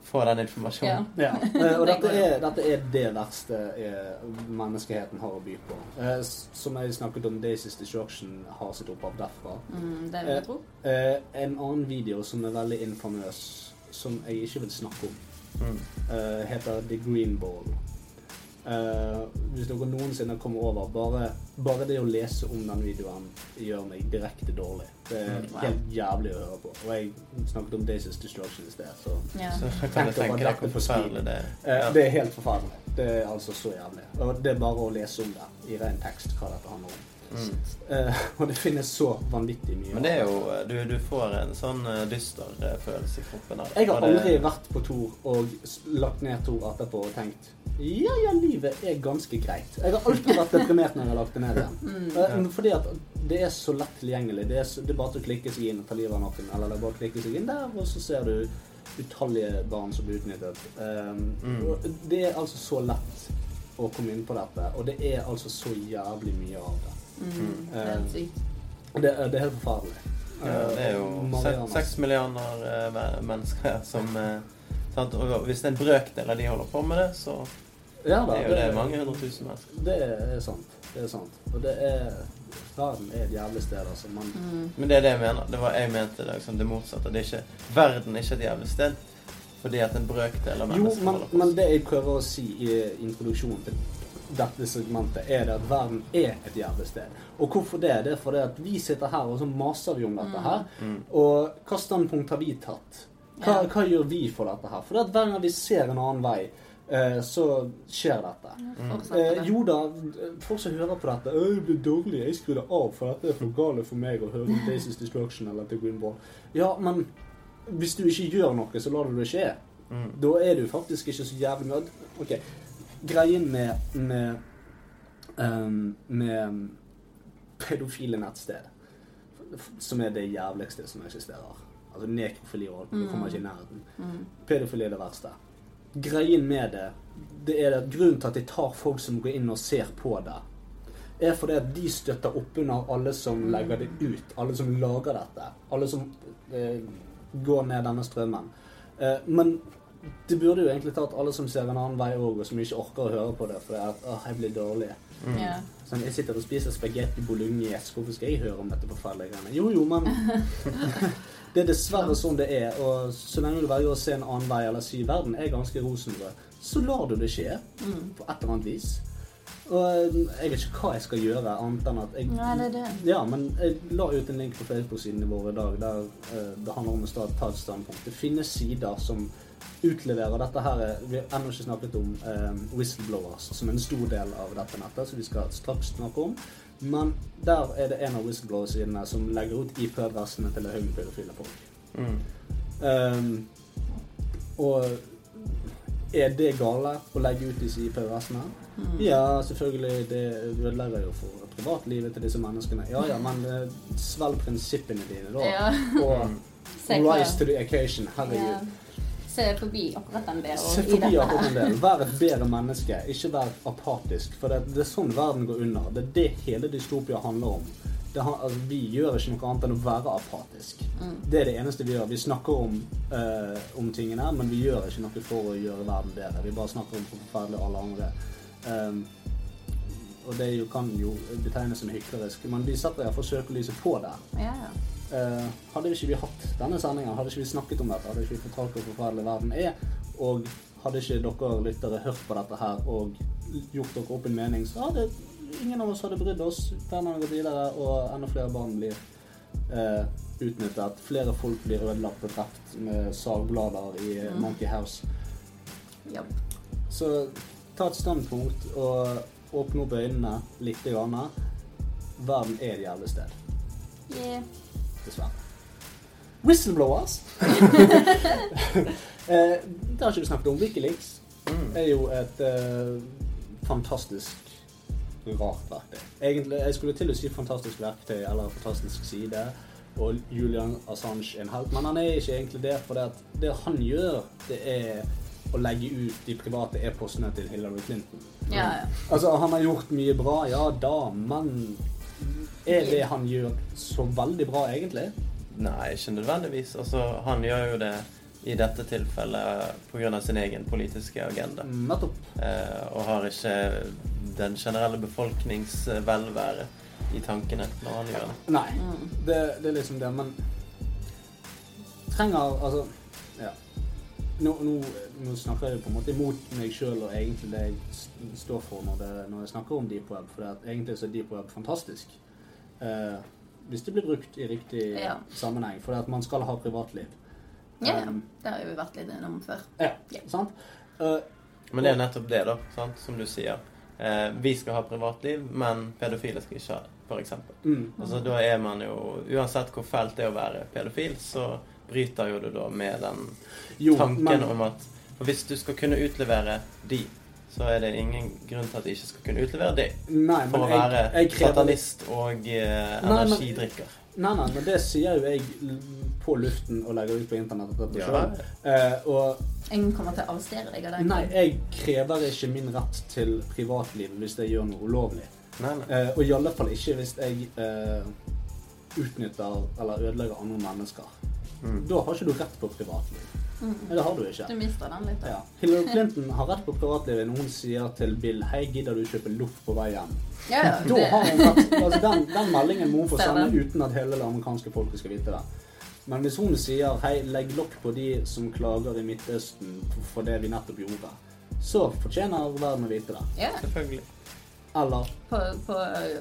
få den ja. informasjonen. <laughs> Ja, eh, Det og dette går jo. er, dette er det verste eh, menneskeheten har å by på. Eh, s- Som jeg snakket om, Daisy's Destruction har sitt opphav derfra. mm, Det vil jeg tro. Eh, En annen video som er veldig infamøs, som jeg ikke vil snakke om, Mm. eh, heter The Green Ball. Eh, Hvis dere noensinne kommer over Bare, bare det å lese om den videoen gjør meg direkte dårlig. Det er Mm, wow. helt jævlig å høre på. Og jeg snakket om Daisy's Destruction i sted, så Ja. Så da kan du Tenk over tenke deg dette hvor på forferdelig det Eh, er. Det er helt forferdelig. Det er altså så jævlig. Og det er bare å lese om det i ren tekst hva dette handler om. Mm. Eh, og det finnes så vanvittig mye. Men det er jo eh, Du, du får en sånn eh, dyster eh, følelse i kroppen av det. Jeg har Og det- aldri vært på Tor og s- lagt ned Tor etterpå og tenkt ja, ja, livet er ganske greit. Jeg har alltid vært deprimert når jeg har lagt det ned igjen. Eh, men fordi at det er så lett tilgjengelig. Det er, så, det er bare til å klikke seg inn og ta livet av noen. Eller det er bare å klikke seg inn der, og så ser du utallige barn som blir utnyttet. Um, Mm. og Det er altså så lett å komme inn på dette, og det er altså så jævlig mye av det. Mm, det er helt sykt. Og det, det er helt forferdelig. Ja, det er Eh, jo se- Marianas- seks milliarder eh, men- mennesker som eh, sant? Og hvis det er en brøkdel av de holder på med det, så Ja da, er jo det mange hundre tusen mennesker. Det er sant. Det er sant. Og det er Verden er et jævlig sted, altså. Man, Mm. Men det er det jeg mener. Det var jeg mente det, liksom, det motsatte. Det er ikke, verden er ikke et jævlig sted fordi at en brøkdel av jo, mennesker men, holder på men det jeg prøver å si i introduksjonen til dette segmentet, er det at verden er et jævlig sted. Og hvorfor det? Det er fordi at vi sitter her, og så maser vi om dette her. Mm, Og hva standpunkt har vi tatt? Hva, hva gjør vi for dette her? For at hver gang vi ser en annen vei, eh, så skjer dette. Mm. Fortsatt Eh, det. jo da, folk som hører på dette Øy, det blir dårlig, jeg skrur det av, for dette er for gale for meg å høre om Daisy's Destruction eller The Green Ball. Ja, men hvis du ikke gjør noe, så lar du det skje. mm, Da er du faktisk ikke så jævlig nødt. Ok, Greien med, med, ehm, med ehm, pedofile nettsted, som er det jævligste som eksisterer Altså nekrofili og alt, men du kommer ikke i nærheten. Mm. Pedofili er det verste. Greien med det, det er at grunnen til at de tar folk som går inn og ser på det, er fordi at de støtter opp under alle som legger det ut, alle som lager dette, alle som eh, går ned denne strømmen. Eh, men det burde jo egentlig tatt alle som ser en annen vei òg, og som ikke orker å høre på det fordi at åh, jeg blir dårlig. Mm. Ja. Sånn, jeg sitter og spiser spagetti bolognese, hvorfor skal jeg høre om dette forferdelige greiene? Jo, jo, <laughs> men Det er dessverre sånn det er, og så lenge du velger å se en annen vei eller si verden er ganske rosenrød, så lar du det skje Mm. på et eller annet vis. Og jeg vet ikke hva jeg skal gjøre, annet enn at jeg Nei, det er det. Ja, men jeg la ut en link på Facebook-sidene våre i dag der eh, det handler om å sta- ta et standpunkt. Det finnes sider som utleverer dette her eh, Vi har ennå ikke snakket om eh, whistleblowers, som er en stor del av dette nettet, som vi skal straks snakke om. Men der er det en av whistleblower-sidene som legger ut IP-adressene til en haug med pedofile folk. Mm. Ehm, og er det gale å legge ut disse IP-adressene? Ja, selvfølgelig. Det ødelegger jo for privatlivet til disse menneskene. Ja ja, men eh, svelg prinsippene dine, da. Ja. Og rise to the occasion. Herregud. Se forbi akkurat den der. og Se i forbi dette akkurat en her. del. Vær et bedre menneske. Ikke vær apatisk. For det, det er sånn verden går under. Det er det hele dystopia handler om. Det, han- altså, vi gjør ikke noe annet enn å være apatisk. Mm. Det er det eneste vi gjør. Vi snakker om, eh, om tingene, men vi gjør ikke noe for å gjøre verden bedre. Vi bare snakker om hvor forferdelig alle andre. Um, og det er jo, kan jo betegnes som hyklerisk, men vi setter iallfall søkelyset på det. Ja, ja. Eh, hadde ikke vi hatt denne sendingen, hadde ikke vi snakket om dette, hadde ikke vi fortalt hvor forferdelig verden er, og hadde ikke dere lyttere hørt på dette her og gjort dere opp en mening, så hadde ingen av oss hadde brydd oss. Verden hadde gått videre, og enda flere barn blir eh, utnyttet. Flere folk blir ødelagt og drept med sagblader i eh, Mm. Monkey House. Japp. Så ta et standpunkt og åpne opp øynene litt. Grann. Verden er et jævlig sted Yeah. dessverre. Whistleblowers. eh, det har ikke vi snakket om. Wikileaks er jo et eh, fantastisk rart verktøy. Egentlig, jeg skulle til å si fantastisk verktøy eller fantastisk side, og Julian Assange er en helt, men han er ikke egentlig det, for det, at det han gjør, det er å legge ut de private e-postene til Hillary Clinton. Ja, ja. Altså, han har gjort mye bra, ja da, men er det han gjør så veldig bra, egentlig? Nei, ikke nødvendigvis. Altså, han gjør jo det i dette tilfellet pga. sin egen politiske agenda. Mm, Nettopp. Eh, og har ikke den generelle befolknings eh, velvære i tankene når han gjør det. Nei, Mm. det, det er liksom det, men trenger Altså, ja. Nå, nå, nå snakker jeg jo på en måte imot meg sjøl og egentlig det jeg s- står for når, det, når jeg snakker om deep web, for det at egentlig så er deep web fantastisk. Eh, hvis det blir brukt i riktig Ja. sammenheng, for det at man skal ha privatliv. Ja, ja. Um, Det har jo vært litt innom før. ja, Ja. sant? Eh, Men det er jo nettopp det, da, sant? som du sier. Eh, vi skal ha privatliv, men pedofile skal ikke ha det, f.eks. mm, Altså, da er man jo Uansett hvor fælt det er å være pedofil, så bryter jo du da med den jo, tanken men- om at For hvis du skal kunne utlevere de, så er det ingen grunn til at de ikke skal kunne utlevere de. Nei, men For å jeg, være jeg krever litt- satanist og eh, Nei, men- energidrikker. Nei, nei, men det sier jo jeg l- på luften og legger ut på internett. og dette Ja. selv. Eh, og Ingen kommer til å arrestere deg av den. nei, jeg krever ikke min rett til privatliv hvis jeg gjør noe ulovlig. Nei, nei. Eh, og i alle fall ikke hvis jeg eh, utnytter eller ødelegger andre mennesker. Mm. Da har ikke du rett på privatliv. Nei, Det har du ikke. Du mister den litt. da. Ja. Hillary Clinton har rett på privatlivet når hun sier til Bill Hei, gidder du kjøpe loff på vei hjem? Ja, ja, Da har hun rett. Altså, den, den meldingen må hun få Ser sende den. uten at hele det amerikanske folket skal vite det. Men hvis hun sier 'hei, legg lokk på de som klager i Midtøsten for- for det vi nettopp gjorde', så fortjener verden å vite det. ja. Selvfølgelig. Eller På, på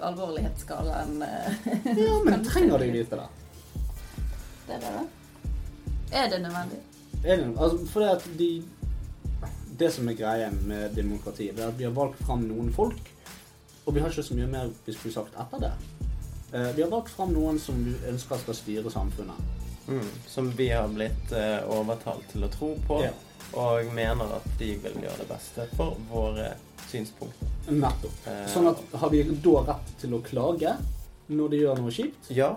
alvorlighetsskalaen eh, Ja, men trenger de vite det? der er det. Er det nødvendig? Er det noe- Altså, fordi at de Det som er greien med demokrati, det er at vi har valgt fram noen folk, og vi har ikke så mye mer vi skulle sagt etter det. Eh, Vi har valgt fram noen som vi ønsker skal styre samfunnet. Mm, som vi har blitt eh, overtalt til å tro på, Ja. og mener at de vil gjøre det beste for våre synspunkter. Nettopp. Eh, Sånn at har de da rett til å klage når de gjør noe kjipt? Ja,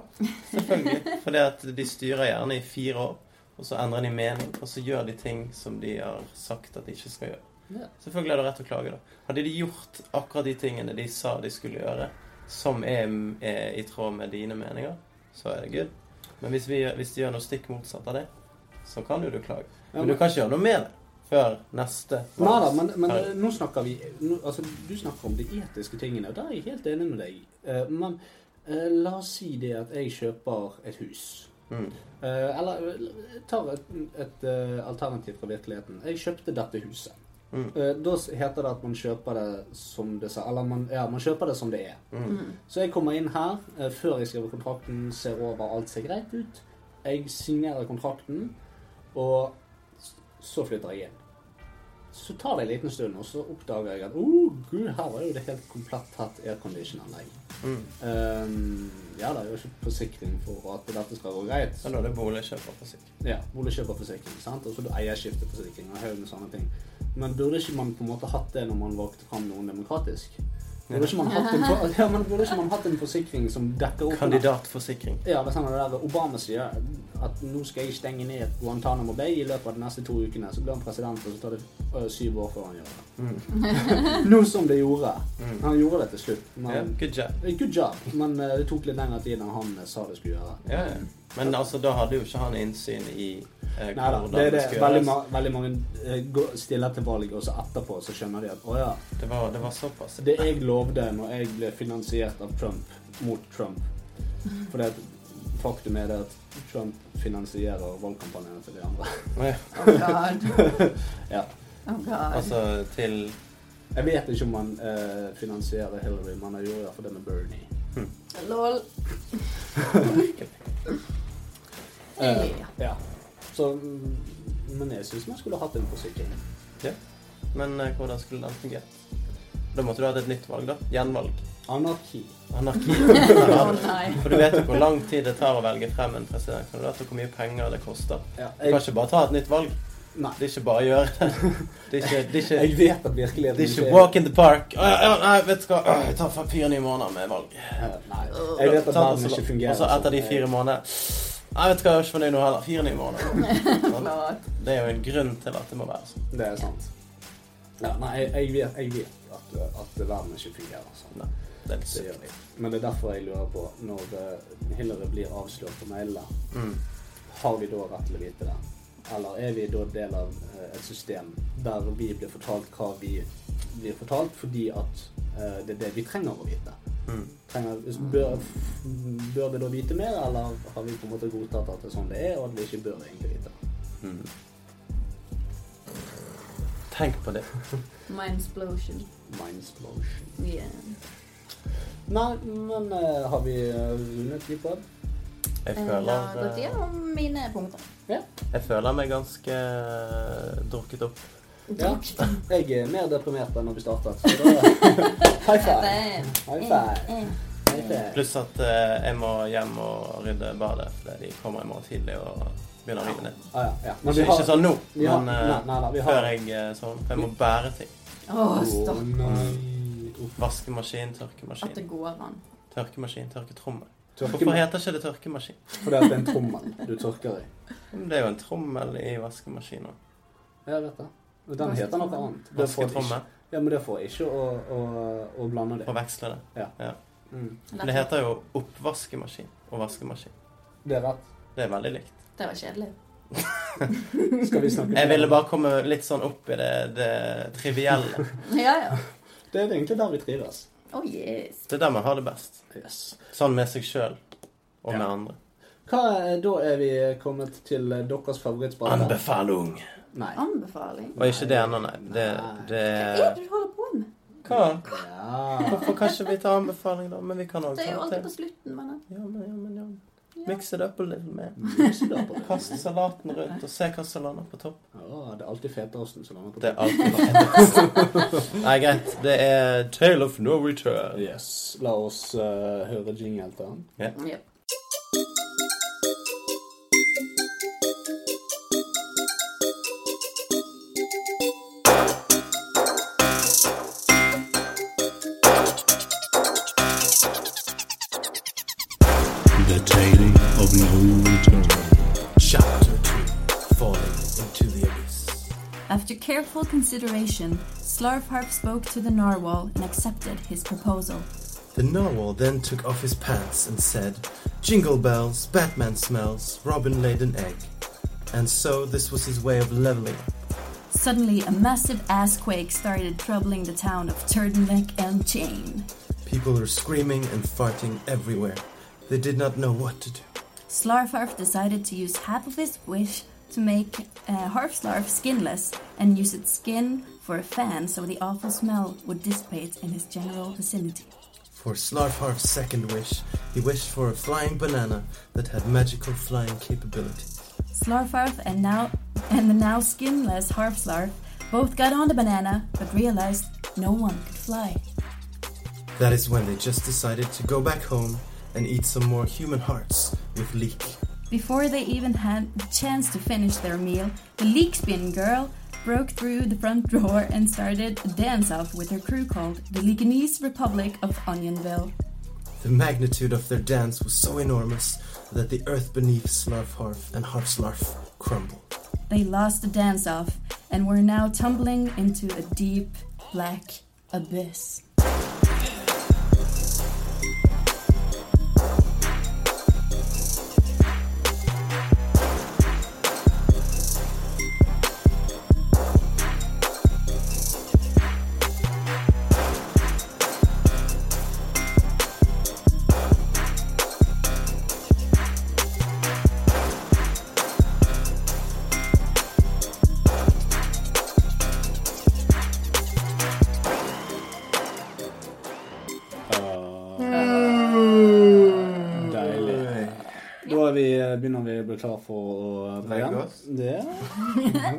selvfølgelig. <laughs> Fordi at de styrer gjerne i fire år, og så endrer de mening, og så gjør de ting som de har sagt at de ikke skal gjøre. Ja. Selvfølgelig er det rett å klage, da. Hadde de gjort akkurat de tingene de sa de skulle gjøre, som er, er i tråd med dine meninger, så er det good. Men hvis, vi, gjør- hvis de gjør noe stikk motsatt av det, så kan jo du klage. Ja, Men men- du kan ikke gjøre noe med det før neste Nei da, men, men eh, valgperiode. nå snakker vi nå, altså, Du snakker om de etiske tingene, og der er jeg helt enig med deg. Eh, men eh, la oss si det at jeg kjøper et hus. Mm. Eh, eller eh, tar et, et eh, alternativ fra virkeligheten. Jeg kjøpte dette huset. Mm. Eh, da s- heter det at man kjøper det som det sa, eller man, ja, man kjøper det som det er. Mm. Så jeg kommer inn her eh, før jeg skriver kontrakten, ser over alt ser greit ut. Jeg signerer kontrakten, og s- så flytter jeg inn. Så tar det en liten stund, og så oppdager jeg at oh, gud, her var jo det helt komplett hatt aircondition-anlegg. Mm. Um, ja, det er jo ikke forsikring for at dette skal gå greit. Men da er det boligkjøperforsikring. Ja, boligkjøperforsikring, sant? og så eierskifteforsikring og en haug med sånne ting. Men burde ikke man på en måte hatt det når man valgte fram noen demokratisk? Burde ikke man hatt en, for- ja, men burde ikke man hatt en forsikring som dekker opp under- Kandidatforsikring. Ja, det er sånn det der Obama sier at nå skal jeg stenge ned Guantánamo Bay i løpet av de neste to ukene. Så blir han president, og så tar det ø, syv år før han gjør det. <laughs> Nå som det gjorde. Han gjorde det til slutt. Ja, Men, good job. Good job, men ø, det tok litt lengre tid enn han ø, sa det skulle gjøre. Ja, ja. Men altså, da hadde jo ikke han innsyn i Nei eh, da, hvordan det det, er det. skulle Veldig, gjøres. ma veldig mange eh, går- stiller til valg, og så etterpå så skjønner de at å ja, Det var, det var såpass. det jeg lovde når jeg ble finansiert av Trump mot Trump For det at faktum er det at Trump finansierer valgkampanjene til de andre. Å ja. Oh god. ja. Oh god. Altså til Jeg vet ikke om han eh, finansierer Hillary, men han gjorde iallfall det med Bernie. Lol. Eh, Ja. ja. Så mm, Men jeg syns man skulle hatt en forsikring. Ja. Men eh, hvordan skulle den fungert? Da måtte du hatt et nytt valg, da. Gjenvalg. Anarki. <laughs> Anarki. Å Oh, nei. For du vet jo hvor lang tid det tar å velge frem en presidentkandidat, og hvor mye penger det koster. Ja, Du kan ikke bare ta et nytt valg. Nei. Det er ikke bare å gjøre det. <laughs> Det er ikke, det er ikke Jeg vet at virkeligheten det er ikke walk in the park. Å, ja, ja, nei, vet du hva. Å, Jeg tar fire nye måneder med valg. Eh, Nei. Jeg vet at Sant, verden altså, ikke fungerer. Og så etter de sånn. fire månedene Nei, vet du hva, jeg er ikke fornøyd nå heller. Fire nye måneder. Sant? Det er jo en grunn til at det må være sånn. Det er sant. Ja, nei, jeg, jeg vet, jeg vet at, at verden ikke fungerer sånn. Nei, det er litt Det gjør sykt. jeg. Men det er derfor jeg lurer på, når eh, Hillary blir avslørt på mailene, Mm. har vi da rett til å vite det? Eller er vi da del av eh, et system der vi blir fortalt hva vi blir fortalt, fordi at eh, det er det vi trenger å vite? Mm. Trenger, bør, bør vi da vite mer, eller har vi på en måte godtatt at det er sånn det er, og at vi ikke bør egentlig vite? Mm. Tenk på det. Mindsplosion. Mindsplosion. Yeah. Nei, men eh, har vi eh, rundet de på? Jeg Ja, føler, dette eh, er mine punkter. jeg føler meg ganske eh, drukket opp. Ja. Jeg er mer deprimert enn da vi startet. Så da <laughs> High five! High eh, five! High five. Pluss at eh, jeg må hjem og rydde badet fordi de kommer i morgen tidlig og begynner å rive ned. Ah, ja, ja. Men vi Ikke, har ikke sånn nå, vi har- men eh, nei, nei, nei, vi har- før jeg eh, sånn. For jeg må bære ting. Åh, Å, stopp nei. Uff. Vaskemaskin, at det tørkemaskin. går an. Tørkemaskin, tørketrommel. Hvorfor Tørke, heter ikke det tørkemaskin? fordi at det er en trommel du tørker i. Men Det er jo en trommel i vaskemaskinen. Jeg vet det. Men Den heter noe annet. Det får det ikke, Vasketrommel. ja, men det får ikke å, å, å blande det. Forveksle det. Mm. Men det heter jo oppvaskemaskin og vaskemaskin. Det er rett. Det er veldig likt. Det var kjedelig. <laughs> Skal vi snakke <laughs> Jeg ville bare komme litt sånn opp i det, det trivielle. Ja, ja. Det er egentlig der vi trives. Oh yes. Det er der man har det best. Yes. Sånn med seg sjøl og med Ja. andre. Hva, er- da er vi kommet til eh, deres favorittspalte. Anbefaling. Nei. Anbefaling. Og ikke det ennå, nei. Det, det Hva er det du holder på med? Hva? Ja. Hvorfor kan ikke vi ta anbefaling, da? Men vi kan òg Det er jo ta alltid det. på slutten, men Ja, men, ja, men, ja. Ja. Mix it up a little mer. Lyset da på det. Kast salaten rundt, og se hva som lander på topp. Å, det er alltid fetaosten som lander på Det er alltid fett. <laughs> Nei, greit. Det er Tale of no return. Yes. La oss eh, høre jingle til den. Jep. to the abyss. After careful consideration, Slarfarp spoke to the narwhal and accepted his proposal. The narwhal then took off his pants and said, Jingle bells, Batman smells, Robin laid an egg. And so this was his way of leveling up. Suddenly, a massive ass quake started troubling the town of Turtleneck and Chain. People were screaming and farting everywhere. They did not know what to do. Slarfarf decided to use half of his wish to make uh, Harfslarf skinless and use its skin for a fan so the awful smell would dissipate in his general vicinity. For Slarfarf's second wish, he wished for a flying banana that had magical flying capability. Slarfarf and now and the now skinless Harfslarf both got on the banana but realized no one could fly. That is when they just decided to go back home and eat some more human hearts with Leek. Before they even had the chance to finish their meal, the leak spin girl broke through the front door and started a dance off with her crew called the Leganese Republic of Onionville. The magnitude of their dance was so enormous that the earth beneath Slarfharf and Harfslarf crumbled. They lost the dance off and were now tumbling into a deep black abyss. Deilig. Da er vi, eh, begynner vi å bli klar for å eh, dra Legge hjem. oss? Ja.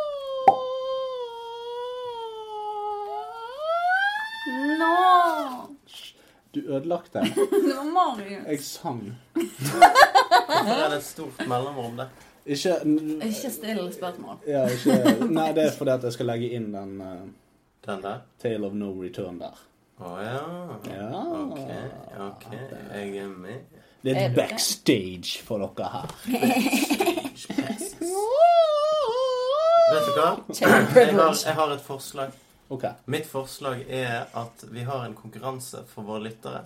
<laughs> No! Du ødelagte. Det var Marius. Jeg sang. Hvorfor er det et stort mellomrom der? Ikke Ikke still spørsmål. ja, ikke, Nei, det er fordi at jeg skal legge inn den eh, Den der? Tale of No Return der. Å ja. Ja. Ok, ok. Jeg er med. Det er Er et du det? backstage for dere her. Vet du hva? <laughs> Jeg har, jeg har et forslag. OK. Mitt forslag er at vi har en konkurranse for våre lyttere.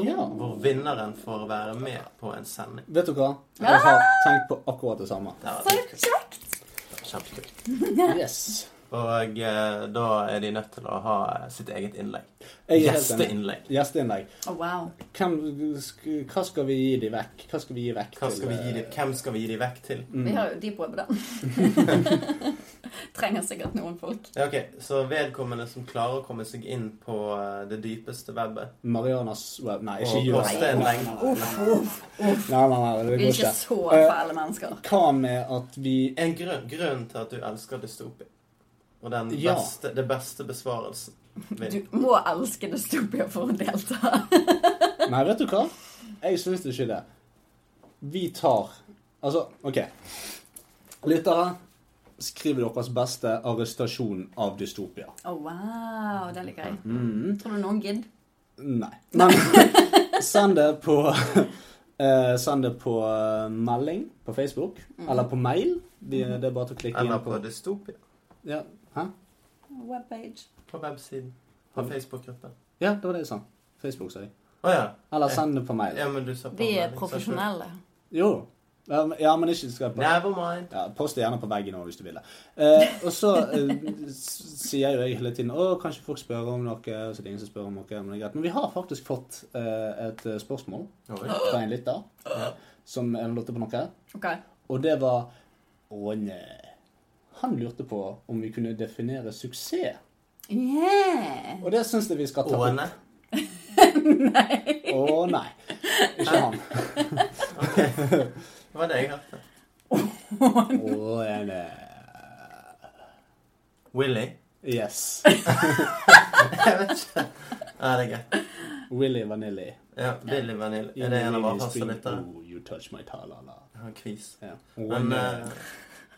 Ja. Hvor vinneren får være med på en sending. Vet du hva? Jeg har tenkt på akkurat det samme. Det Så var kjekt! kjempekult. Yes. Og eh, da er de nødt til å ha eh, sitt eget innlegg. Jeg er helt enig. Gjesteinnlegg. Gjesteinnlegg. Oh, wow. Hvem, sk- hva skal vi gi de vekk? Hva skal vi gi vekk Hva skal vi gi eh, Mm. de, hvem skal vi gi de vekk til? Vi har jo de på <laughs> den. Trenger sikkert noen folk. Ja, ok, Så vedkommende som klarer å komme seg inn på eh, det dypeste webbet eh, Marianas web Nei, ikke og gjør poste det. en Nei, lenge nei, nei, det Vi er går ikke ikke. så Eh, fæle mennesker. Hva med at vi En grunn, grunn til at du elsker dystopi. Og den Ja. beste, det beste besvarelsen. Du vinner. må elske dystopia for å delta. <laughs> Nei, vet du hva? Jeg syns ikke det. Vi tar Altså, OK. Lyttere, skriv deres beste arrestasjon av dystopia. Oh, wow, det liker jeg. Mm. Tror du noen gidder? Nei. Men send det på <laughs> eh, Send det på eh, melding på Facebook, Mm. eller på mail. Vi, det er bare til å klikke inn Eller på på dystopia. ja. Hæ? Webpage. På websiden. På Mm. Facebook-gruppen. ja, det var det jeg sa. Facebook, sa jeg. Å ja. Eller send det på mail. ja. Men du sa på Vi er melding, så- profesjonelle. Jo. Ja, men- Ja, men ikke skal på Never mind. Ja, Post det gjerne på veggen også, hvis du vil det. Eh, og så eh, s- sier jo jeg hele tiden å, kanskje folk spør om noe. og Så er det ingen som spør om noe, Men det er greit. Men vi har faktisk fått eh, et eh, spørsmål Oi. fra en lytter som eh, lurte på noe. Ok. Og det var Å nei. Han lurte på om vi kunne definere suksess. Yeah! Og det syns jeg vi skal ta opp. Åne. Å nei. Ikke han. Det var det jeg hørte. Å nei. Willy. <laughs> Yes. Jeg vet ikke. Nei, det er greit. Willy Vanilli. Ja, Billy Vanille. <laughs> Er det en av våre faste lyttere? Oh, you touch my ta-la-la. Han kvis. Ja. Men nei. eh,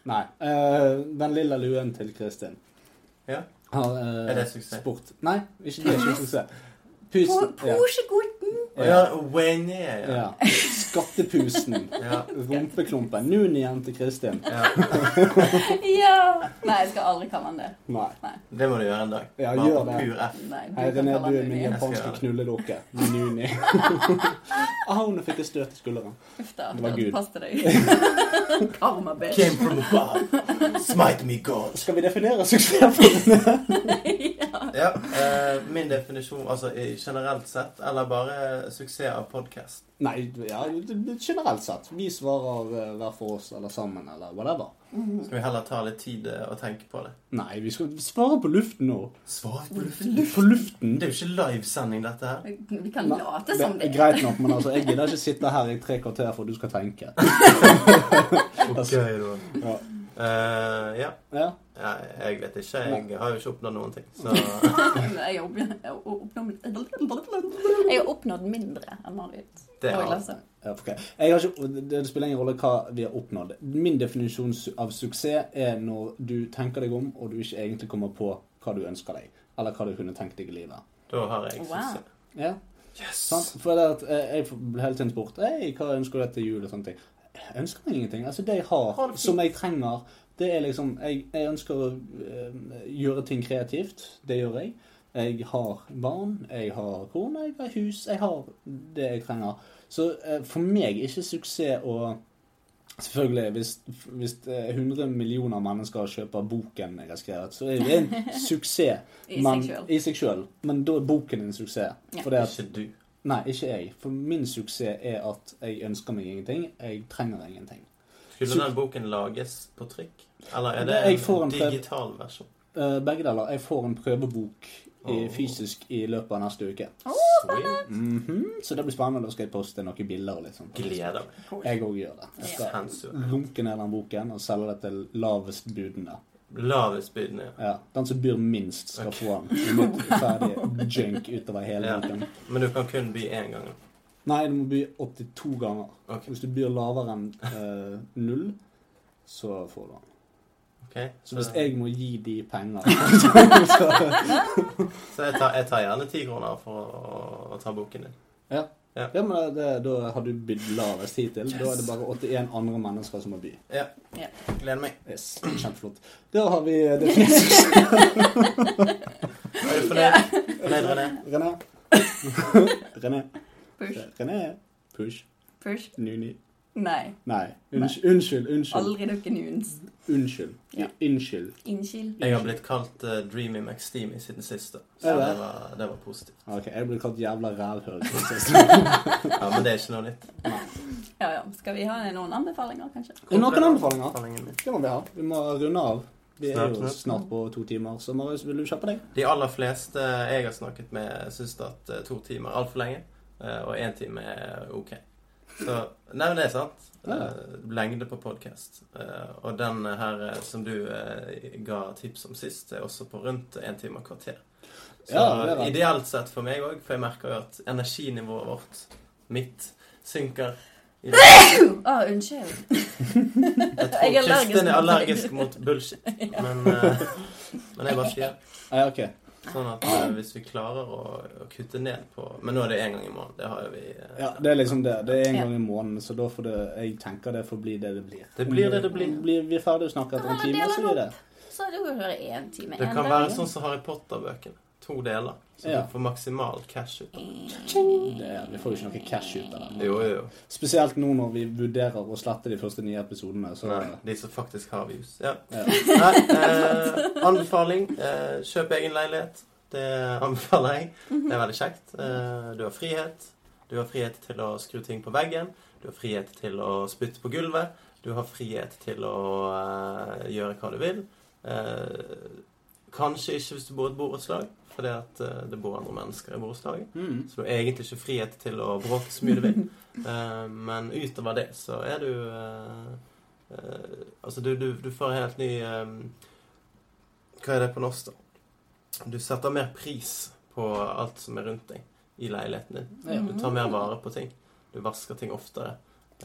Nei. eh, den lilla luen til Kristin ja. har eh, Er det suksess? spurt Nei, ikke det er ikke suksess. Pus, ja. Porsche-gutten! Ja. Å ja, Wayne, ja. Ja. Skattepusen. Rumpeklumpen. Nun igjen til Kristin. <laughs> ja! Nei, jeg skal aldri kalle han det. Nei. Det må du gjøre en dag. Ja, Bare gjør på det. pur F. Nei, du kan Hei, René, kalle du han er min Nuni. japanske Jeg skal knulledukke. Nuni. <laughs> Ah, Au, nå fikk jeg støt i skulderen. Uff da, Det var Gud. pass til deg. <laughs> Karma, bitch. Came from above. Smite me, God. Skal vi definere suksessfulle? Ja, eh, min definisjon, altså i- generelt sett, eller bare suksess av podcast. Nei, ja, generelt sett. Vi svarer eh, hver for oss eller sammen eller whatever. Skal vi heller ta litt tid eh, og tenke på det? Nei, vi skal svare på luften nå. Svar på luften. På luften? Det er jo ikke livesending, dette her. Vi kan late Det som det. er greit nok, men altså, jeg gidder ikke sitte her i tre kvarter for du skal tenke. Gøy, da. Ja. Eh, ja. Ja. Nei, jeg vet ikke. Jeg har jo ikke oppnådd noen ting. <laughs> Så <laughs> Jeg har oppnådd- jeg har oppnådd- jeg har oppnådd mindre enn Marit. Det er Og alt. Lasse. Ja, ok. jeg har ikke, det spiller ingen rolle hva vi har oppnådd. Min definisjon su- av suksess er når du tenker deg om, og du ikke egentlig kommer på hva du ønsker deg. Eller hva du kunne tenkt deg i livet. da har jeg Wow. suksess. Ja, sant? For det at eh, jeg ble hele tiden spurt «Hei, hva ønsker du deg til jul og sånne ting. Jeg ønsker meg ingenting. Altså, det jeg har, som jeg trenger, det er liksom Jeg, jeg ønsker å eh, gjøre ting kreativt. Det gjør jeg. Jeg har barn, jeg har kone, jeg har hus. Jeg har det jeg trenger. Så eh, for meg er ikke suksess å Selvfølgelig, hvis, hvis eh, 100 millioner mennesker kjøper boken jeg har skrevet, så er det <laughs> en suksess. I seg men- selv. I seg sjøl. Men da er boken en suksess. Ja. Fordi at Ikke du. Nei, ikke jeg. For min suksess er at jeg ønsker meg ingenting. Jeg trenger ingenting. Skulle den boken lages på trykk? Eller er det Jeg får en en prøv- digital versjon? Eh, begge deler. Jeg får en prøvebok i, Åh. fysisk i løpet av neste uke. Sweet. Mhm, så det blir spennende. Da skal jeg poste noen bilder. og litt sånt. Gleder meg. Jeg òg gjør det. Jeg skal Sensuelt. lunke ned den boken og selge det til lavest budende. Lavest bydende. Ja, Den som byr minst, skal få den. Litt Ferdig junk utover hele Ja. boken. Men du kan kun by én gang. Nei, du må by 82 ganger. Ok. Hvis du byr lavere enn eh, null, så får du den. ok? Så Eh. hvis jeg må gi de <laughs> penger Så jeg tar, jeg tar gjerne ti kroner for å, å ta boken din. Ja. Ja. ja, men det, det, da har du bydd lavest hittil. Da er det bare 81 andre mennesker som må by. Ja. Ja. Gleder meg. Yes, Kjempeflott. Da har vi eh, det finnes. Er du fornøyd? Fornøyd, René? <laughs> René. René. Push, René. Push. push. Nuni. Nei. Nei. Unnskyld. Unnskyld. Unnskyld. Aldri dukke nunes. Unnskyld. Ja. Unnskyld. Innskil. Jeg har blitt kalt eh, Dreamy McSteamy siden sist, da. Så Er det? det var, det var positivt. Ah, Ok, jeg ble kalt jævla <laughs> rævhøl. Ja, Men det er ikke noe nytt. Ja, ja. Skal vi ha noen anbefalinger, <clears throat> kanskje? Er det noen anbefalinger? Anbefalingen min. Det må vi ha. Vi må runde av. Vi er Snart, jo snart. snart på to timer, så Marius, vil du kjappe deg? De aller fleste eh, jeg har snakket med, syns at eh, to timer er altfor lenge, eh, og én time er ok. Så Nei, men det er sant. Ja. Eh, Lengde på podkast. Og den her eh, som du eh, ga tips om sist, er også på rundt én time og kvarter. Så Ja, det er det. ideelt sett for meg òg, for jeg merker jo at energinivået vårt, mitt, synker. i det. Å, Ah, unnskyld. Jeg Jeg er allergisk tror Kristin mot- er allergisk mot <laughs> bullshit, men, eh, men jeg bare sier Nei, Ah, ok. Sånn at eh, hvis vi klarer å, å kutte ned på Men nå er det én gang i måneden. Det har jo vi eh, Ja, det er liksom det. Det er en Ja. gang i måneden, så da får det Jeg tenker det får bli det det blir. Det blir det det blir. Blir vi ferdig å snakke etter en Ja, time, deler så blir det. Så du hører én time. Det en kan dag. være sånn som Harry Potter-bøkene. To deler. Så Ja. du får maksimal cash ut av det. det er, vi får jo ikke noe cash ut av det. Jo, jo, jo. Spesielt nå når vi vurderer å slette de første nye episodene. Så Nei, Sånn de som faktisk har views. Ja. Ja. Nei, eh, anbefaling. Eh, kjøp egen leilighet. Det anbefaler jeg. Det er veldig kjekt. Eh, du har frihet. Du har frihet til å skru ting på veggen. Du har frihet til å spytte på gulvet. Du har frihet til å eh, gjøre hva du vil. Eh, kanskje ikke hvis du bor i et borettslag, fordi at eh, det bor andre mennesker i borettslaget. Mm. Så du har egentlig ikke frihet til å bråke så mye du vil. Eh, men utover det så er du eh, eh, Altså, du, du, du får en helt ny eh, Hva er det på norsk, da? Du setter mer pris på alt som er rundt deg i leiligheten din. Ja. Du tar mer vare på ting. Du vasker ting oftere.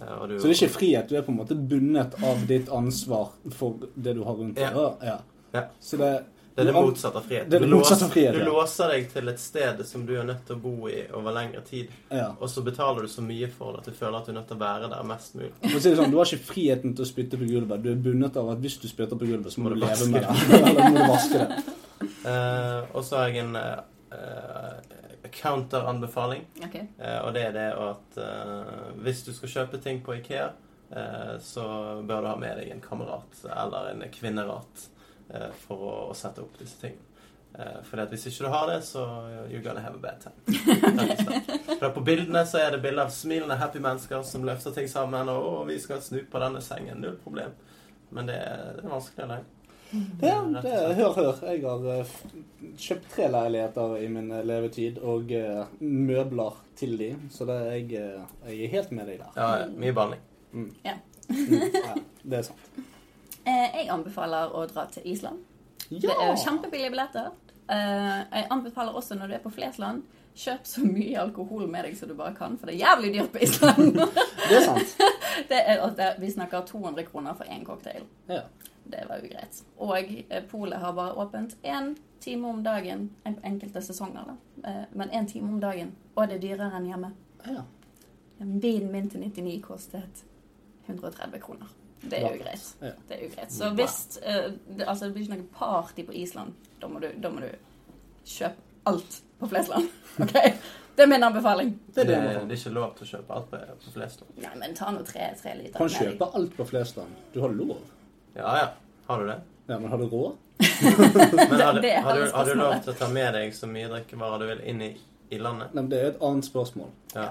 eh, og du, Så det er ikke frihet. Du er på en måte bundet av ditt ansvar for det du har rundt deg. Ja. Ja. Ja. Så det, Det er det Du an- motsatte av frihet. Det er det Du låser- motsatte av frihet, Du ja. låser deg til et sted som du er nødt til å bo i over lengre tid. Ja. Og så betaler du så mye for det at du føler at du er nødt til å være der mest mulig. For å si det sånn, Du har ikke friheten til å spytte på gulvet. Du er bundet av at hvis du spytter på gulvet, så må du leve vaske med det. det. <laughs> Eller må du vaske det. Eh, og så har jeg en eh, eh, counter-anbefaling. Ok. Eh, og det er det at eh, hvis du skal kjøpe ting på Ikea, eh, så bør du ha med deg en kamerat eller en kvinnerat eh, for å, å sette opp disse tingene. Uh, for hvis ikke du har det, så you're gonna have a bad time. Rett og slett. For på bildene så er det bilder av smilende happy mennesker som løfter ting sammen. Og å, vi skal snu på denne sengen. Null problem. Men det er, det er vanskelig å leie. Det, det, hør, hør. Jeg har eh, f- kjøpt tre leiligheter i min eh, levetid, og eh, møbler til de, så det, jeg, eh, jeg er helt med deg der. Ja, ja, mye behandling. Mm. Ja. Mm, ja, det er sant. Eh, jeg anbefaler å dra til Island. Det er jo kjempebillige billetter. Eh, jeg anbefaler også når du er på Flesland, kjøp så mye alkohol med deg som du bare kan, for det er jævlig dyrt på Island. <laughs> Det er sant. det er, at det, vi snakker 200 kroner for én cocktail. Ja. Det var jo greit. Og eh, polet har bare åpent én time om dagen en- enkelte sesonger, da. Eh, men én time om dagen. Og det er dyrere enn hjemme. Ja. Vinen min til 99 kostet 130 kroner. Det er jo greit. Ja. Det er jo greit. Så hvis eh, det, altså, det blir ikke noe party på Island, da må du, da må du kjøpe alt på <laughs> Flesland. OK? Det er min anbefaling. Det er, det, er ikke lov til å kjøpe alt på, på flest. Nei, men ta nå tre, tre liter. Du kan med deg. kjøpe alt på Flesland. Du har lov. Ja, ja. Har du det? Ja, men har du råd? Men <laughs> har, Det- du- det er har, alle du, har du lov spørsmålet. til å ta med deg så mye drikkevarer du vil inn i, i landet? Nei, men det er et annet spørsmål. Ja.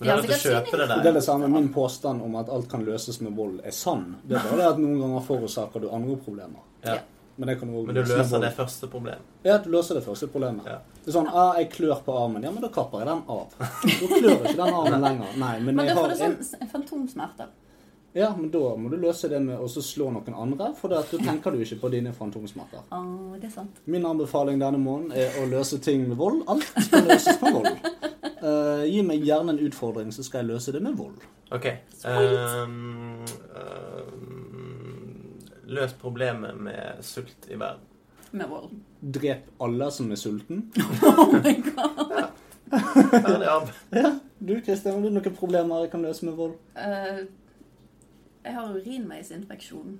Men Ja, har du lov til å sikkert kjøpe det Det er der? det samme min påstand om at alt kan løses med vold, er sann. Det er bare det at noen ganger forårsaker du andre problemer. Ja. Men det kan du også Men du løse med løser vold. det første problemet. Ja, du løser det første problemet. Ja. Det er sånn, ah, jeg klør på armen. Ja, men da kapper jeg den av. Nå klør jeg ikke den <laughs> armen lenger. Nei, men, Men da jeg får har du en... sånn s- fantomsmerter. Ja, men da må du løse det med å så slå noen andre, for det at da tenker du ikke på dine fantomsmerter. Å, det er sant. Min anbefaling denne måneden er å løse ting med vold. Alt skal løses med vold. Eh, gi meg gjerne en utfordring, så skal jeg løse det med vold. OK. Um, um, løs problemet med sult i verden. Med vold. Drep alle som er sulten. Oh my god. Ferdig <laughs> arbeid. Ja, du Kristian, har du noen problemer jeg kan løse med vold? Eh, jeg har urinveisinfeksjon.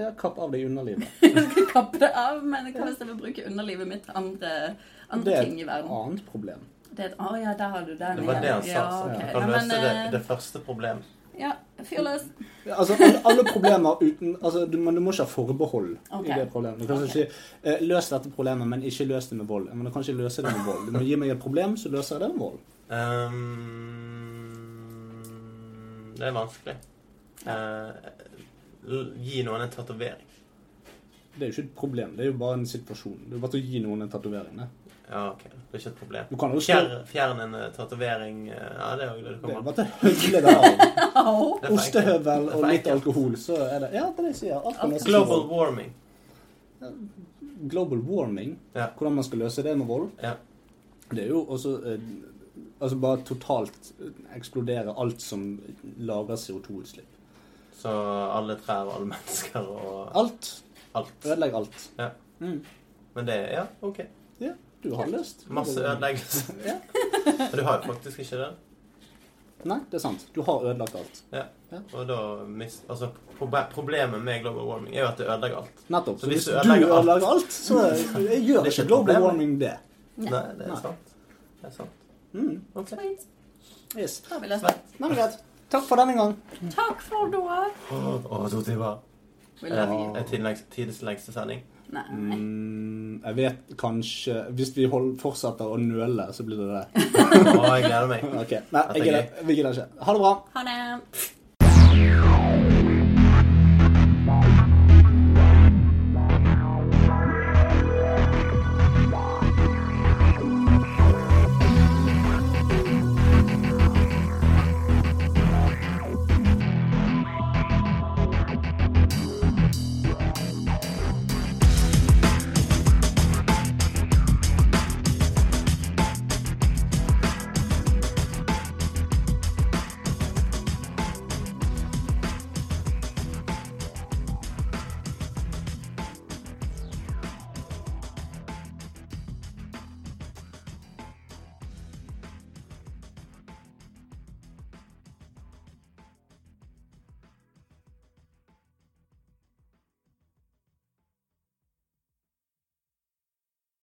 Ja, kapp av deg underlivet. Jeg skal kappe det av, men hva hvis jeg vil bruke underlivet mitt til andre, Det andre er ting i et verden? annet problem. Det er et Å ja, der har du den. Det var det han sa. Ja, så ok. Du kan Nei, men, løse det, eh, det første problemet. Ja, fyr løs. Ja, altså, alle, alle problemer uten altså, du, Men du må ikke ha forbehold Ok. i det problemet. Du kan ikke si eh, 'løs dette problemet, men ikke løs det med vold'. Men du kan ikke løse det med vold. Du må gi meg et problem, så løser jeg det med vold. Um, Ehm, det er vanskelig. Eh, l- gi noen en tatovering. Det er jo ikke et problem, det er jo bare en situasjon. Det er jo bare til å gi noen en tatovering. det. Ja, OK. Det er ikke et problem. Du kan jo Fjern, fjern en eh, tatovering eh, Ja, det er jo det du Det er jo kommer bare til å høvle det av. Au. <laughs> Det er for Ostehøvel enkelt. og litt Det er for enkelt. alkohol, så er det Ja, det er det jeg sier. Alt kan løses med Global vold. warming. Global warming, Ja. hvordan man skal løse det med vold, Ja. det er jo også eh, Altså bare totalt eh, eksplodere alt som lager CO2-utslipp. Så alle trær og alle mennesker og Alt. alt. Ødelegg alt. Ja. Mm. Men det er Ja, OK. Ja, du har lyst. Masse <laughs> ødeleggelse. Ja. Men du har jo faktisk ikke det. Nei, det er sant. Du har ødelagt alt. Ja. Ja. Og da mis... Altså, proble- problemet med global warming er jo at det ødelegger alt. Nettopp. Så Så hvis hvis du du ødelegger alt- ødelegger alt, <laughs> så jeg gjør Det er ikke ikke global problemet. warming det. Nei, det er Nei. sant. Det er sant. Mm. OK. Sweet. Yes. Da har vi løst det. Svett. Nei, men greit. Takk for denne gang. Takk for da. Å, å, to timer. We Eh, love you. eh, tidens lengste- Tidens lengste <laughs> sending. Nei. Mm, jeg vet kanskje Hvis vi hold, fortsetter å nøle, så blir det det. Å, jeg gleder meg. Ok, Nei, Dette er jeg gidder, vi gidder ikke. Ha det bra. Ha det.